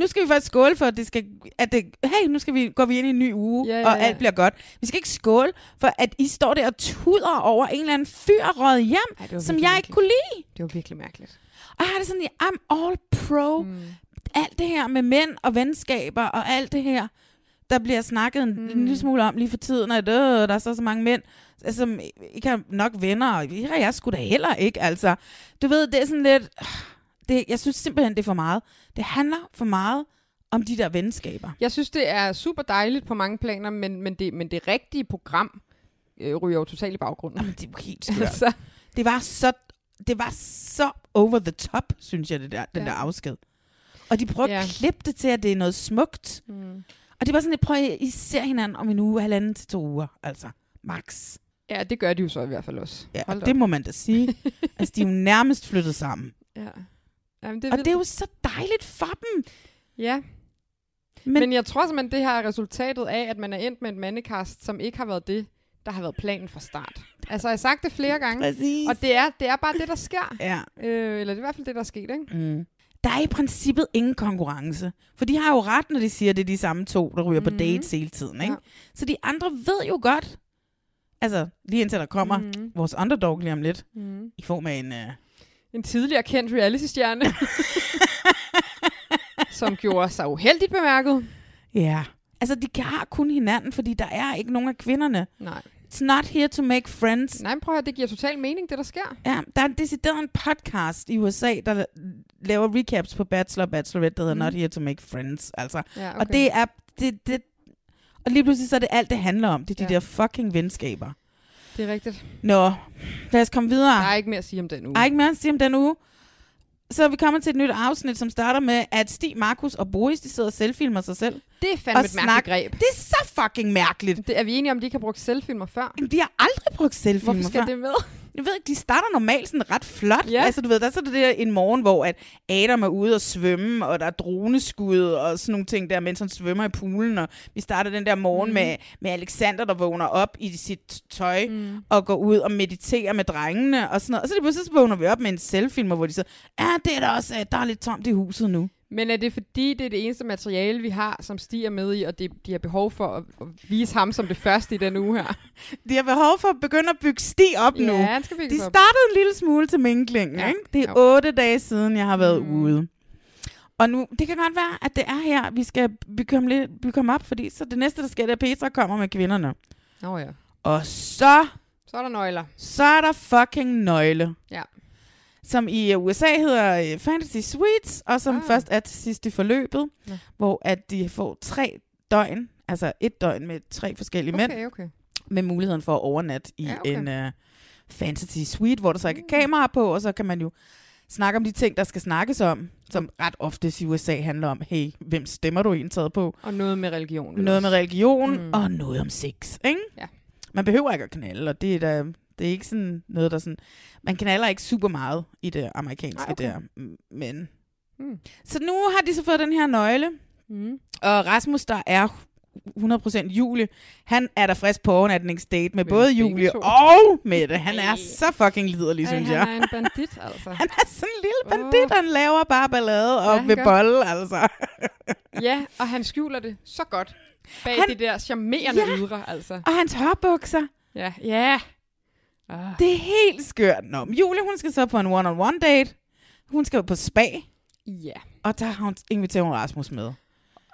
Nu skal vi faktisk skåle for, at det skal... At det, hey, nu skal vi, går vi ind i en ny uge, Ja, ja, ja, ja. og ja. alt bliver godt. Vi skal ikke skåle for, at I står der og tuder over en eller anden fyr røget hjem, Ej, det var som virkelig jeg ikke kunne lide. Det var virkelig mærkeligt. Og jeg har det sådan, ja, I'm all pro. Mm. Alt det her med mænd og venskaber og alt det her, der bliver snakket en, mm. en lille smule om lige for tiden, at øh, der er så, så mange mænd, altså, som ikke har nok venner, og det har jeg sgu da heller ikke, altså. Du ved, det er sådan lidt, øh, det, jeg synes simpelthen, det er for meget. Det handler for meget om de der venskaber. Jeg synes, det er super dejligt på mange planer, men, men, det, men det rigtige program øh, ryger jo totalt i baggrunden. Jamen, det er jo helt skørt. *laughs* Altså, det var så, det var så over the top, synes jeg, det der, den Ja. der afsked. Og de prøver Ja. at klippe det til, at det er noget smukt. Mm. Og det var sådan lidt, prøv at I ser hinanden om en uge, halvanden til to uger, altså. Max. ja, det gør de jo så i hvert fald *laughs* også. Ja, Hold og da det op. må man da sige. altså, *laughs* de er jo nærmest flyttet sammen. ja. Jamen, det, Og det er jo så dejligt for dem. Ja, men, Men, men jeg tror simpelthen, det her er resultatet af, at man er endt med et mandekast, som ikke har været det, der har været planen fra start. Altså, jeg har sagt det flere gange, Præcis. og det er, det er bare det, der sker. ja. Øh, eller det er i hvert fald det, der er sket, ikke? Mm. Der er i princippet ingen konkurrence. For de har jo ret, når de siger, at det er de samme to, der ryger mm. på dates hele tiden. Ikke? Mhm. Ja. Ja. Så de andre ved jo godt, altså lige indtil der kommer Mhm. Mm-hmm. mm. vores underdog lige om lidt, mm. i form af en... *laughs* Uh... En tidligere kendt reality-stjerne, *laughs* som gjorde sig uheldigt bemærket. *laughs* Ja. Altså de kan- har kun hinanden, fordi der er ikke nogen af kvinderne. Nej. It's not here to make friends. Nej, men prøv at høre, det giver total mening, det der sker. Ja, der er en decideret en podcast i USA, der laver recaps på Bachelor og Bachelorette, der hedder mm. Not Here to Make Friends. Altså, Ja, Og det er... Det, det, og lige pludselig så er det alt, det handler om. Det er de Ja. ja. der fucking venskaber. det er rigtigt. Nå, lad os komme videre. Der er ikke mere at sige om den uge. Der er ikke mere at sige om den uge. Så er vi kommet til et nyt afsnit, som starter med, at Stig, Markus og Boris, de sidder og selvfilmer sig selv. Det er fandme og et mærkeligt greb. Det er så fucking mærkeligt. Det, er vi enige om, de ikke har brugt selvfilmer før? Jamen, De har aldrig brugt Hvorfor selvfilmer skal før. det med? Jeg ved ikke, de starter normalt sådan ret flot. Ja. Altså, du ved, der er så det der en morgen, hvor at Adam er ude og svømme, og der er droneskud og sådan nogle ting der, mens han svømmer i poolen. Og vi starter den der morgen mm. med, med Alexander, der vågner op i sit tøj mm. og går ud og mediterer med drengene og sådan noget. Og så lige pludselig så vågner vi op med en selvfilmer, hvor de så, ja, det er der også, øh, der er lidt tomt i huset nu. Men er det fordi, det er det eneste materiale, vi har, som stiger med i, og det, de har behov for at, at vise ham som det første i den uge her? De har behov for at begynde at bygge sti op *laughs* Ja, nu. han skal bygges De op. startede en lille smule til minklingen. Ja, Ja. Ikke? Det er jo. otte dage siden, jeg har været mm. ude. Og nu, det kan godt være, at det er her, vi skal bygge lidt, bygge ham op, fordi så det næste, der sker, det er, at Petra kommer med kvinderne. Nå ja. Og så, Så er der nøgler. så er der fucking nøgle, Ja. som i øh, USA hedder øh, Fantasy Suites, og som Ah. ah. først er til sidst i forløbet, Nå. ja. hvor at de får tre døgn, altså et døgn med tre forskellige okay. mænd, Okay, okay. med muligheden for at overnatte i Ja, ja, okay. Mm. okay. en uh, fantasy suite, hvor der så ikke er kameraer på, og så kan man jo snakke om de ting, der skal snakkes om, som ret ofte i USA handler om, hey, hvem stemmer du egentlig taget på? Og noget med religion. vel Noget også. med religion Mm. mm. og noget om sex, ikke? Ja. Man behøver ikke at knalde, og det er, da, det er ikke sådan noget, der sådan... Man knaller ikke super meget i det amerikanske Ej, okay. okay. der, m- men... Mm. Så nu har de så fået den her nøgle, Mm. og Rasmus, der er 100% Julie, han er der frisk på overnatningsdate med Men både begge Julie to. og Mette. Han Ej. er så fucking liderlig, Ej, synes han jeg. er en bandit, altså. Han er sådan en lille Åh. bandit, han laver bare ballade han og ved gør. bolle, *laughs* altså. ja, og han skjuler det så godt bag han... Han- de der charmerende ja. Ja. ydre, altså. Og hans hørbukser, Ja, ja. Ah. Det er helt skørt. Nå, men Julie, hun skal så på en one-on-one date. Hun skal jo på spa, Ja. og der har hun inviteret Rasmus med.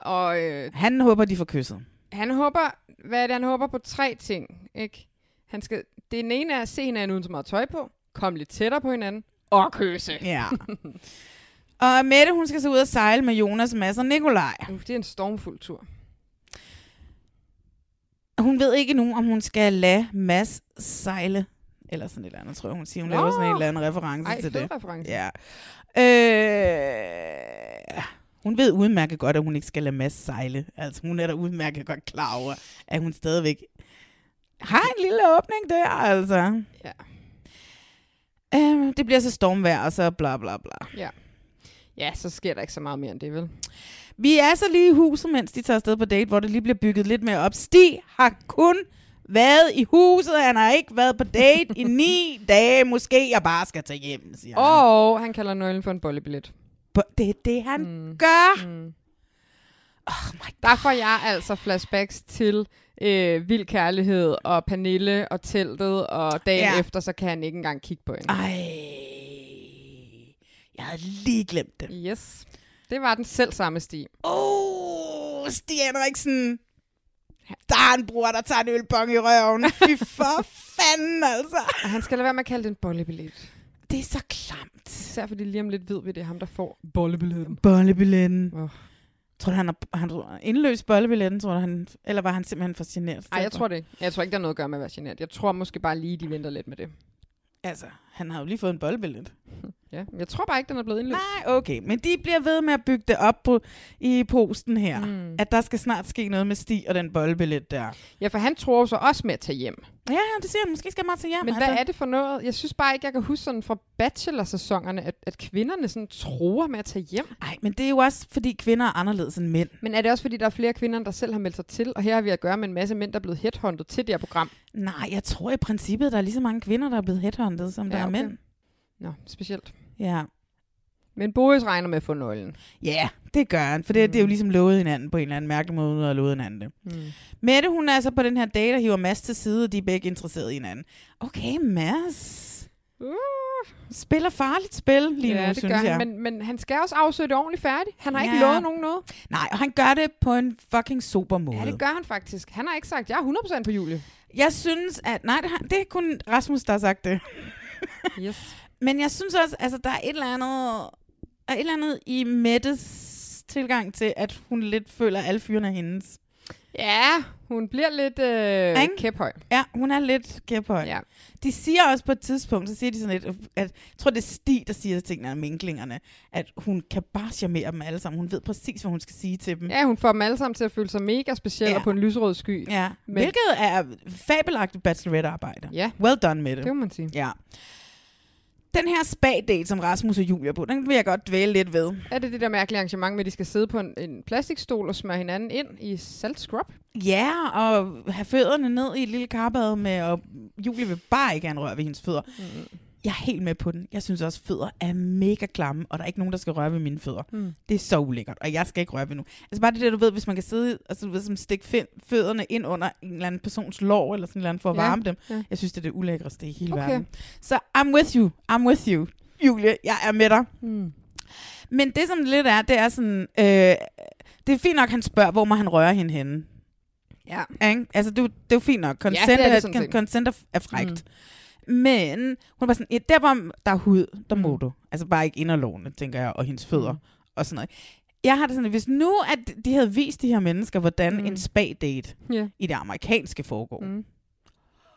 Og øh, Han håber, de får kysset. han håber, hvad er det, han håber på tre ting, ikke? Han skal, det den ene er at se hinanden uden så meget tøj på, komme lidt tættere på hinanden, og kysse. *laughs* Ja. og Mette, hun skal så ud og sejle med Jonas, Mads og Nikolaj. Uh, det er en stormfuld tur. Hun ved ikke nu, om hun skal lade Mads sejle. Eller sådan et eller andet, tror jeg, hun siger. Hun Nå. laver sådan en eller anden reference Ej, til fed det. reference. Ja. Øh, hun ved udmærket godt, at hun ikke skal lade Mads sejle. Altså, hun er da udmærket godt klar over, at hun stadigvæk har en lille åbning der, altså. Ja. Øh, det bliver så stormvejr, og så bla bla bla. ja, så sker der ikke så meget mere end det, vel? Vi er så lige i huset, mens de tager afsted på date, hvor det lige bliver bygget lidt mere op. Stig har kun været i huset, han har ikke været på date i ni dage. Måske jeg bare skal tage hjem, siger han. Og han kalder nøglen for en bollebillet. Det er det, han mm. gør. Mm. Oh my Der får jeg altså flashbacks til øh, vild kærlighed og Pernille og teltet, og dagen ja. Ja. Ah. efter, så kan han ikke engang kigge på hende. Ej, jeg havde lige glemt det. Yes. Det var den selv samme sti. Åh, oh, Stig Henriksen. Der er en bror, der tager en ølbong i røven. Fy for fanden, altså. Og han skal lade være med at kalde det en bollebillet. Det er så klamt. Især fordi lige om lidt ved vi, det er ham, der får bollebilletten. Bollebilletten. Åh. Tror du, han har han har indløst bollebilletten, tror du, han, eller var han simpelthen for generet? Nej, jeg tror det ikke. Jeg tror ikke, der er noget at gøre med at være genert. Jeg tror måske bare lige, de venter lidt med det. Altså, han har jo lige fået en bollebillet. Ja. Jeg tror bare ikke, den er blevet indløst. Nej, okay. Men de bliver ved med at bygge det op på, i posten her. Mm. Mm. At der skal snart ske noget med Stig og den bollebillet der. Ja, for han tror jo så også med at tage hjem. Ja, det siger han. Måske skal man til hjem. Men altså. hvad er det for noget? Jeg synes bare ikke, jeg kan huske sådan fra bachelorsæsonerne, at, at kvinderne sådan tror med at tage hjem. Ej, men det er jo også, fordi kvinder er anderledes end mænd. Men er det også, fordi der er flere kvinder, der selv har meldt sig til? Og her har vi at gøre med en masse mænd, der er blevet headhunted til det her program. Nej, jeg tror i princippet, der er lige så mange kvinder, der er blevet headhunted, som Ja, ja, der er okay. mænd. Nå, specielt. Ja. Men Boris regner med at få nøglen. Ja, yeah, det gør han, for det, mm. det er jo ligesom lovet hinanden på en eller anden mærkelig måde, uden at have lovet hinanden det. Mm. Mette, hun er så på den her date og hiver Mads til side, og de er begge interesserede i hinanden. Okay, Mads. Uh, Spiller farligt spil lige ja, nu, det synes gør jeg. han. Men, men han skal også afsøge det ordentligt færdigt. Han har ja. ikke Ja. lovet nogen noget. Nej, og han gør det på en fucking super måde. Ja, det gør han faktisk. Han har ikke sagt, jeg er 100% på Julie. Jeg synes, at... Nej, det, har, det er kun Rasmus, der har sagt det. Yes. Men jeg synes også, altså der er et eller andet, er et eller andet i Mettes tilgang til, at hun lidt føler, at alle fyrene er hendes. Ja, hun bliver lidt øh, Ikke? kæphøj. Ja, hun er lidt kæphøj. Ja. De siger også på et tidspunkt, så siger de sådan lidt, at jeg tror, det er Stig, der siger til tingene af minklingerne, at hun kan bare charmere dem alle sammen. Hun ved præcis, hvad hun skal sige til dem. ja, hun får dem alle sammen til at føle sig mega specielle Mm. Ja. og på en lyserød sky. ja. Men- Hvilket er fabelagtigt bachelorette-arbejde. Ja. Well done, Mette. Det må man sige. Ja. Den her spa-date, som Rasmus og Julia er på, den vil jeg godt dvæle lidt ved. Er det det der mærkelige arrangement med, at de skal sidde på en, en plastikstol og smøre hinanden ind i saltscrub? Ja, og have fødderne ned i et lille karbad med, og Julie vil bare ikke gerne røre ved hendes fødder. Mm. Jeg er helt med på den. Jeg synes også, fødder er mega klamme, og der er ikke nogen, der skal røre ved mine fødder. Mm. Det er så ulækkert, og jeg skal ikke røre ved nu. Altså bare det der, du ved, hvis man kan sidde og så, du ved, som stikke fin- fødderne ind under en eller anden persons lår, eller sådan et eller andet, for at Ja, varme dem. ja. Jeg synes, det er det ulækreste i hele Okay. okay. verden. Så I'm with you. I'm with you. Julie, jeg er med dig. Mm. Men det, som det lidt er, det er sådan... Øh, det er fint nok, han spørger, hvor må han røre hende henne. Ja. Ikke? Altså, det, er jo- det er jo fint nok. Consent, det er ja, det det sådan er, set. det consent er, er frækt. Mm. Men hun var sådan, ja, der hvor der er hud, der mm. må Mm. du. Altså bare ikke inderlåne, tænker jeg, og hendes fødder Mm. mm. og sådan noget. Jeg har det sådan, at hvis nu at de havde vist de her mennesker, hvordan Mm. mm. en spa-date Ja. i det amerikanske foregår, mm. Mm.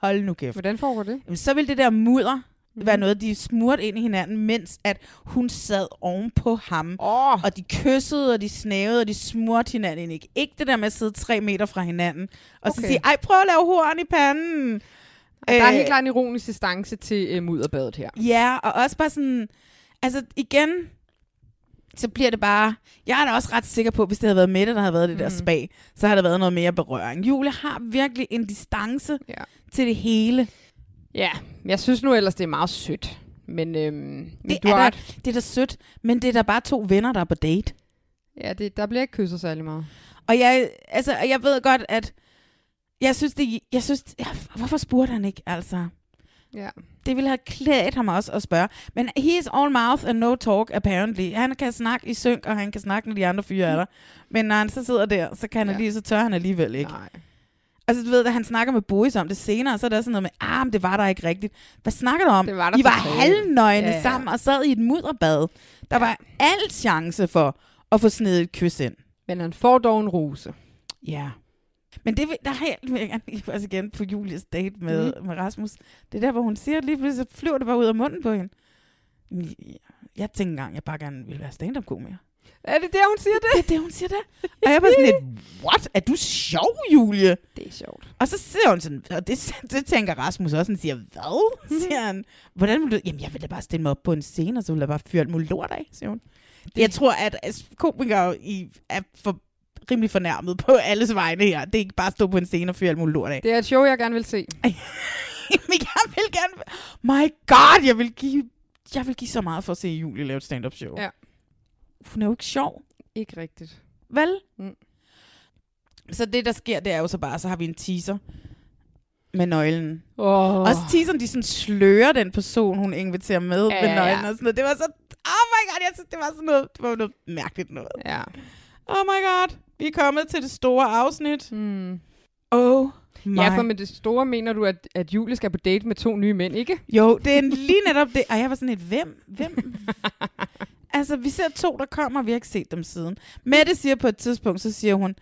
Hold nu kæft. Hvordan foregår det? Jamen, så ville det der mudder mm. være noget, de smurte ind i hinanden, mens at hun sad oven på ham. Åh, oh, Og de kyssede, og de snævede, og de smurte hinanden ind. Ikke, ikke det der med at sidde tre meter fra hinanden, og okay. så Okay. sige, ej, prøv at lave horn i panden. der er Øh, helt klart en ironisk distance til øh, mudderbadet her. Ja, og også bare sådan, altså igen, så bliver det bare, jeg er da også ret sikker på, hvis det havde været Mette, der havde været i det Mhm. mm. der spa, så havde der været noget mere berøring. Julie har virkelig en distance Ja. til det hele. Ja, men jeg synes nu ellers, det er meget sødt. Men, øhm, men Det du er, har da, ret. det er da sødt, men det er da bare to venner, der er på date. Ja, det, der bliver ikke kysset særlig meget. Og jeg, altså, og jeg ved godt, at jeg synes, det, jeg synes ja, hvorfor spurgte han ikke, altså? Ja. Det ville have klædt ham også at spørge. Men he is all mouth and no talk, apparently. Han kan snakke i synk, og han kan snakke, når de andre fyre er der. Men når han så sidder der, så, kan han Ja. lige, så tør han alligevel ikke. Nej. Altså, du ved, da han snakker med Boris om det senere, så er der sådan noget med, ah, men det var der ikke rigtigt. Hvad snakker du om? Det var der I var totalt. halvnøgne Ja, ja, ja. ja. sammen og sad i et mudderbad. Der ja. var alt chance for at få snedet et kys ind. Men han får dog en rose. Ja. Men det, vil- der har jeg, vil jeg gerne lige også igen på Julies date med, mm. med Rasmus. Det er der, hvor hun siger, lige pludselig så flyver det bare ud af munden på hende. Jeg- Jeg tænkte engang, jeg bare gerne ville være stand-up-komiker. Er det der, hun siger det? Det er det, hun siger der. Og jeg er bare sådan lidt, what? Er du sjov, Julie? Det er sjovt. Og så siger hun sådan, og det, *laughs* det tænker Rasmus også, han siger, hvad? *laughs* Siger han, hvordan vil du? Jamen, jeg vil da bare stille mig op på en scene, og så vil jeg bare fyre alt muligt lort af, siger hun. Det. Jeg tror, at altså, komikere i, er for, rimelig fornærmet på alles vegne her. Det er ikke bare at stå på en scene og fyre alt muligt lort *laughs* af. *laughs* Det er et show, jeg gerne vil se. Men jeg vil gerne... My God, jeg vil give, jeg vil give så meget for at se Julie lave et stand-up show. Ja. Hun er jo ikke sjov, Ikke rigtigt. vel? Mm. Så det, der sker, det er jo så bare, så har vi en teaser med nøglen. Oh. Oh. Også teaseren, de sådan slører den person, hun inviterer med ja, Ja, med ja, nøglen ja. og sådan noget. Det var så... Oh my God, jeg synes, det var sådan noget, det var noget mærkeligt noget. Ja. Oh my God, vi er kommet til det store afsnit. Mm. Oh my Ja, for med det store mener du, at, at Julie skal på date med to nye mænd, ikke? Jo, det er lige netop det. Og jeg var sådan lidt, hvem? *laughs* Hvem? altså, vi ser to, der kommer, og vi har ikke set dem siden. Mette siger på et tidspunkt, så siger hun,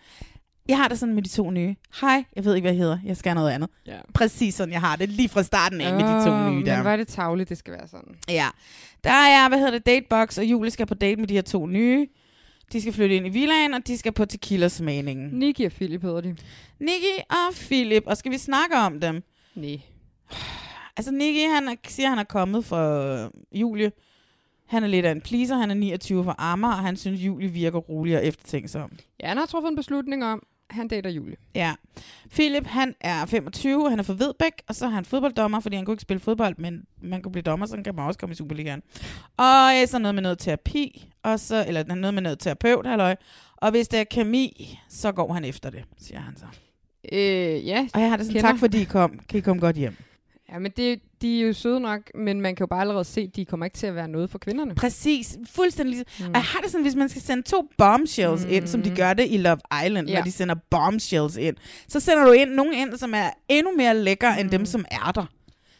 jeg har det sådan med de to nye. Hej, jeg ved ikke, hvad jeg hedder. Jeg skal noget andet. Ja. Ah, Præcis sådan, jeg har det lige fra starten af oh, med de to nye Mm. Men der. hvor er det tavligt, det skal være sådan. Ja. Der er, hvad hedder det, Datebox, og Julie skal på date med de her to nye. De skal flytte ind i villaen, og de skal på tequila-smagningen. Nicky og Philip hedder de. Nicky og Philip, og skal vi snakke om dem? Nej. Altså, Nicky, han er, siger, han er kommet fra øh, Julie. Han er lidt af en pleaser, han er 29 fra Amager, og han synes, Julie virker rolig og eftertænksom. Ja, han har truffet en beslutning om, at han dater Julie. Ja. Philip, han er 25, han er fra Vedbæk, og så er han fodbolddommer, fordi han kunne ikke spille fodbold, men man kunne blive dommer, så kan man også komme i Superligaen. Og øh, så noget med noget terapi, og så, eller noget med noget terapeut, halløj. Og hvis det er kemi, så går han efter det, siger han så. Øh, ja. Og jeg har det sådan, Kender. tak fordi I kom. Kan I komme godt hjem? ja, men det, de er jo søde nok, men man kan jo bare allerede se, at de kommer ikke til at være noget for kvinderne. Hmm. Præcis, fuldstændig ligesom. Mm. Og jeg har det sådan, hvis man skal sende to bombshells mm. ind, som de gør det i Love Island, ja. Ja. når de sender bombshells ind, så sender du ind nogen ind, som er endnu mere lækker mm. end dem, som er der.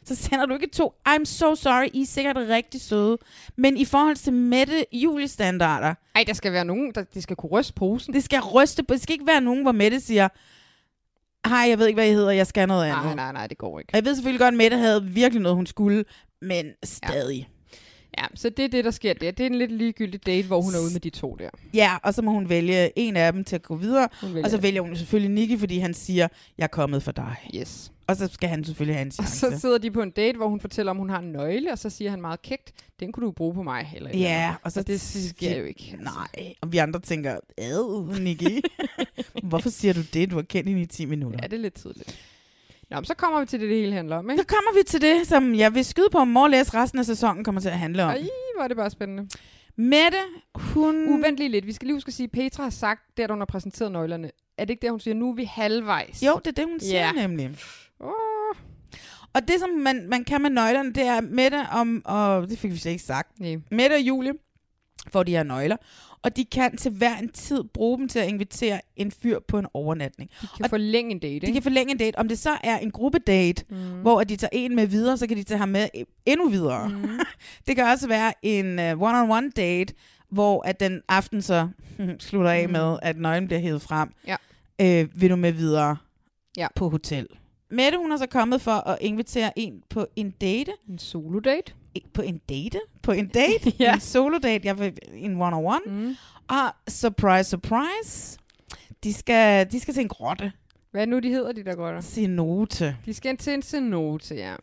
Så sender du ikke to, I'm so sorry, I er sikkert rigtig søde, men i forhold til Mette *laughs* julestandarder, Ej, der skal være nogen, der de skal kunne ryste posen. det skal ryste på, det skal ikke være nogen, hvor Mette siger, hej, jeg ved ikke, hvad I hedder, jeg skal noget andet. Nej, nej, nej, det går ikke. Og Jeg ved selvfølgelig godt, at Mette havde virkelig noget, hun skulle, men stadig. Ja, så det er det, der sker der. Det er en lidt ligegyldig date, hvor hun er ude med de to der. Ja, og så må hun vælge en af dem til at gå videre. Hun vælger Og så det. vælger hun selvfølgelig Nicky, fordi han siger, jeg er kommet for dig. Yes. Og så skal han selvfølgelig have en *laughs* Og chance. så sidder de på en date, hvor hun fortæller, om hun har en nøgle, og så siger han meget kægt, den kunne du bruge på mig. Eller et eller Ja, andet. og så og det sker jo ikke. Altså, Nej, og vi andre tænker, ad, *laughs* Nicky. Hvorfor siger du det? Du har kendt hende i 10 minutter. Ja, det er lidt tidligt. Nå, men så kommer vi til det, det hele handler om, Så *laughs* ikke? kommer vi til det, som jeg vil skyde på, om Morlæs resten af sæsonen kommer til at handle om. Ej, hvor er det bare spændende. Mm. Mette, hun... Uvent lige lidt. Vi skal lige huske at sige, at Petra har sagt, der da hun har præsenteret nøglerne. Er det ikke det, hun siger? Nu er vi halvvejs. Jo, det er det, hun siger Ja. nemlig. Oh, Og det, som man, man kan med nøglerne, det er Mette om... Og det fik vi slet ikke sagt. nej. Mette og Julie får de her nøgler, og de kan til hver en tid bruge dem til at invitere en fyr på en overnatning. De kan forlænge en date, ikke? De kan forlænge en date. Om det så er en gruppedate, mm. hvor at de tager en med videre, så kan de tage ham med e- endnu videre. Mm. *laughs* det kan også være en øh, one-on-one date, hvor at den aften så *laughs* slutter af med, at nøglen bliver hævet frem. Mm. Ja. Øh, vil du med videre Ja. på hotel? Mette, hun er så kommet for at invitere en på en date. En solo date. E- På en date? På *laughs* en date? Ja. En solo date. Jeg vil en one-on-one. Mm. Og surprise, surprise. De skal, de skal til en grotte. Hvad er det nu, de hedder, de der grotter? Cenote. De skal til en cenote, ja.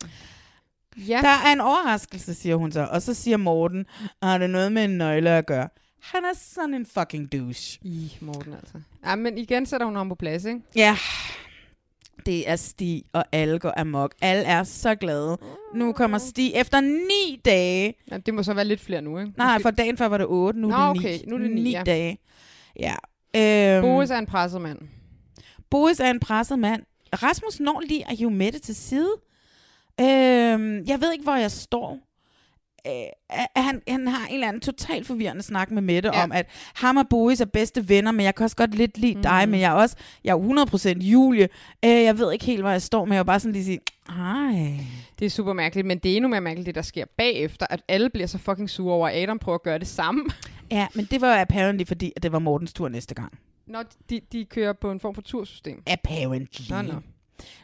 Ja, Der er en overraskelse, siger hun så. Og så siger Morten, har det noget med en nøgle at gøre? Han er sådan en fucking douche. i Morten altså. Ja, men igen sætter hun ham på plads, ikke? Ja, det er Stig, og alle går amok. Alle er så glade. Nu kommer Stig efter ni dage. Ja, det må så være lidt flere nu, ikke? Nej, for dagen før var det otte, nu er Nå, det ni. okay, nu er det ni, ni ja. dage. Ja. Øhm, Boris Boris. er en presset mand. Boris er en presset mand. Rasmus når lige at hive Mette til side. Øhm, jeg ved ikke, hvor jeg står. Øh, at han, han har en eller anden totalt forvirrende snak med Mette Ja. ja. om, at ham og Boris er bedste venner, men jeg kan også godt lidt lide mm. Mhm. dig, men jeg er også jeg er 100% Julie. Øh, jeg ved ikke helt, hvor jeg står, men jeg vil bare sådan lige sige, ej. Det er super mærkeligt, men det er endnu mere mærkeligt, det der sker bagefter, at alle bliver så fucking sure over, at Adam prøver at gøre det samme. *laughs* Ja, men det var jo apparently, fordi at det var Mortens tur næste gang. Når de, de kører på en form for tursystem. Apparently. Nå, nå.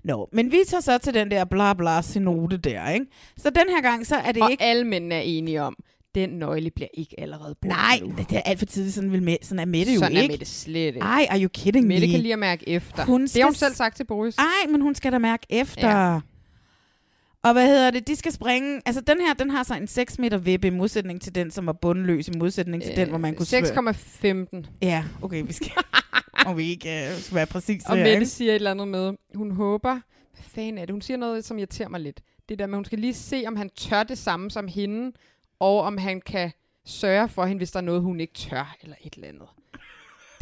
Nå, men vi tager så til den der bla bla synode der, ikke? Så den her gang, så er det Og ikke... alle mændene er enige om, den nøgle bliver ikke allerede brugt Nej, nu. det er alt for tidligt, sådan, vil med, sådan er Mette Sådan jo er ikke. Mette slet ikke. Ej, are you kidding Mette me? kan lige at mærke efter. Hun det skal har hun s- selv sagt til Boris. Ej, men hun skal da mærke efter. Ja. Ja. Og hvad hedder det? De skal springe... Altså, den her, den har så en 6 meter vippe i modsætning til den, som var bundløs, i modsætning til den, hvor Øh, man kunne svømme. 6,15. Ja, okay, vi skal... *laughs* Og vi ikke øh, skal være præcis Og her, Mette ikke? siger et eller andet med, hun håber... Hvad fanden er det? Hun siger noget, som irriterer mig lidt. Det der med, hun skal lige se, om han tør det samme som hende, og om han kan sørge for hende, hvis der er noget, hun ikke tør, eller et eller andet.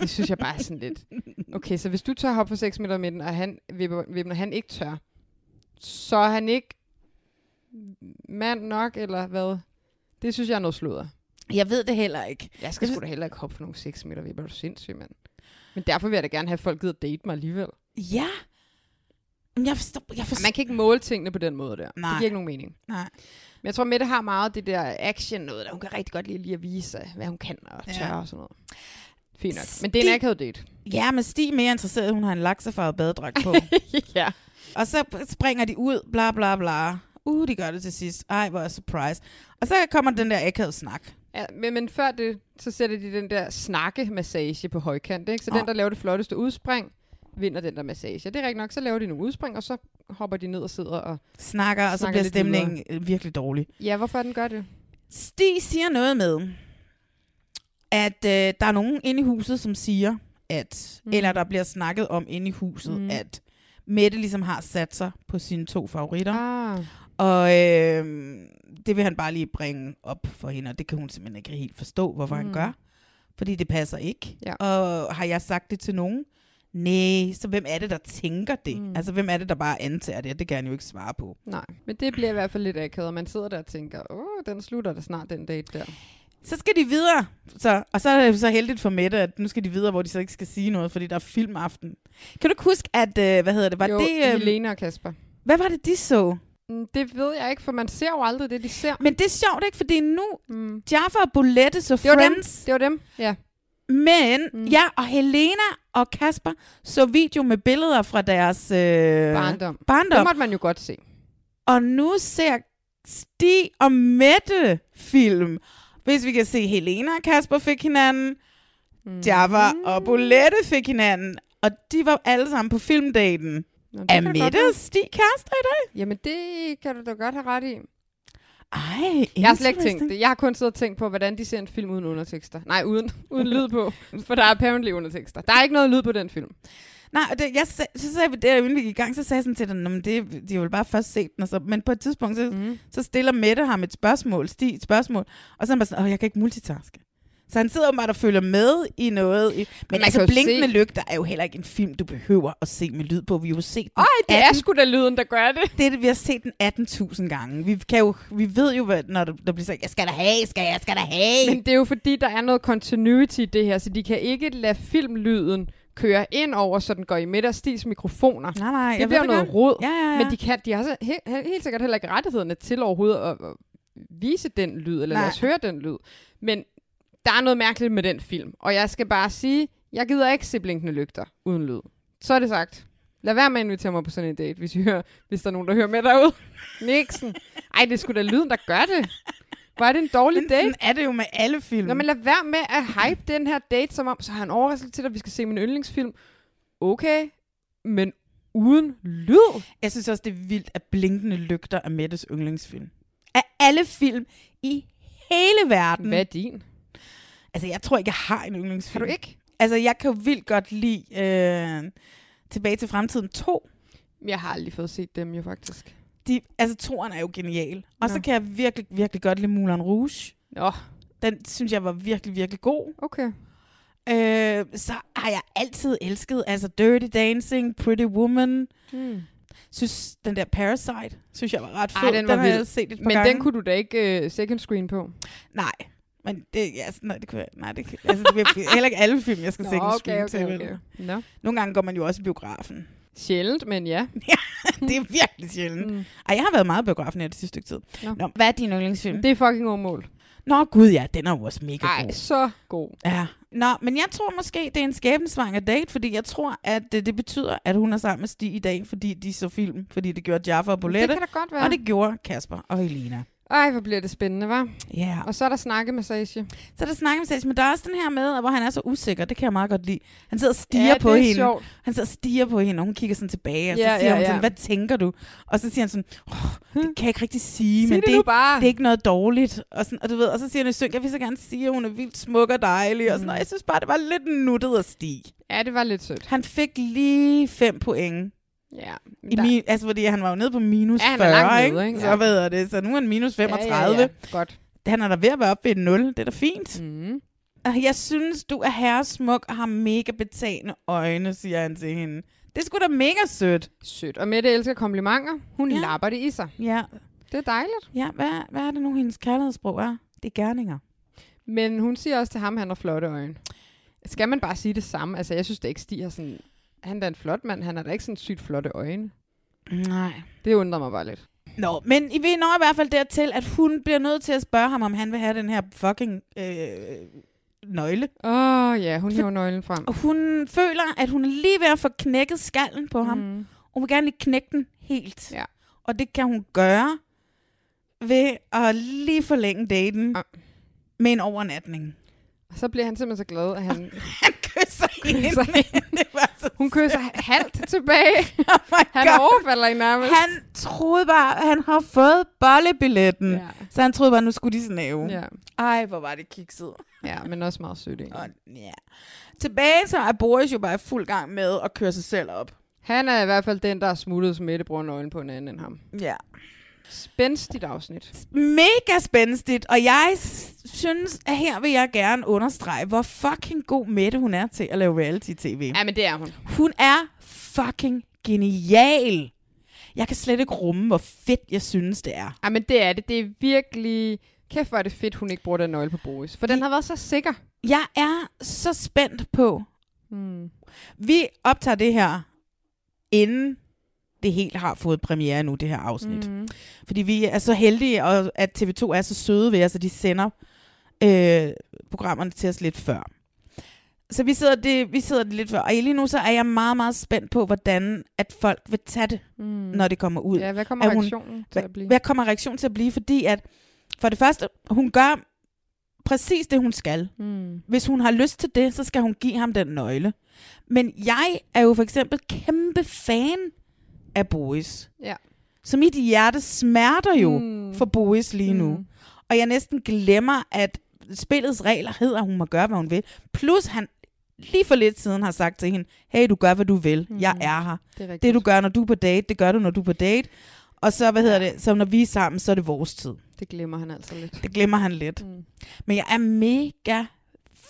Det synes jeg bare er sådan lidt. Okay, så hvis du tør hoppe for 6 meter med den, og han, vipper, vipper, han ikke tør, så er han ikke mand nok, eller hvad? Det synes jeg er noget sludder. Jeg ved det heller ikke. Jeg skal Jeg sgu da heller ikke hoppe for nogle 6 meter vipper. Er du sindssyg, mand? Men derfor vil jeg da gerne have, at folk gider date mig alligevel. Ja. Men jeg forstår... Jeg forstår... Man kan ikke måle tingene på den måde der. Det Nej. giver ikke nogen mening. Nej. Men jeg tror, Mette har meget det der action noget, der hun kan rigtig godt lide lige at vise, hvad hun kan og Ja. tør og sådan noget. Fint nok. Men det er en Stig- akavet *laughs* date. Ja, men Stig er mere interesseret, hun har en laksefarvet badedragt *laughs* på. ja. og så springer de ud, bla bla bla. Uh, de gør det til sidst. Ej, hvor er surprise. Og så kommer den der akavet snak. ja men, men før det, så sætter de den der snakkemassage på højkant. Ikke? Så Åh. den, der laver det flotteste udspring, vinder den der massage. Og Det er rigtigt nok, så laver de nogle udspring, og så hopper de ned og sidder og... Snakker, og så Snakker bliver lidt stemningen øh, virkelig dårlig. Ja, hvorfor den gør det? Stig siger noget med, at øh, der er nogen inde i huset, som siger, at, mm. eller der bliver snakket om inde i huset, Mm. mm. at Mette ligesom har sat sig på sine to favoritter. Ah. Og øh, det vil han bare lige bringe op for hende, og det kan hun simpelthen ikke helt forstå, hvorfor mm. Mm. han gør. Fordi det passer ikke. Ja. Og har jeg sagt det til nogen? Nej, så hvem er det, der tænker det? Mm. Mm. Altså, hvem er det, der bare antager det? Og Det kan han jo ikke svare på. Nej, men det bliver i hvert fald lidt akavet, og man sidder der og tænker, åh, den slutter da snart, den date der. Så skal de videre. Så, og så er det jo så heldigt for Mette, at nu skal de videre, hvor de så ikke skal sige noget, fordi der er filmaften. Kan du ikke huske, at, øh, hvad hedder det, var jo, det, øh, Helene og Kasper. hvad var det, de så? Mm, Det ved jeg ikke, for man ser jo aldrig det, de ser. Men det er sjovt, ikke? Fordi nu, Mm. Jaffa og Bolette så Det var Friends. dem. Det var dem, ja. Men Mm. mm. ja, og Helena og Kasper så video med billeder fra deres øh, Barndom. Det barndom. måtte man jo godt se. Og nu ser Stig og Mette film. Hvis vi kan se, Helena og Kasper fik hinanden, Mm. Java og Bolette fik hinanden, og de var alle sammen på filmdaten. Nå, det Er kan du godt Mette og Stig kærester i dag? have- Jamen, det kan du da godt have ret i. Ej, Jeg har slet ikke tænkt det. Jeg har kun siddet og tænkt på, hvordan de ser en film uden undertekster. Nej, uden, uden lyd på. For der er apparently undertekster. Der er ikke noget lyd på den film. Nej, og det, jeg, sag- så sagde vi det, inden vi gik i gang, så sagde jeg sådan til den, men det, de har jo bare først set den, og så, men på et tidspunkt, så, Mm. mm. så stiller Mette ham et spørgsmål, Stig et spørgsmål, og så er han bare sådan, åh, jeg kan ikke multitaske. Så han sidder åbenbart og følger med i noget. I, men man altså, kan jo Blinkende se- Lygter er jo heller ikke en film, du behøver at se med lyd på. Vi har jo set den, Ej, det er 18. sgu da lyden, der gør det. det, er det, vi har set den 18.000 gange. Vi, kan jo, vi ved jo, hvad, når der, der bliver sagt, jeg skal da have, skal jeg, skal da have. Men det er jo fordi, der er noget continuity i det her, så de kan ikke lade filmlyden køre ind over, så den går i midt og Stigs mikrofoner. nej, nej, det jeg bliver ved noget godt. rod. Ja, ja, ja. Men de, kan, de har så he, he, helt sikkert heller ikke rettighederne til overhovedet at, at vise den lyd, eller lade Nej. os høre den lyd. Men der er noget mærkeligt med den film, og jeg skal bare sige, jeg gider ikke se blinkende lygter uden lyd. Så er det sagt. Lad være med at invitere mig på sådan en date, hvis, I hører, hvis der er nogen, der hører med derude. *laughs* Nixen. Ej, det skulle da lyden, der gør det. Hvor er det en dårlig Men date? sådan er det jo med alle film. Nå, men lad være med at hype den her date, som om, så har han overraskelse til dig, vi skal se min yndlingsfilm. Okay, men uden lyd. Jeg synes også, det er vildt, at Blinkende Lygter er Mettes yndlingsfilm. Af alle film i hele verden. Hvad er din? Altså, jeg tror ikke, jeg har en yndlingsfilm. Mm. Har du ikke? Altså, jeg kan jo vildt godt lide øh, Tilbage til fremtiden 2. Jeg har aldrig fået set dem jo faktisk. De, altså, toren er jo genial. Og så Nå. kan jeg virkelig, virkelig godt lide Moulin Rouge. Nå, Den synes jeg var virkelig, virkelig god. okay. Øh, så har jeg altid elsket, altså Dirty Dancing, Pretty Woman. Hmm. Synes, den der Parasite, synes jeg var ret fed. Ej, den var har vild. jeg set et par Men gange. den kunne du da ikke uh, second screen på. Nej, men det, ja, altså, nej, det kunne jeg, nej, det, kan- altså, det bliver heller ikke alle film, jeg skal se en screen til. vel? Nå. Nogle gange går man jo også i biografen. *laughs* Sjældent, men ja. det er virkelig sjældent. Mm. Ej, jeg har været meget i biografen her det sidste stykke tid. Nå. Nå, hvad er din yndlingsfilm? Det... Det er fucking overmål. Nå gud ja, den Mm. er jo også mega Ej. Nej, god. så god. Ja. Nå, men jeg tror måske, det er en skæbnesvanger date, fordi jeg tror, at øh, det, det betyder, at hun er sammen med Stig i dag, fordi de så film, fordi det gjorde Jaffa og Det Bolette, kan da godt være. og det gjorde Kasper og Helena. Ej, hvor bliver det spændende, var. Ja. Og så er der snakkemassage. Så der snakker vi seks, men der er også den her med, hvor han er så usikker, det kan jeg meget godt lide. Han sidder og stiger på det er hende. sjovt. Han sidder og stiger på hende, og hun kigger sådan tilbage, og så Ja, siger ja, hun ja. Hm? sådan, hvad tænker du? Og så siger han sådan, oh, det kan jeg ikke rigtig sige, Sig men det, det nu bare. det er ikke noget dårligt. Og, sådan, og, du ved, og så siger han i synk, jeg vil så gerne sige, at hun er vildt smuk og dejlig. Og sådan, og Mm. jeg synes bare, det var lidt nuttet at stige. Ja, det var lidt sødt. Han fik lige fem point. Ja. I min, altså, fordi han var jo nede på minus Ja, han er 40, langt nede, ikke? ikke? Så Ja. ved jeg det. Så nu er han minus 35. Ja, ja, ja. Godt. Han er da ved at være oppe ved et 0. Det er da fint. Mm. Mm. Jeg synes, du er herresmuk og har mega betagende øjne, siger han til hende. Det skulle da mega sødt. Sødt. Og Mette elsker komplimenter. Hun Ja. ja. lapper det i sig. Ja, Det er dejligt. ja hvad, hvad er det nu, hendes kærlighedssprog er? Det er gerninger. Men hun siger også til ham, at han har flotte øjne. Skal man bare sige det samme? Altså, jeg synes det ikke, Stig har sådan... Han er da en flot mand. Han har da ikke sådan sygt flotte øjne. Nej. Det undrer mig bare lidt. Nå, men I ved når i hvert fald dertil, at hun bliver nødt til at spørge ham, om han vil have den her fucking øh, nøgle. Åh, oh, ja. Hun hæver nøglen frem. Og hun føler, at hun er lige ved at få knækket skallen på ham. Mm. Hun vil gerne lige knække den helt. Ja. Og det kan hun gøre ved at lige forlænge daten Ah. med en overnatning. Og så bliver han simpelthen så glad, at han, Han kysser Kysser hende. *laughs* det var så hun kysser halvt *laughs* tilbage. oh my Han God. overfalder hende nærmest. Han troede bare, at han har fået bollebilletten. Ja. Så han troede bare, at nu skulle de snæve. Ja. Ej, hvor var det kikset. ja, men også meget sødt egentlig. Og, ja. Tilbage så er Boris jo bare i fuld gang med at køre sig selv op. Han er i hvert fald den, der har smuttet Smette bruger nøglen på en anden end ham. Ja. Spændstigt afsnit. Mega spændstigt, og jeg s- synes, at her vil jeg gerne understrege, hvor fucking god Mette hun er til at lave reality-tv. Ja, men det er hun. Hun er fucking genial. Jeg kan slet ikke rumme, hvor fedt jeg synes, det er. Ja, men det er det. Det er virkelig... Kæft, hvor er det fedt, hun ikke bruger den nøgle på Boris. For den har været så sikker. Jeg er så spændt på. Hmm. Vi optager det her, inden det helt har fået premiere nu, det her afsnit. Mm. Fordi vi er så heldige, og at TV2 er så søde ved os, at de sender øh, programmerne til os lidt før. Så vi sidder, det, vi sidder det lidt før. Og lige nu så er jeg meget, meget spændt på, hvordan at folk vil tage det, Mm. når det kommer ud. Ja, hvad kommer Er hun- reaktionen til at blive? Hvad kommer reaktionen til at blive? Fordi at for det første, hun gør præcis det, hun skal. Mm. Hvis hun har lyst til det, så skal hun give ham den nøgle. Men jeg er jo for eksempel kæmpe fan af Boris. Ja. Så mit hjerte smerter jo Mm. for Boris lige nu. Mm. Og jeg næsten glemmer, at spillets regler hedder, at hun må gøre, hvad hun vil. Plus han lige for lidt siden har sagt til hende, hey, du gør, hvad du vil. Jeg Mm. er her. Det er rigtigt. Det, du gør, når du er på date, det gør du, når du er på date. Og så, hvad hedder det, så når vi er sammen, så er det vores tid. det glemmer han altså lidt. Det glemmer han lidt. Mm. Men jeg er mega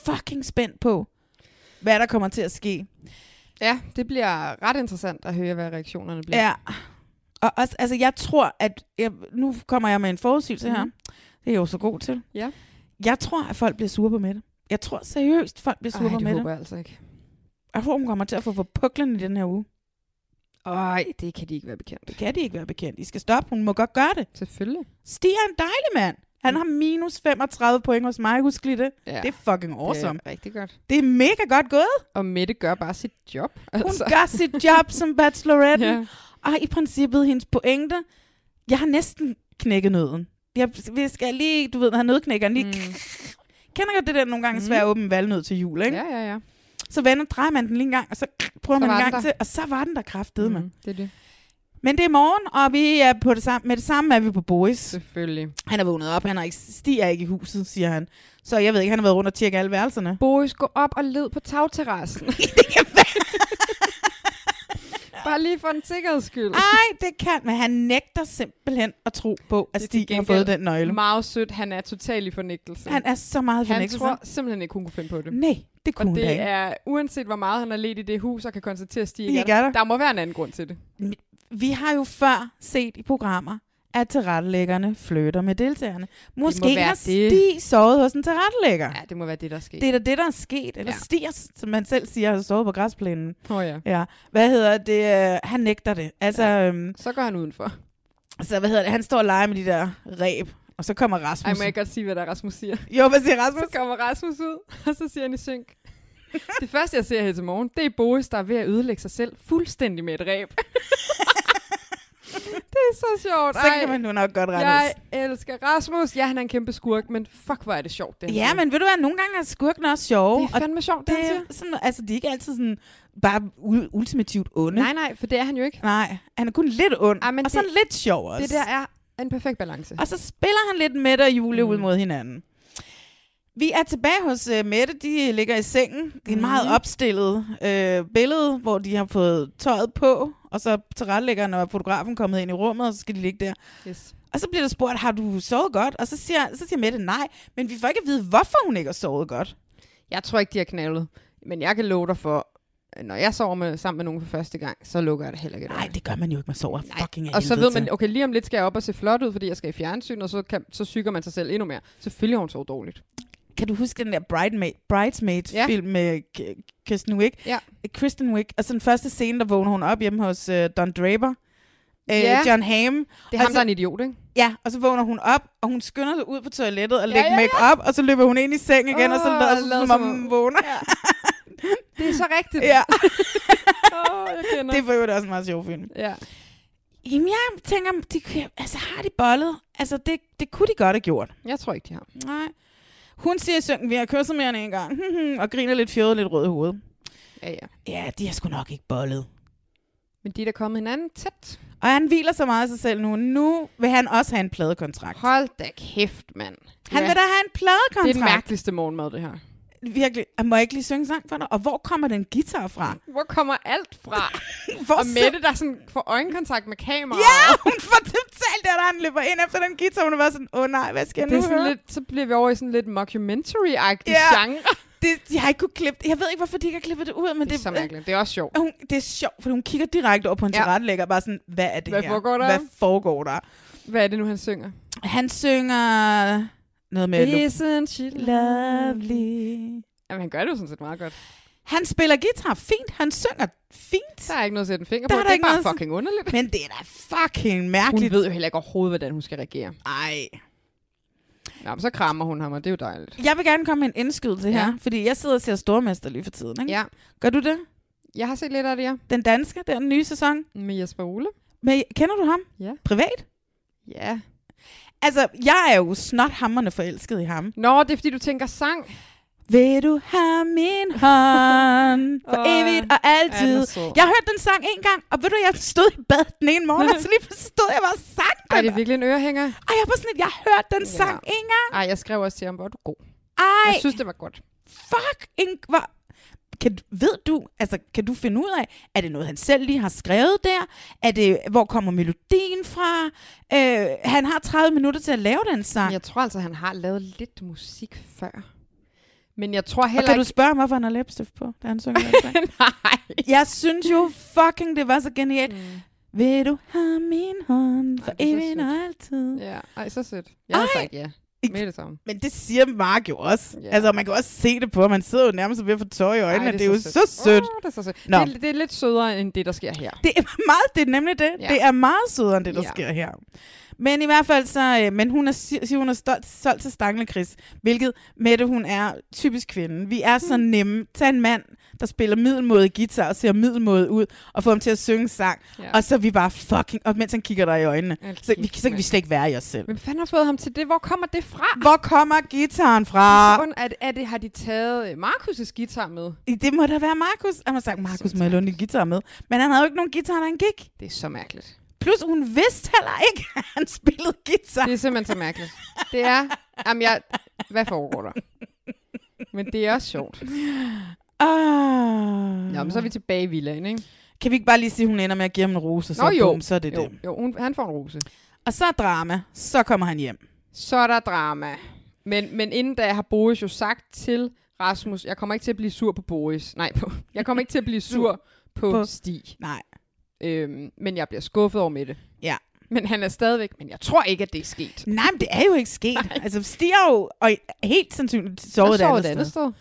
fucking spændt på, hvad der kommer til at ske. Ja, det bliver ret interessant at høre, hvad reaktionerne bliver. Ja. Og også, altså, jeg tror, at... Jeg, nu kommer jeg med en forudsigelse mm. her. Mhm. Det er jeg jo så god til. Ja. Jeg tror, at folk bliver sure på Mette. Jeg tror seriøst, folk bliver sure Ej, på det Mette. håber jeg altså ikke. Jeg tror, hun kommer til at få for puklen i den her uge. Ej, det kan de ikke være bekendt. Det kan de ikke være bekendt. I skal stoppe. Hun må godt gøre det. Selvfølgelig. Stig er en dejlig mand. Han har minus 35 point hos mig, husk lige det. Mm. Ja, Det er fucking awesome. Det er rigtig godt. Det er mega godt gået. Og Mette gør bare sit job. *laughs* Hun gør sit job som bachelorette. Ja. Og i princippet hendes pointe, jeg har næsten knækket nøden. Jeg vi skal lige, du ved, have nødknækkeren lige. Mm. Kender jeg det der nogle gange svært at åbne valnød til jul, ikke? Mm. ja, ja, ja. Så vender, drejer man den lige en gang, og så prøver Så man var en den gang der. til, og så var den der kraftede mm. man. Mm, det er det. Men det er morgen, og vi er på det samme, med det samme er vi på Boris. Selvfølgelig. Han er vågnet op, han er ikke, stiger ikke i huset, siger han. Så jeg ved ikke, han har været rundt og tjekke alle værelserne. Boris, gå op og led på *laughs* tagterrassen. Bare lige for en sikkerheds skyld. Nej, det kan, men han nægter simpelthen at tro på, at Det er til Stig har gengæld fået den nøgle. Meget sødt. Han er totalt i fornægtelse. Han er så meget han fornægtelse. tror simpelthen ikke, hun kunne finde på det. Nej, det Og Mm, kunne hun da det ikke. er, uanset hvor meget han har let i det hus, og kan konstatere, at Stig Stig ikke er ikke er der. der. Der må være en anden grund til det. Vi har jo før set i programmer, at tilrettelæggerne flytter med deltagerne. Måske være har det. Stig sovet hos en tilrettelægger. Ja, det må være det, der sker. Det er da det, der er sket. Eller Ja. ja. Stier, som man selv siger, har sovet på græsplænen. Oh, ja. Ja. Hvad hedder det? Øh, Han nægter det. Altså, ja. øhm, Så går han udenfor. så hvad hedder det? Han står og leger med de der ræb. Og så kommer Ej, Rasmus. må jeg godt sige, hvad der Rasmus siger? Jo, hvad siger Så Rasmus? kommer Rasmus ud, og så siger han i synk. Det første, jeg ser her til morgen, det er Boris, der er ved at ødelægge sig selv fuldstændig med et ræb. *laughs* det er så sjovt. Så kan man nu nok godt rette jeg elsker Rasmus. Ja, han er en kæmpe skurk, men fuck, hvor er det sjovt, det han Ja, siger. men ved du hvad? Nogle gange er skurkene også sjove. Det er fandme sjovt, og det, det han siger. er sådan, altså, de er ikke altid sådan bare u- ultimativt onde. Nej, nej, for det er han jo ikke. Nej, han er kun lidt ond, Ej, men og det- sådan lidt sjov også. Det der er en perfekt balance. Og så spiller han lidt Mette og Julie mm. ud mod hinanden. Vi er tilbage hos uh, Mette, de ligger i sengen. Det er en meget opstillet øh, billede, hvor de har fået tøjet på, og så tilrettelæggeren og fotografen kommet ind i rummet, og så skal de ligge der. Yes. Og så bliver der spurgt, har du sovet godt? Og så siger, så siger Mette nej, men vi får ikke at vide, hvorfor hun ikke har sovet godt. Jeg tror ikke, de har knaldet. Men jeg kan love dig for, at når jeg sover med, sammen med nogen for første gang, så lukker jeg det heller ikke. et Nej, øje. det gør man jo ikke, man sover fucking af Og så helvede ved man, til. okay, lige om lidt skal jeg op og se flot ud, fordi jeg skal i fjernsyn, og så, kan, så syger man sig selv endnu mere. Selvfølgelig har hun sovet dårligt. Kan du huske den der Bridesmaid, Bridesmaid-film ja. med K- Kristen Wiig? Ja. Kristen Wiig. Og så den første scene, der vågner hun op hjemme hos uh, Don Draper. Uh, Ja. ja. John Hamm. Det er Og ham, så- der er en idiot, ikke? Ja, og så vågner hun op, og hun skynder sig ud på toilettet og Ja, lægger ja, ja. make-up, og så løber hun ind i seng igen, oh, og så Åh, lader hun, lader som som om om- hun vågner. *laughs* *laughs* Det er så rigtigt. Ja, Åh, jeg kender. det var jo også en meget sjov film. Ja. Jamen, jeg tænker, de, kan- altså, har de bollet? Altså, det, det kunne de godt have gjort. Jeg tror ikke, de har. Nej. Hun siger i synken, vi har kysset mere end en gang, *laughs* og griner lidt fjollet, lidt rød i hovedet. Ja, ja. Ja, de har sgu nok ikke bollet. Men de er da kommet hinanden tæt. Og han hviler så meget af sig selv nu. Nu vil han også have en pladekontrakt. Hold da kæft, mand. Han vil da have en Det er den pladekontrakt. mærkeligste morgenmad, det her. Virkelig. Jeg må jeg ikke lige synge en sang for dig? Og hvor kommer den guitar *laughs* fra? Hvor kommer alt fra? Hvor og Mette, der sådan får øjenkontakt med kameraet. Ja, hun får totalt det, da han løber ind efter den guitar. Hun var sådan, åh oh, nej, hvad skal jeg Det nu er sådan høre? lidt, så bliver vi over i sådan lidt mockumentary-agtig Ja. genre. Det, de har ikke kunne klippe det. Jeg ved ikke, hvorfor de ikke har klippet det ud, men Det er så mærkeligt. Det er også sjovt. Og Hun, det er sjovt, for hun kigger direkte op på en Ja. ja. tilrettelægger og bare sådan, hvad er det Hvad her? foregår der? Hvad foregår der? Hvad er det nu, han synger? Han synger noget med... Isn't she Lovely. Jamen, han gør det jo sådan set meget godt. Han spiller guitar fint, han synger fint, Der er ikke noget at sætte en finger Der på. er der det er ikke bare noget at- fucking underligt. men det er da fucking Hun mærkeligt. ved jo heller ikke overhovedet, hvordan hun skal reagere. Ej. Nå, men så krammer hun ham, og det er jo dejligt. Jeg vil gerne komme med en indskydelse Ja. ja. her, fordi jeg sidder og ser Stormester lige for tiden. Ikke? Ja, Gør du det? jeg har set lidt af det, ja. Den danske, den nye sæson. Med Jesper Ole. Men kender du ham? Ja. Privat? Ja. Altså, jeg er jo snot hammerne forelsket i ham. Nå, det er fordi, du tænker sang. Vil du have min hånd for Åh, oh, evigt og altid? er sød. jeg hørte den sang en gang, og ved du, jeg stod i badet den ene *laughs* morgen, og så lige forstod jeg, hvad sang den Ej, det er var. virkelig en ørehænger. Og jeg var sådan, lidt, jeg hørte den Ja. sang en gang. Ej, jeg skrev også til ham, hvor er du god. Ej, Jeg synes, det var godt. fuck, en, hvor, kan, du- ved du, altså, kan du finde ud af, er det noget, han selv lige har skrevet der? Er det, hvor kommer melodien fra? Øh, han har 30 minutter til at lave den sang. Men Jeg tror altså, han har lavet lidt musik før. Men jeg tror Og heller kan du *laughs* ikke... spørge mig, hvorfor han har læbstift på, da han synger *laughs* den sang? Nej. Jeg synes jo fucking, det var så genialt. Mm. Vil du have min hånd for Ej, det er så evigt sødt. og altid? Ja. Ja, ej, så sødt. Jeg har sagt ja. Ikke- Med det samme. Men det siger Mark jo også. Ja. Yeah. Altså, man kan også se det på, ham. man sidder jo nærmest ved at få tår i øjnene. Ej, det, det er, jo så sødt. Åh, det er så sødt. Nå. Det, er- det er lidt sødere end det, der sker her. Det er *laughs* meget, det er nemlig det. Ja. Ja. Det er meget sødere end det, der Ja. ja. sker her. Men i hvert fald så, øh, men hun er, si- siger, hun er stolt, solgt til Stanglekris, hvilket Mette, hun er typisk kvinde. Vi er Mm. så nemme. Tag en mand, der spiller middelmåde guitar og ser middelmåde ud, og få ham til at synge en sang, Ja. ja. og så er vi bare fucking, og mens han kigger dig i øjnene, Ja, så, vi, kæft, så kan vi mand. slet ikke være i os selv. Hvem fanden har fået ham til det? Hvor kommer det fra? Hvor Ah. kommer gitaren fra? Hvor? Er, det- er det, har de taget øh, Markus' guitar med? Det må da være Markus. Han har sagt, Markus, må jeg låne din guitar med? Men han havde jo ikke nogen guitar, da han gik. Det er så mærkeligt. Plus, hun vidste heller ikke, *laughs* at han spillede guitar. Det er simpelthen så mærkeligt. Det er... Jamen, jeg... Hvad foregår der? Men det er også sjovt. Ah. Nå, men så er vi tilbage i villaen, ikke? Kan vi ikke bare lige sige, at hun ender med at give ham en rose, så, Nå jo. bum, så er det jo, det. jo hun, han får en rose. Og så er drama. Så kommer han hjem. Så er der drama. Men, men inden da har Boris jo sagt til Rasmus, jeg kommer ikke til at blive sur på Boris. Nej, på, *laughs* jeg kommer ikke til at blive sur på, På- på. Stig. Nej. Øhm, men jeg bliver skuffet over med det. Ja. Men han er stadigvæk, men jeg tror ikke, at det er sket. Nej, men det er jo ikke sket. Nej. Altså, Stig har jo og helt sandsynligt sovet et Han sover andet, sted. sted.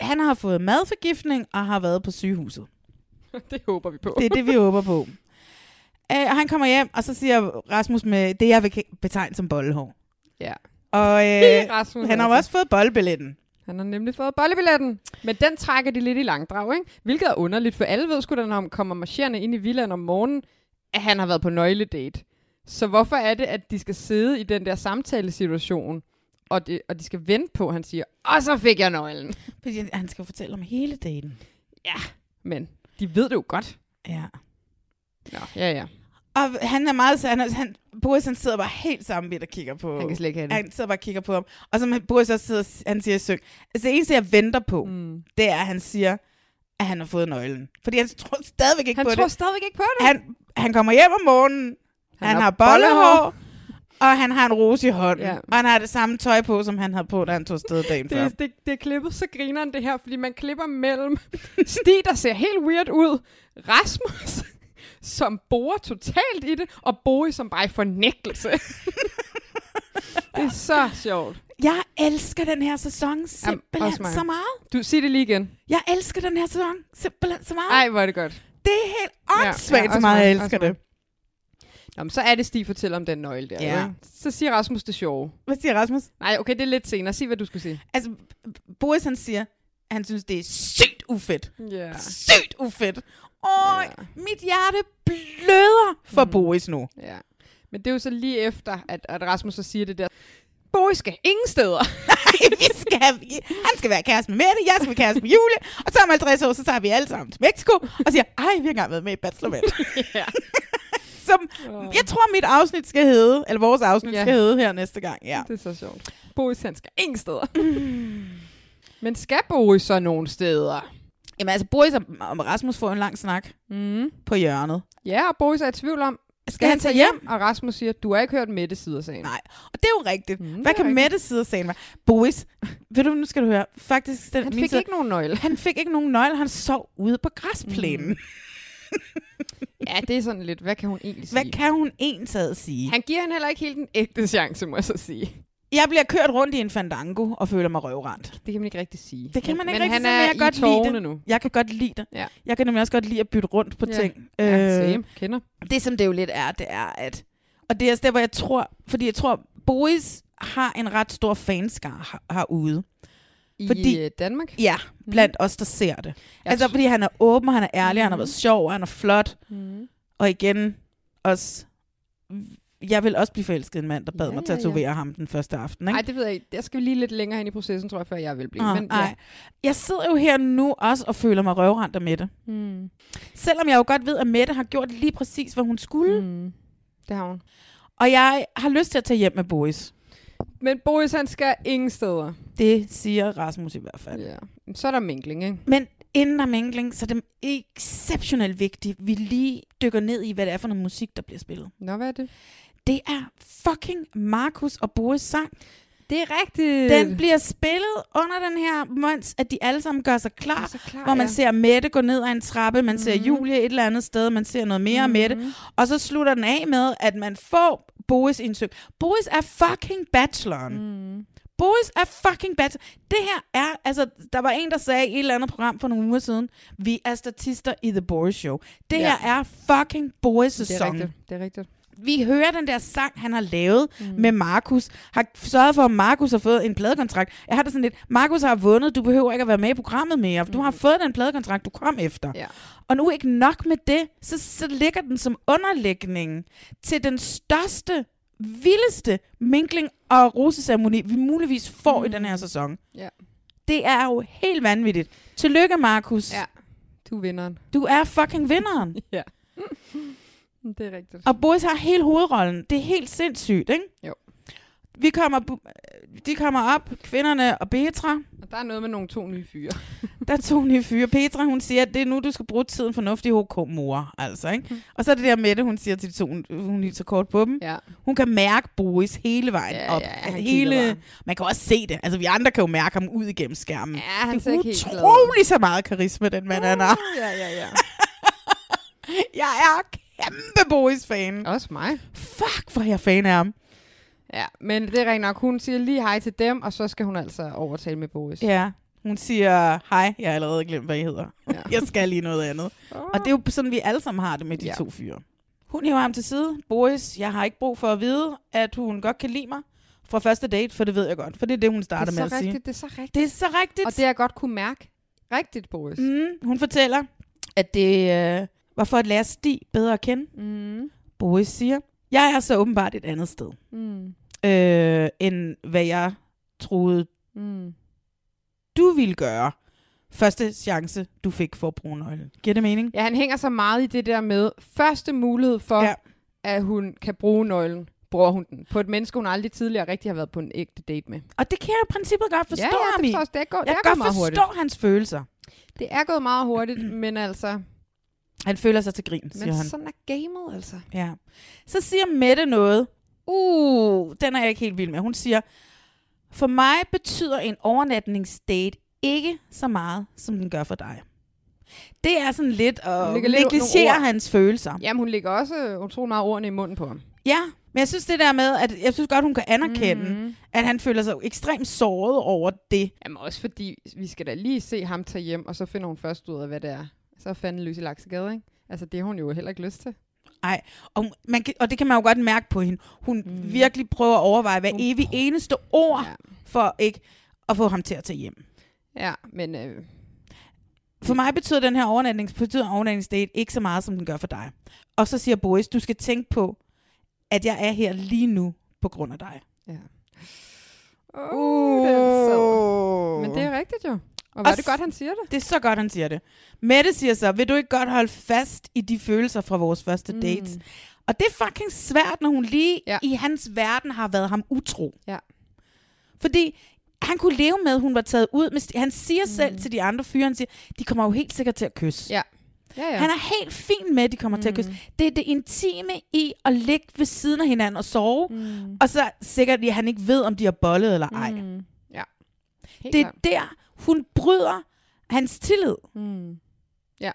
Han har fået madforgiftning og har været på sygehuset. *laughs* Det håber vi på. Det er det, vi håber *laughs* på. Øh, og han kommer hjem, og så siger Rasmus med det, jeg vil ke- betegne som bollehår. Ja. *laughs* Og øh, Rasmus han har jo Hansen. også fået boldbilletten. Han har nemlig fået bollebilletten. Men den trækker de lidt i langdrag, ikke? Hvilket er underligt, for alle ved sgu da, når han kommer marcherende ind i villaen om morgenen, at han har været på nøgledate. Så hvorfor er det, at de skal sidde i den der samtalesituation, og, det, og de skal vente på, at han siger, og så fik jeg nøglen. Fordi han- han skal jo fortælle om hele daten. Men de ved det jo godt. Ja. Nå, ja, ja. Og han er meget... så Han, er- han, Boris han sidder bare helt sammenbidt og kigger på... Han kan slet ikke have det. han sidder bare og kigger på ham. Og som han- Boris også sidder, og s- han siger i syng. Altså det eneste, jeg venter på, mm. Mm. det er, at han siger, at han har fået nøglen. Fordi han tror stadigvæk ikke Han på tror det. stadigvæk ikke på det. Han, han kommer hjem om morgenen, han, han har bollehår, og han har en rose i hånden. Ja. Ja. Og han har det samme tøj på, som han havde på, da han tog *laughs* sted dagen før. Det, det, det er klippet så grineren det her, fordi man klipper mellem *laughs* Stig, der ser helt weird ud, Rasmus, *laughs* som borer totalt i det, og Boe, som bare er i *laughs* fornægtelse. det er så sjovt. Jeg elsker den her sæson simpelthen også mig. så meget. Du, sig det lige igen. Jeg elsker den her sæson simpelthen så meget. Ej, hvor er det godt. Det er helt Ja, åndssvagt, ja, Ah. så også meget mig, jeg også elsker det. mig. Nå, men så er det Stig fortæller om den nøgle der. Ja. Ja. Så siger Rasmus det sjove. Hvad siger Rasmus? Nej, okay, det er lidt senere. Sig, hvad du skulle sige. Altså, Boris han siger, at han synes, det er sygt ufedt. Ja. Sygt ufedt. Og ja. mit hjerte bløder for mm. Boris nu. *laughs* ja. Men det er jo så lige efter, at, at Rasmus så siger det der. Boe skal ingen steder. Ej, vi skal, han skal være kæreste med Mette, jeg skal være kæreste med Julie. Og så om 50 år, så tager vi alle sammen til Mexico og siger, ej, vi har engang været med i Bachelorette. *laughs* ja. Som, jeg tror, mit afsnit skal hedde, eller vores afsnit Ja. ja. skal hedde her næste gang. Ja. Det er så sjovt. Boris, han skal ingen steder. *laughs* Men skal Boris så nogen steder? Jamen altså, Boris og og Rasmus får en lang snak Mm. på hjørnet. Ja, og Boris er i tvivl om, Skal han tage hjem? og Rasmus siger, du har ikke hørt Mette side af sagen. Nej, og det er jo rigtigt. Mm, Mm, det Hvad er kan rigtigt. rigtigt. Mette sidde og sagen være? Boris, ved du, nu skal du høre, faktisk... Den, Han min fik side- ikke *laughs* nogen nøgle. Han fik ikke nogen nøgle, han sov ude på græsplænen. Mm. Ja, det er sådan lidt, hvad kan hun egentlig sige? Hvad kan hun entaget sige? Han... Han giver hende heller ikke helt den ægte chance, må jeg så sige. Jeg bliver kørt rundt i en fandango og føler mig røvrendt. Det kan man ikke rigtig sige. Det kan man men, ikke rigtig men han sige, men er jeg i kan godt lide tårne det. nu. Jeg kan godt lide det. Ja. Jeg kan nemlig også godt lide at bytte rundt på Ja. ting. Øh, Ja, same. Kender. det som det jo lidt er, det er at... Og det er også der, hvor jeg tror... Fordi jeg tror, Boris har en ret stor fanskar her- herude. Mhm. I fordi- øh, Danmark? Ja, blandt mm. os, der ser det. Jeg Mhm. altså, tr- fordi han er åben, og han er ærlig, mm. han har været sjov, og han er flot. Mm. Og igen, også... Jeg vil også blive forelsket i en mand, der bad Ja, ja, mig ja, ja. tatovere ham den første aften. Ikke? Nej, det ved jeg ikke. Jeg skal lige lidt længere hen i processen, tror jeg, før jeg vil blive. Åh, men, ej. Jeg sidder jo her nu også og føler mig røvrendt af Mette. Ja. Mm. Selvom jeg jo godt ved, at Mette har gjort lige præcis, hvad hun skulle. Mm. Mm. Det har hun. Og jeg har lyst til at tage hjem med Boris. Men Boris, han skal ingen steder. Det siger Rasmus i hvert fald. Yeah. Ja. Så er der minkling, ikke? Men inden om mingling, så er det exceptionelt vigtigt, vi lige dykker ned i, hvad det er for noget musik, der bliver spillet. Nå, hvad er det? Det er fucking Markus og Boris sang. Det er rigtigt. Den bliver spillet under den her, mens at de alle sammen gør sig klar. Gør sig klar, hvor man ja. Mhm. ser Mette gå ned ad en trappe, man ser Julie et eller andet sted, man ser noget mere mm. Mette. Og så slutter den af med, at man får Boris indsøgt. Boris er fucking bacheloren. Mm. Mhm. Boris er fucking bachelor. Det her er, altså, der var en, der sagde i et eller andet program for nogle uger siden, vi er statister i The Boris Show. Det Ja. her er fucking Boris' det er sæson. rigtigt. Det er rigtigt. vi hører den der sang, han har lavet mm. med Markus. Har sørget for, at Markus har fået en pladekontrakt. Jeg har det sådan lidt, Markus har vundet, du behøver ikke at være med i programmet mere. for Du har fået den pladekontrakt, du kom efter. Mm. Ja. Og nu ikke nok med det, så, så ligger den som underlægning til den største, vildeste minkling og roseceremoni, vi muligvis får mm. i den her sæson. Ja. Det er jo helt vanvittigt. Tillykke, Markus. Ja. Du er vinderen. Du er fucking vinderen. Ja. *laughs* det er rigtigt. Og Boris har hele hovedrollen. Det er helt sindssygt, ikke? Jo. Vi kommer, bu- de kommer op, kvinderne og Petra. Og der er noget med nogle to nye fyre. Der er to nye fyre. Petra, hun siger, at det er nu, du skal bruge tiden fornuftig HK, mor. Altså, ikke? Mm. Og så er det der Mette, hun siger til de to, hun- hun hilser kort på dem. Ja. Hun kan mærke Boris hele vejen Ja, op. Altså, ja, han kigger hele... bare. Man kan også se det. Altså, vi andre kan jo mærke ham ud igennem skærmen. Ja, han det ser er ikke helt glad ud. Uh, utrolig så meget karisma, den mand, han *laughs* har. ja, ja, ja. Jeg er kæmpe Boris-fan. Også mig. Fuck, hvor er jeg fan af ham. Ja, men det er rent nok. Hun siger lige hej til dem, og så skal hun altså overtale med Boris. Ja. Hun siger, hej, jeg har allerede glemt, hvad I hedder. Ja. Ja. Ah. jeg skal lige noget andet. Og det er jo sådan, vi alle sammen har det med de ja. Ja. to fyre. Hun hiver ham til side. Boris, jeg har ikke brug for at vide, at hun godt kan lide mig fra første date, for det ved jeg godt. For det er det, hun det starter er med så at sige. rigtigt, det er så rigtigt. Det er så rigtigt. Og det har jeg godt kunne mærke. Rigtigt, Boris. mm, hun fortæller, at det øh, var for at lære Stig bedre at kende. Mm. Boris siger, jeg er så åbenbart et andet sted, Mm. øh, end hvad jeg troede, Mm. du ville gøre. Første chance, du fik for at bruge nøglen. Giver det mening? Ja, han hænger så meget i det der med første mulighed for, Ja. ja. at hun kan bruge nøglen, bruger hun den, på et menneske, hun aldrig tidligere rigtig har været på en ægte date med. Og det kan jeg i princippet godt forstå, ja, ja, Ami. det, forstår, det, er gået, jeg det er kan gået godt meget forstå hurtigt. hans følelser. Det er gået meget hurtigt, men altså, Han føler sig til grin, siger men han. sådan er gamet altså. Ja. Så siger Mette noget. Uh, den er jeg ikke helt vild med. Hun siger, for mig betyder en overnatningsdate ikke så meget, som den gør for dig. Det er sådan lidt Hun at lægger lidt nogle negligere ord. hans følelser. Jamen, hun lægger også øh, utrolig meget ordene i munden på ham. Ja, men jeg synes det der med, at jeg synes godt, hun kan anerkende, mm. at han føler sig ekstremt såret over det. Jamen, også fordi, vi skal da lige se ham tage hjem, og så finder hun først ud af, hvad det er. Så er fanden løs i laksegade, ikke? Altså, det har hun jo heller ikke lyst til. Ej, og, hun- man kan, og det kan man jo godt mærke på hende. Hun mm. virkelig prøver at overveje hver evig eneste ord, ja. Ja. for ikke at få ham til at tage hjem. Ja, men øh, For mig betyder den her overnatnings, betyder overnatningsdate ikke så meget, som den gør for dig. Og så siger Boris, du skal tænke på, at jeg er her lige nu på grund af dig. ja. Uh, den er sød. Men det er rigtigt jo. Og var Og det s- godt, han siger det? det er så godt, han siger det. Mette siger så, vil du ikke godt holde fast i de følelser fra vores første mm. date? Og det er fucking svært, når hun lige ja. Ja. i hans verden har været ham utro. Ja. Fordi han kunne leve med, at hun var taget ud. Men han siger mm. selv til de andre fyre, han siger, de kommer jo helt sikkert til at kysse. Ja. Ja, ja. Han er helt fin med, at de kommer mm. til at kysse. Det er det intime i at ligge ved siden af hinanden og sove. Mm. Og så sikkert, at han ikke ved, om de har bollet eller ej. Mm. ja. Helt Det er klart. der, hun bryder hans tillid. Mm. Ja.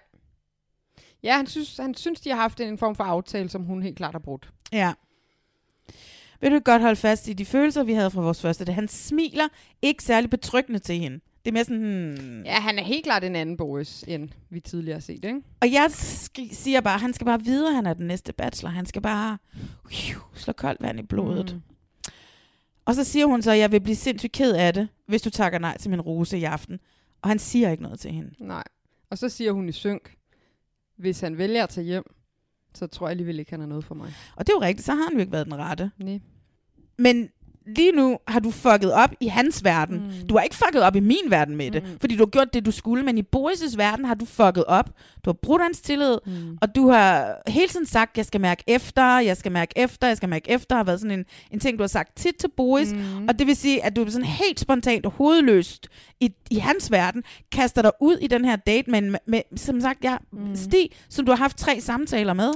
Ja, han synes, han synes, de har haft en form for aftale, som hun helt klart har brudt. Ja. Vil du ikke godt holde fast i de følelser, vi havde fra vores første? date? Han smiler ikke særlig betryggende til hende. Det er mere sådan, hmm. Ja, han er helt klart en anden Boris, end vi tidligere har set, ikke? Og jeg sk- siger bare, han skal bare vide, at han er den næste bachelor. Han skal bare hiu, slå koldt vand i blodet. Mm. Og så siger hun så, at jeg vil blive sindssygt ked af det, hvis du takker nej til min rose i aften. Og han siger ikke noget til hende. Nej. Og så siger hun i synk, hvis han vælger at tage hjem, så tror jeg alligevel ikke, han er noget for mig. Og det er jo rigtigt, så har han jo ikke været den rette. Nej. Men lige nu har du fucket op i hans verden. Mm. Du har ikke fucket op i min verden med det, mm. fordi du har gjort det, du skulle. Men i Boris' verden har du fucket op. Du har brudt hans tillid, mm. og du har hele tiden sagt, jeg skal mærke efter, jeg skal mærke efter, jeg skal mærke efter. har været sådan en, en ting, du har sagt tit til Boris. Mm. Og det vil sige, at du sådan helt spontant og hovedløst i, i hans verden kaster dig ud i den her date med, en- med som sagt, jeg, mm. Stig, som du har haft tre samtaler med.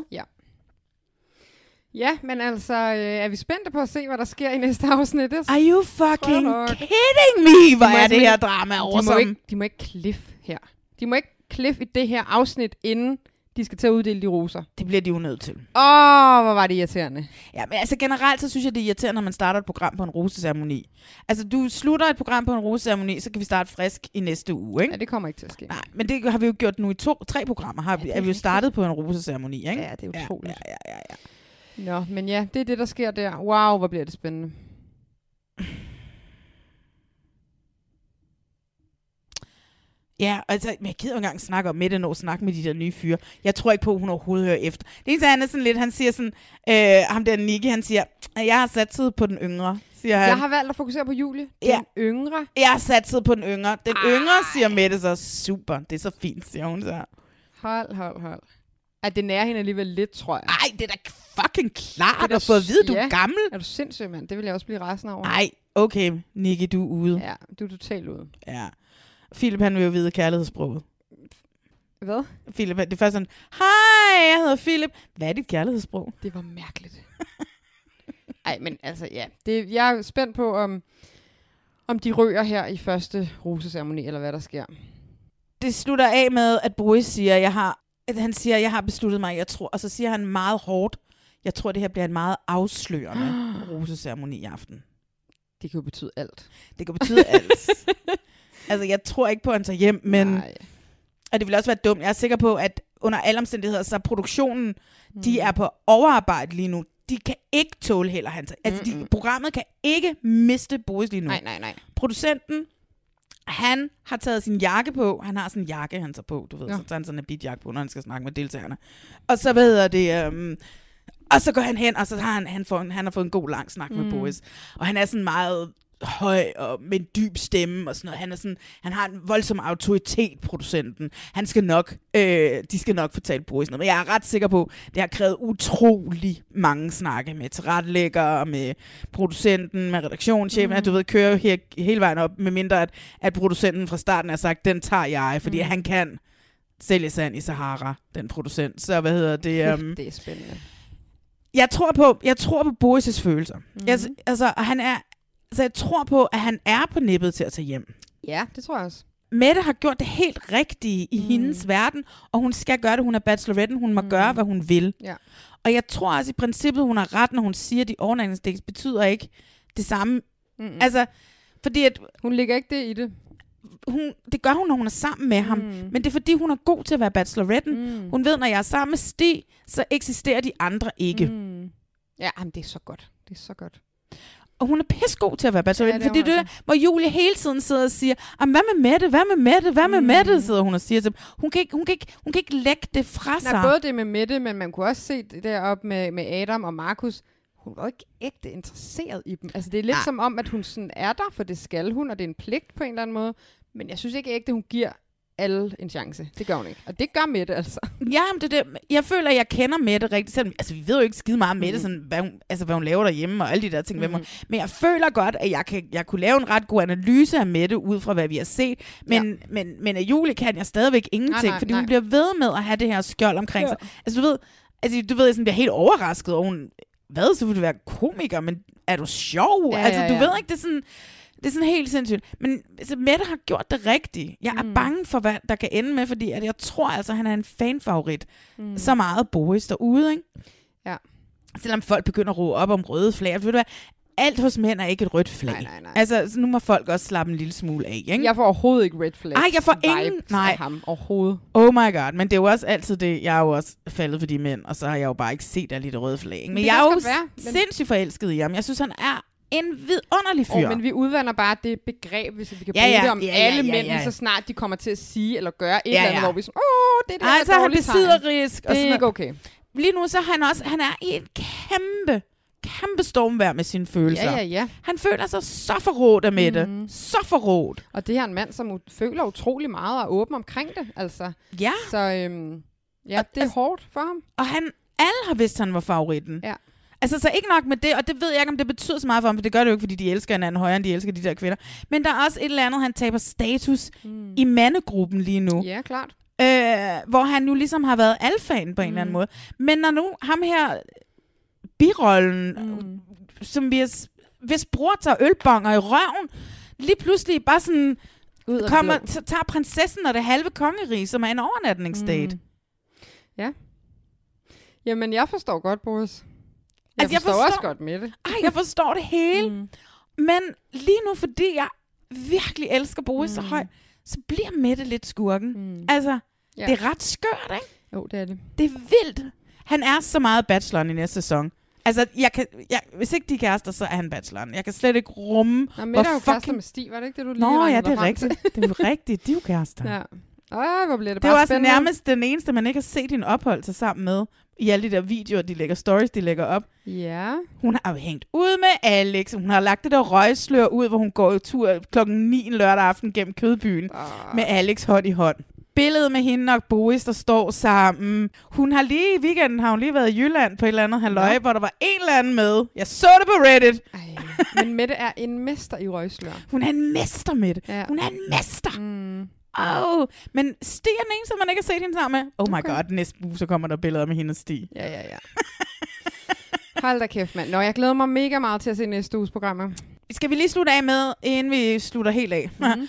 Ja, men altså, øh, er vi spændte på at se, hvad der sker i næste afsnit? Det er- Are you fucking Tror nok. kidding me? Hvor må er det simpelthen her ikke- drama de, må over ikke, de må ikke cliff her. De må ikke cliff i det her afsnit, inden de skal til at uddele de roser. Det bliver de jo nødt til. Åh, oh, hvor var det irriterende. Ja, men altså generelt, så synes jeg, det er irriterende, når man starter et program på en roseceremoni. Altså, du slutter et program på en roseceremoni, så kan vi starte frisk i næste uge, ikke? Ja, det kommer ikke til at ske. Nej, men det har vi jo gjort nu i to, tre programmer. Har vi, det ja, er er vi jo rigtigt. startet på en roseceremoni, ikke? Ja, det er utroligt. Ja, ja, ja, ja. Nå, men ja, det er det, der sker der. Wow, hvor bliver det spændende. Ja, altså, men jeg gider jo ikke engang snakke om Mette når at snakke med de der nye fyre. Jeg tror ikke på, at hun overhovedet hører efter. Det eneste, han er sådan lidt, han siger sådan, øh, ham der Nicky, han siger, jeg har satset på den yngre, siger han. Jeg har valgt at fokusere på Julie, den Ja. yngre. jeg har satset på den yngre. Den Ej. yngre, siger Mette så, super, det er så fint, siger hun så. Hold, hold, hold. At det nærer hende alligevel lidt, tror jeg. Ej, det er da fucking klart Det er at få at vide, da- du er ja. gammel. Er du sindssyg, mand? Det vil jeg også blive resten over. Nej, okay, Nicky, du er ude. Ja, du er totalt ude. Ja. Philip, han vil jo vide kærlighedssproget. Hvad? Philip, det er først sådan, hej, jeg hedder Philip. Hvad er dit kærlighedssprog? Det var mærkeligt. *laughs* Ej, men altså, ja. Det, jeg er spændt på, om, om de rører her i første roseceremoni, eller hvad der sker. det slutter af med, at Boris siger, jeg har, at han siger, jeg har besluttet mig, jeg tror. Og så siger han meget hårdt, jeg tror, det her bliver en meget *gasps* afslørende roseceremoni i aften. *gasps* Det kan jo betyde alt. Det kan betyde *laughs* *laughs* alt. altså, jeg tror ikke på, at han tager hjem, men... Nej. Og det vil også være dumt. Jeg er sikker på, at under alle omstændigheder, så er produktionen, mm. de er på overarbejde lige nu. De kan ikke tåle heller hans. Altså, de, programmet kan ikke miste Boris lige nu. Nej, nej, nej. producenten, han har taget sin jakke på. Han har sådan en jakke, han tager på, du ved. Ja. Så tager han sådan en bitjakke på, når han skal snakke med deltagerne. Og så, hvad hedder det... Øhm, og så går han hen, og så har han, han, får, en- han har fået en god lang snak mm. med Boris. Og han er sådan meget høj og med en dyb stemme og sådan noget. Han, er sådan, han har en voldsom autoritet, producenten. Han skal nok, øh, de skal nok fortælle Boris noget. Men jeg er ret sikker på, det har krævet utrolig mange snakke med tilrettelæggere, med producenten, med redaktionschefen. Mm. At du ved, kører jo her, hele vejen op, med mindre at, at producenten fra starten har sagt, den tager jeg, fordi mm. han kan sælge sand i Sahara, den producent. Så hvad hedder *laughs* det? Um, Det er spændende. jeg tror på, jeg tror på Boris' følelser. Mm. Jeg, altså, og han er, altså, jeg tror på, at han er på nippet til at tage hjem. Ja, det tror jeg også. Mette har gjort det helt rigtige i mm. hendes verden, og hun skal gøre det. Hun er bacheloretten, hun må mm. gøre, hvad hun vil. Ja. Og jeg tror også i princippet, hun har ret, når hun siger, at de overnatningsdækkes betyder ikke det samme. Mm. Altså, fordi at Hun ligger ikke det i det. hun, det gør hun, når hun er sammen med Mhm. ham. Mm. Men det er, fordi hun er god til at være bacheloretten. Mm. Hun ved, når jeg er sammen med Stig, så eksisterer de andre ikke. Mm. Ja, jamen, det er så godt. Det er så godt. Og hun er pissegod til at være Ja, bacheloretten. det Ja, er fordi det hun er altså. der, hvor Julie hele tiden sidder og siger, "Jamen, hvad med Mette, hvad med Mette, hvad med mm. Mette, sidder hun og siger til dem. Hun kan ikke, hun kan ikke, hun kan ikke lægge det fra sig. Nej, både det med Mette, men man kunne også se det deroppe med, med Adam og Markus. Hun var jo ikke ægte interesseret i dem. Altså, det er lidt Nej. Nej. som om, at hun sådan er der, for det skal hun, og det er en pligt på en eller anden måde. Men jeg synes ikke ægte, hun giver alle en chance. Det gør hun ikke. Og det gør Mette, altså. Ja, men det, er det, jeg føler, at jeg kender Mette rigtig, selvom altså, vi ved jo ikke skide meget om Mette, mm. sådan, hvad, hun, altså, hvad hun laver derhjemme og alle de der ting. Mm. Hvem hun, men jeg føler godt, at jeg, kan, jeg kunne lave en ret god analyse af Mette, ud fra hvad vi har set. Men, ja. men, men af Julie kan jeg stadigvæk ingenting, nej, nej, nej, fordi hun nej. bliver ved med at have det her skjold omkring ja. sig. Altså du ved, altså, du ved, jeg sådan bliver helt overrasket over, hun, hvad, så vil du være komiker, men er du sjov? Ja, Ja, altså ja, du ja. ved ikke, det er sådan... Det er sådan helt sindssygt. Men altså, Mette har gjort det rigtigt. Jeg er mm. bange for, hvad der kan ende med, fordi at jeg tror altså, han er en fanfavorit. Mm. Så meget Boris derude, ikke? Ja. Selvom folk begynder at råbe op om røde flag. Ved du hvad? Alt hos mænd er ikke et rødt flag. Nej, nej, nej. Altså, så nu må folk også slappe en lille smule af, ikke? Jeg får overhovedet ikke red flags. Ej, jeg får ingen- vibes nej. Af ham overhovedet. Oh my god, men det er jo også altid det, jeg er jo også faldet for de mænd, og så har jeg jo bare ikke set alle de røde flag. ikke? Men Det kan jeg er også jo godt være, men- sindssygt forelsket i ham. Jeg synes, han er en vidunderlig fyr. Oh, men vi udvander bare det begreb, hvis vi kan Ja, bruge ja. det om Ja, ja, alle ja, mændene, ja. så snart de kommer til at sige eller gøre et Ja, eller andet, ja. hvor vi sådan, åh, det er det her altså, han dårlige tegn. besidder risk. og sådan Det er noget. ikke okay. lige nu så er han også, han er i et kæmpe, kæmpe stormvær med sine følelser. Ja, Mhm. ja, ja. Han føler sig så forrådt af Mette. Mm. Så forrådt. Og det her er en mand, som u- føler utrolig meget og er åben omkring det, altså. Ja, Så øhm, ja, det altså- er hårdt for ham. og han, alle har vidst, han var favoritten. Ja. Altså, så ikke nok med det, og det ved jeg ikke, om det betyder så meget for ham, for det gør det jo ikke, fordi de elsker hinanden højere, end de elsker de der kvinder. Men der er også et eller andet, han taber status mm. i mandegruppen lige nu. Ja, klart. øh, hvor han nu ligesom har været alfaen på en mm. eller anden måde. Men når nu ham her, birollen, mm. som vi har, s- hvis bror tager ølbonger i røven, lige pludselig bare sådan, Ud af det kommer, blå. så tager prinsessen og det halve kongerige, som er en overnatningsdate. Mm. Jamen, jeg forstår godt, Boris. Altså, Jeg, jeg altså, jeg forstår, også forstår- godt med det. Ej, jeg forstår det hele. Mm. Men lige nu, fordi jeg virkelig elsker Boris mm. så højt, så bliver Mette lidt skurken. Mm. Altså, Ja. det er ret skørt, ikke? Jo, det er det. Det er vildt. Han er så meget bacheloren i næste sæson. Altså, jeg kan, jeg, hvis ikke de er kærester, så er han bacheloren. Jeg kan slet ikke rumme, Nå, hvor Mette er jo kærester fucking... med Stig, var det ikke det, du lige Nå ja, regnede det er dig frem til? rigtigt. Det er jo rigtigt. De er jo kærester. *laughs* Ja. Øj, hvor bliver Det det bare er jo også spændende. nærmest den eneste, man ikke har set din ophold til sammen med. I alle de der videoer, de lægger stories, de lægger op. Ja. Hun har jo hængt ud med Alex. Hun har lagt det der røgslør ud, hvor hun går tur klokken 9 lørdag aften gennem Kødbyen Ah. med Alex hånd i hånd. Billedet med hende og Boris, der står sammen. Hun har lige i weekenden har hun lige været i Jylland på et eller andet halvøje, ja. hvor der var en eller anden med. Jeg så det på Reddit. Ej. Men Mette er en mester i røgslør. Hun er en mester med det. Ja. Ja. Hun er en mester. Mm. Oh. Men Stig er den eneste, man ikke har set hende sammen med. Oh my Okay. okay. god, næste uge, så kommer der billeder med hende og Stig. Ja, ja, ja. Hold da kæft, mand. Nå, jeg glæder mig mega meget til at se næste uges programmer. Skal vi lige slutte af med, inden vi slutter helt af? Mm-hmm. Mhm.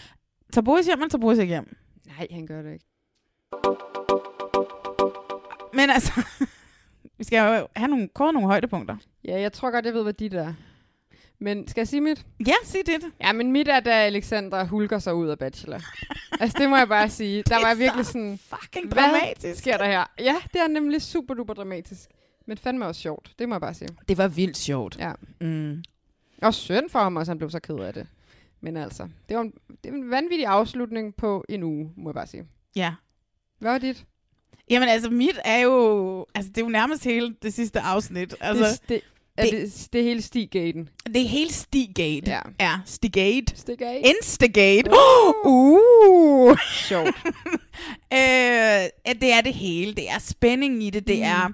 Tager Boris hjem, eller tager Boris ikke hjem? Nej, han gør det ikke. Men altså, *laughs* vi skal jo have nogle, kåre nogle højdepunkter. Ja, jeg tror godt, jeg ved, hvad dit er. Men skal jeg sige mit? Ja, sig det. Ja, men mit er, da Alexander hulker sig ud af Bachelor. altså, det må jeg bare sige. Der var jeg virkelig sådan... Fucking Hvad dramatisk. sker der her? Ja, det er nemlig super duper dramatisk. Men fandme også sjovt. Det må jeg bare sige. Det var vildt sjovt. Ja. Mm. Og synd for ham også, han blev så ked af det. Men altså, det var en, det var en vanvittig afslutning på en uge, må jeg bare sige. ja. Hvad var dit? Jamen altså, mit er jo... Altså, det er jo nærmest hele det sidste afsnit. Altså, det, det, er det, det, det er hele Stiggaten. det, det er hele Stigate. Ja. Ja, Stigate. Stiggaten. Instigate. *gasps* Uh. Sjovt. *laughs* Øh, at det er det hele. Det er spænding i det. Det mm. er,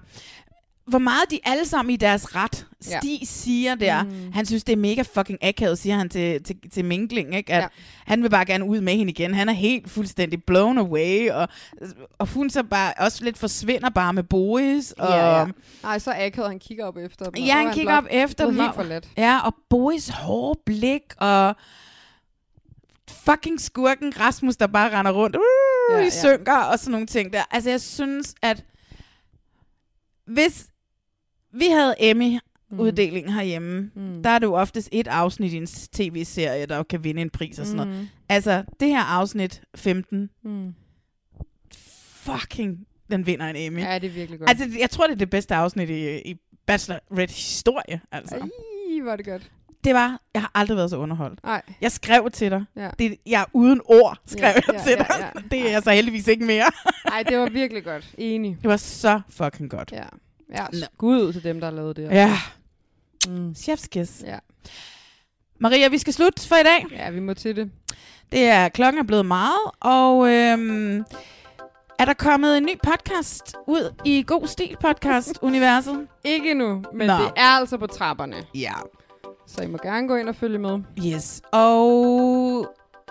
hvor meget de alle sammen i deres ret. Ja. Stig ja. siger der, mm. han synes, det er mega fucking akavet, siger han til, til, til Mingling, ikke? at Ja. ja. han vil bare gerne ud med hende igen. Han er helt fuldstændig blown away, og, og hun så bare også lidt forsvinder bare med Boris. Og, Ja, ja. Nej, så akavet, han kigger op efter dem. og Ja, så er han kigger op blot efter blevet dem. helt og- for let. Ja, og Boris hårde blik, og fucking skurken Rasmus, der bare render rundt uh, Ja, ja, i ja. ja. synker, og sådan nogle ting der. Altså, jeg synes, at hvis vi havde Emmy-uddelingen herhjemme, mm. der er det jo oftest et afsnit i en s- tv-serie, der jo kan vinde en pris og sådan mm. noget. Altså, det her afsnit 15, Mm. fucking, den vinder en Emmy. Ja. Ja, det er virkelig godt. Altså, jeg tror, det er det bedste afsnit i, i Bachelorette-historie, altså. Ej, hvor er det godt. Det var, jeg har aldrig været så underholdt. Nej. Jeg skrev til dig. Ja. Det, jeg uden ord skrev Ja, ja, jeg ja, til ja, dig. ja. *laughs* Det er jeg så heldigvis ikke mere. Nej, det var virkelig godt. Enig. Det var så fucking godt. Ja. Ja, Nå. skud ud til dem, der har lavet det. her. Ja. Mm. Chef's kiss. Ja. Maria, vi skal slutte for i dag. ja, vi må til det. Det er klokken er blevet meget, og øhm, er der kommet en ny podcast ud i God Stil Podcast *laughs* Universet? Ikke nu, men Nå. Nå. det er altså på trapperne. Ja. Så I må gerne gå ind og følge med. Yes. Og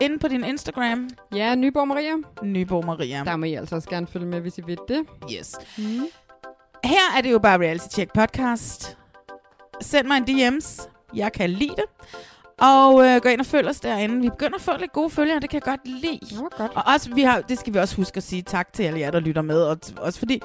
inde på din Instagram, Ja, Nyborg Maria. Nyborg Maria. Der må I altså også gerne følge med, hvis I vil det. Yes. Mm. Her er det jo bare Reality Check Podcast. Send mig en DM's. Jeg kan lide det. Og øh, gå ind og følg os derinde. Vi begynder at få lidt gode følgere, det kan jeg godt Det lide. var godt. Og også, vi har, det skal vi også huske at sige tak til alle jer, der lytter med. Og t- også fordi,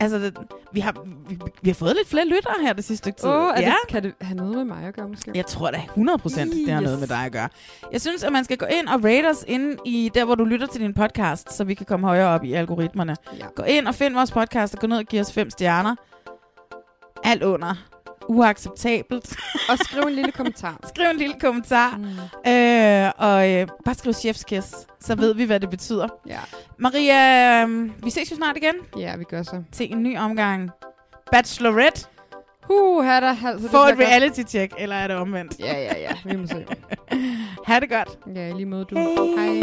altså, det, vi, har, vi, vi har fået lidt flere lyttere her det sidste stykke tid. Åh, oh, ja. det, kan det have noget med mig at gøre, måske? Jeg tror da 100 procent, det har Yes. noget med dig at gøre. Jeg synes, at man skal gå ind og rate os inde i der, hvor du lytter til din podcast, så vi kan komme højere op i algoritmerne. Ja. Gå ind og find vores podcast, og gå ned og giv os fem stjerner. Alt under. Uacceptabelt. Og skriv en lille kommentar. *laughs* skriv en lille kommentar. Mm. Øh, og øh, bare skriv chef's kiss, så ved vi, hvad det betyder. Ja. Maria, øh, vi ses jo snart igen ja, vi gør så. til en ny omgang. Bachelorette. Huh, her er der altså... Få et bliver godt. reality-check, eller er det omvendt? Ja, ja, ja. Vi må se. Ha' det godt. Ja, i lige måde du. Hej. Hej.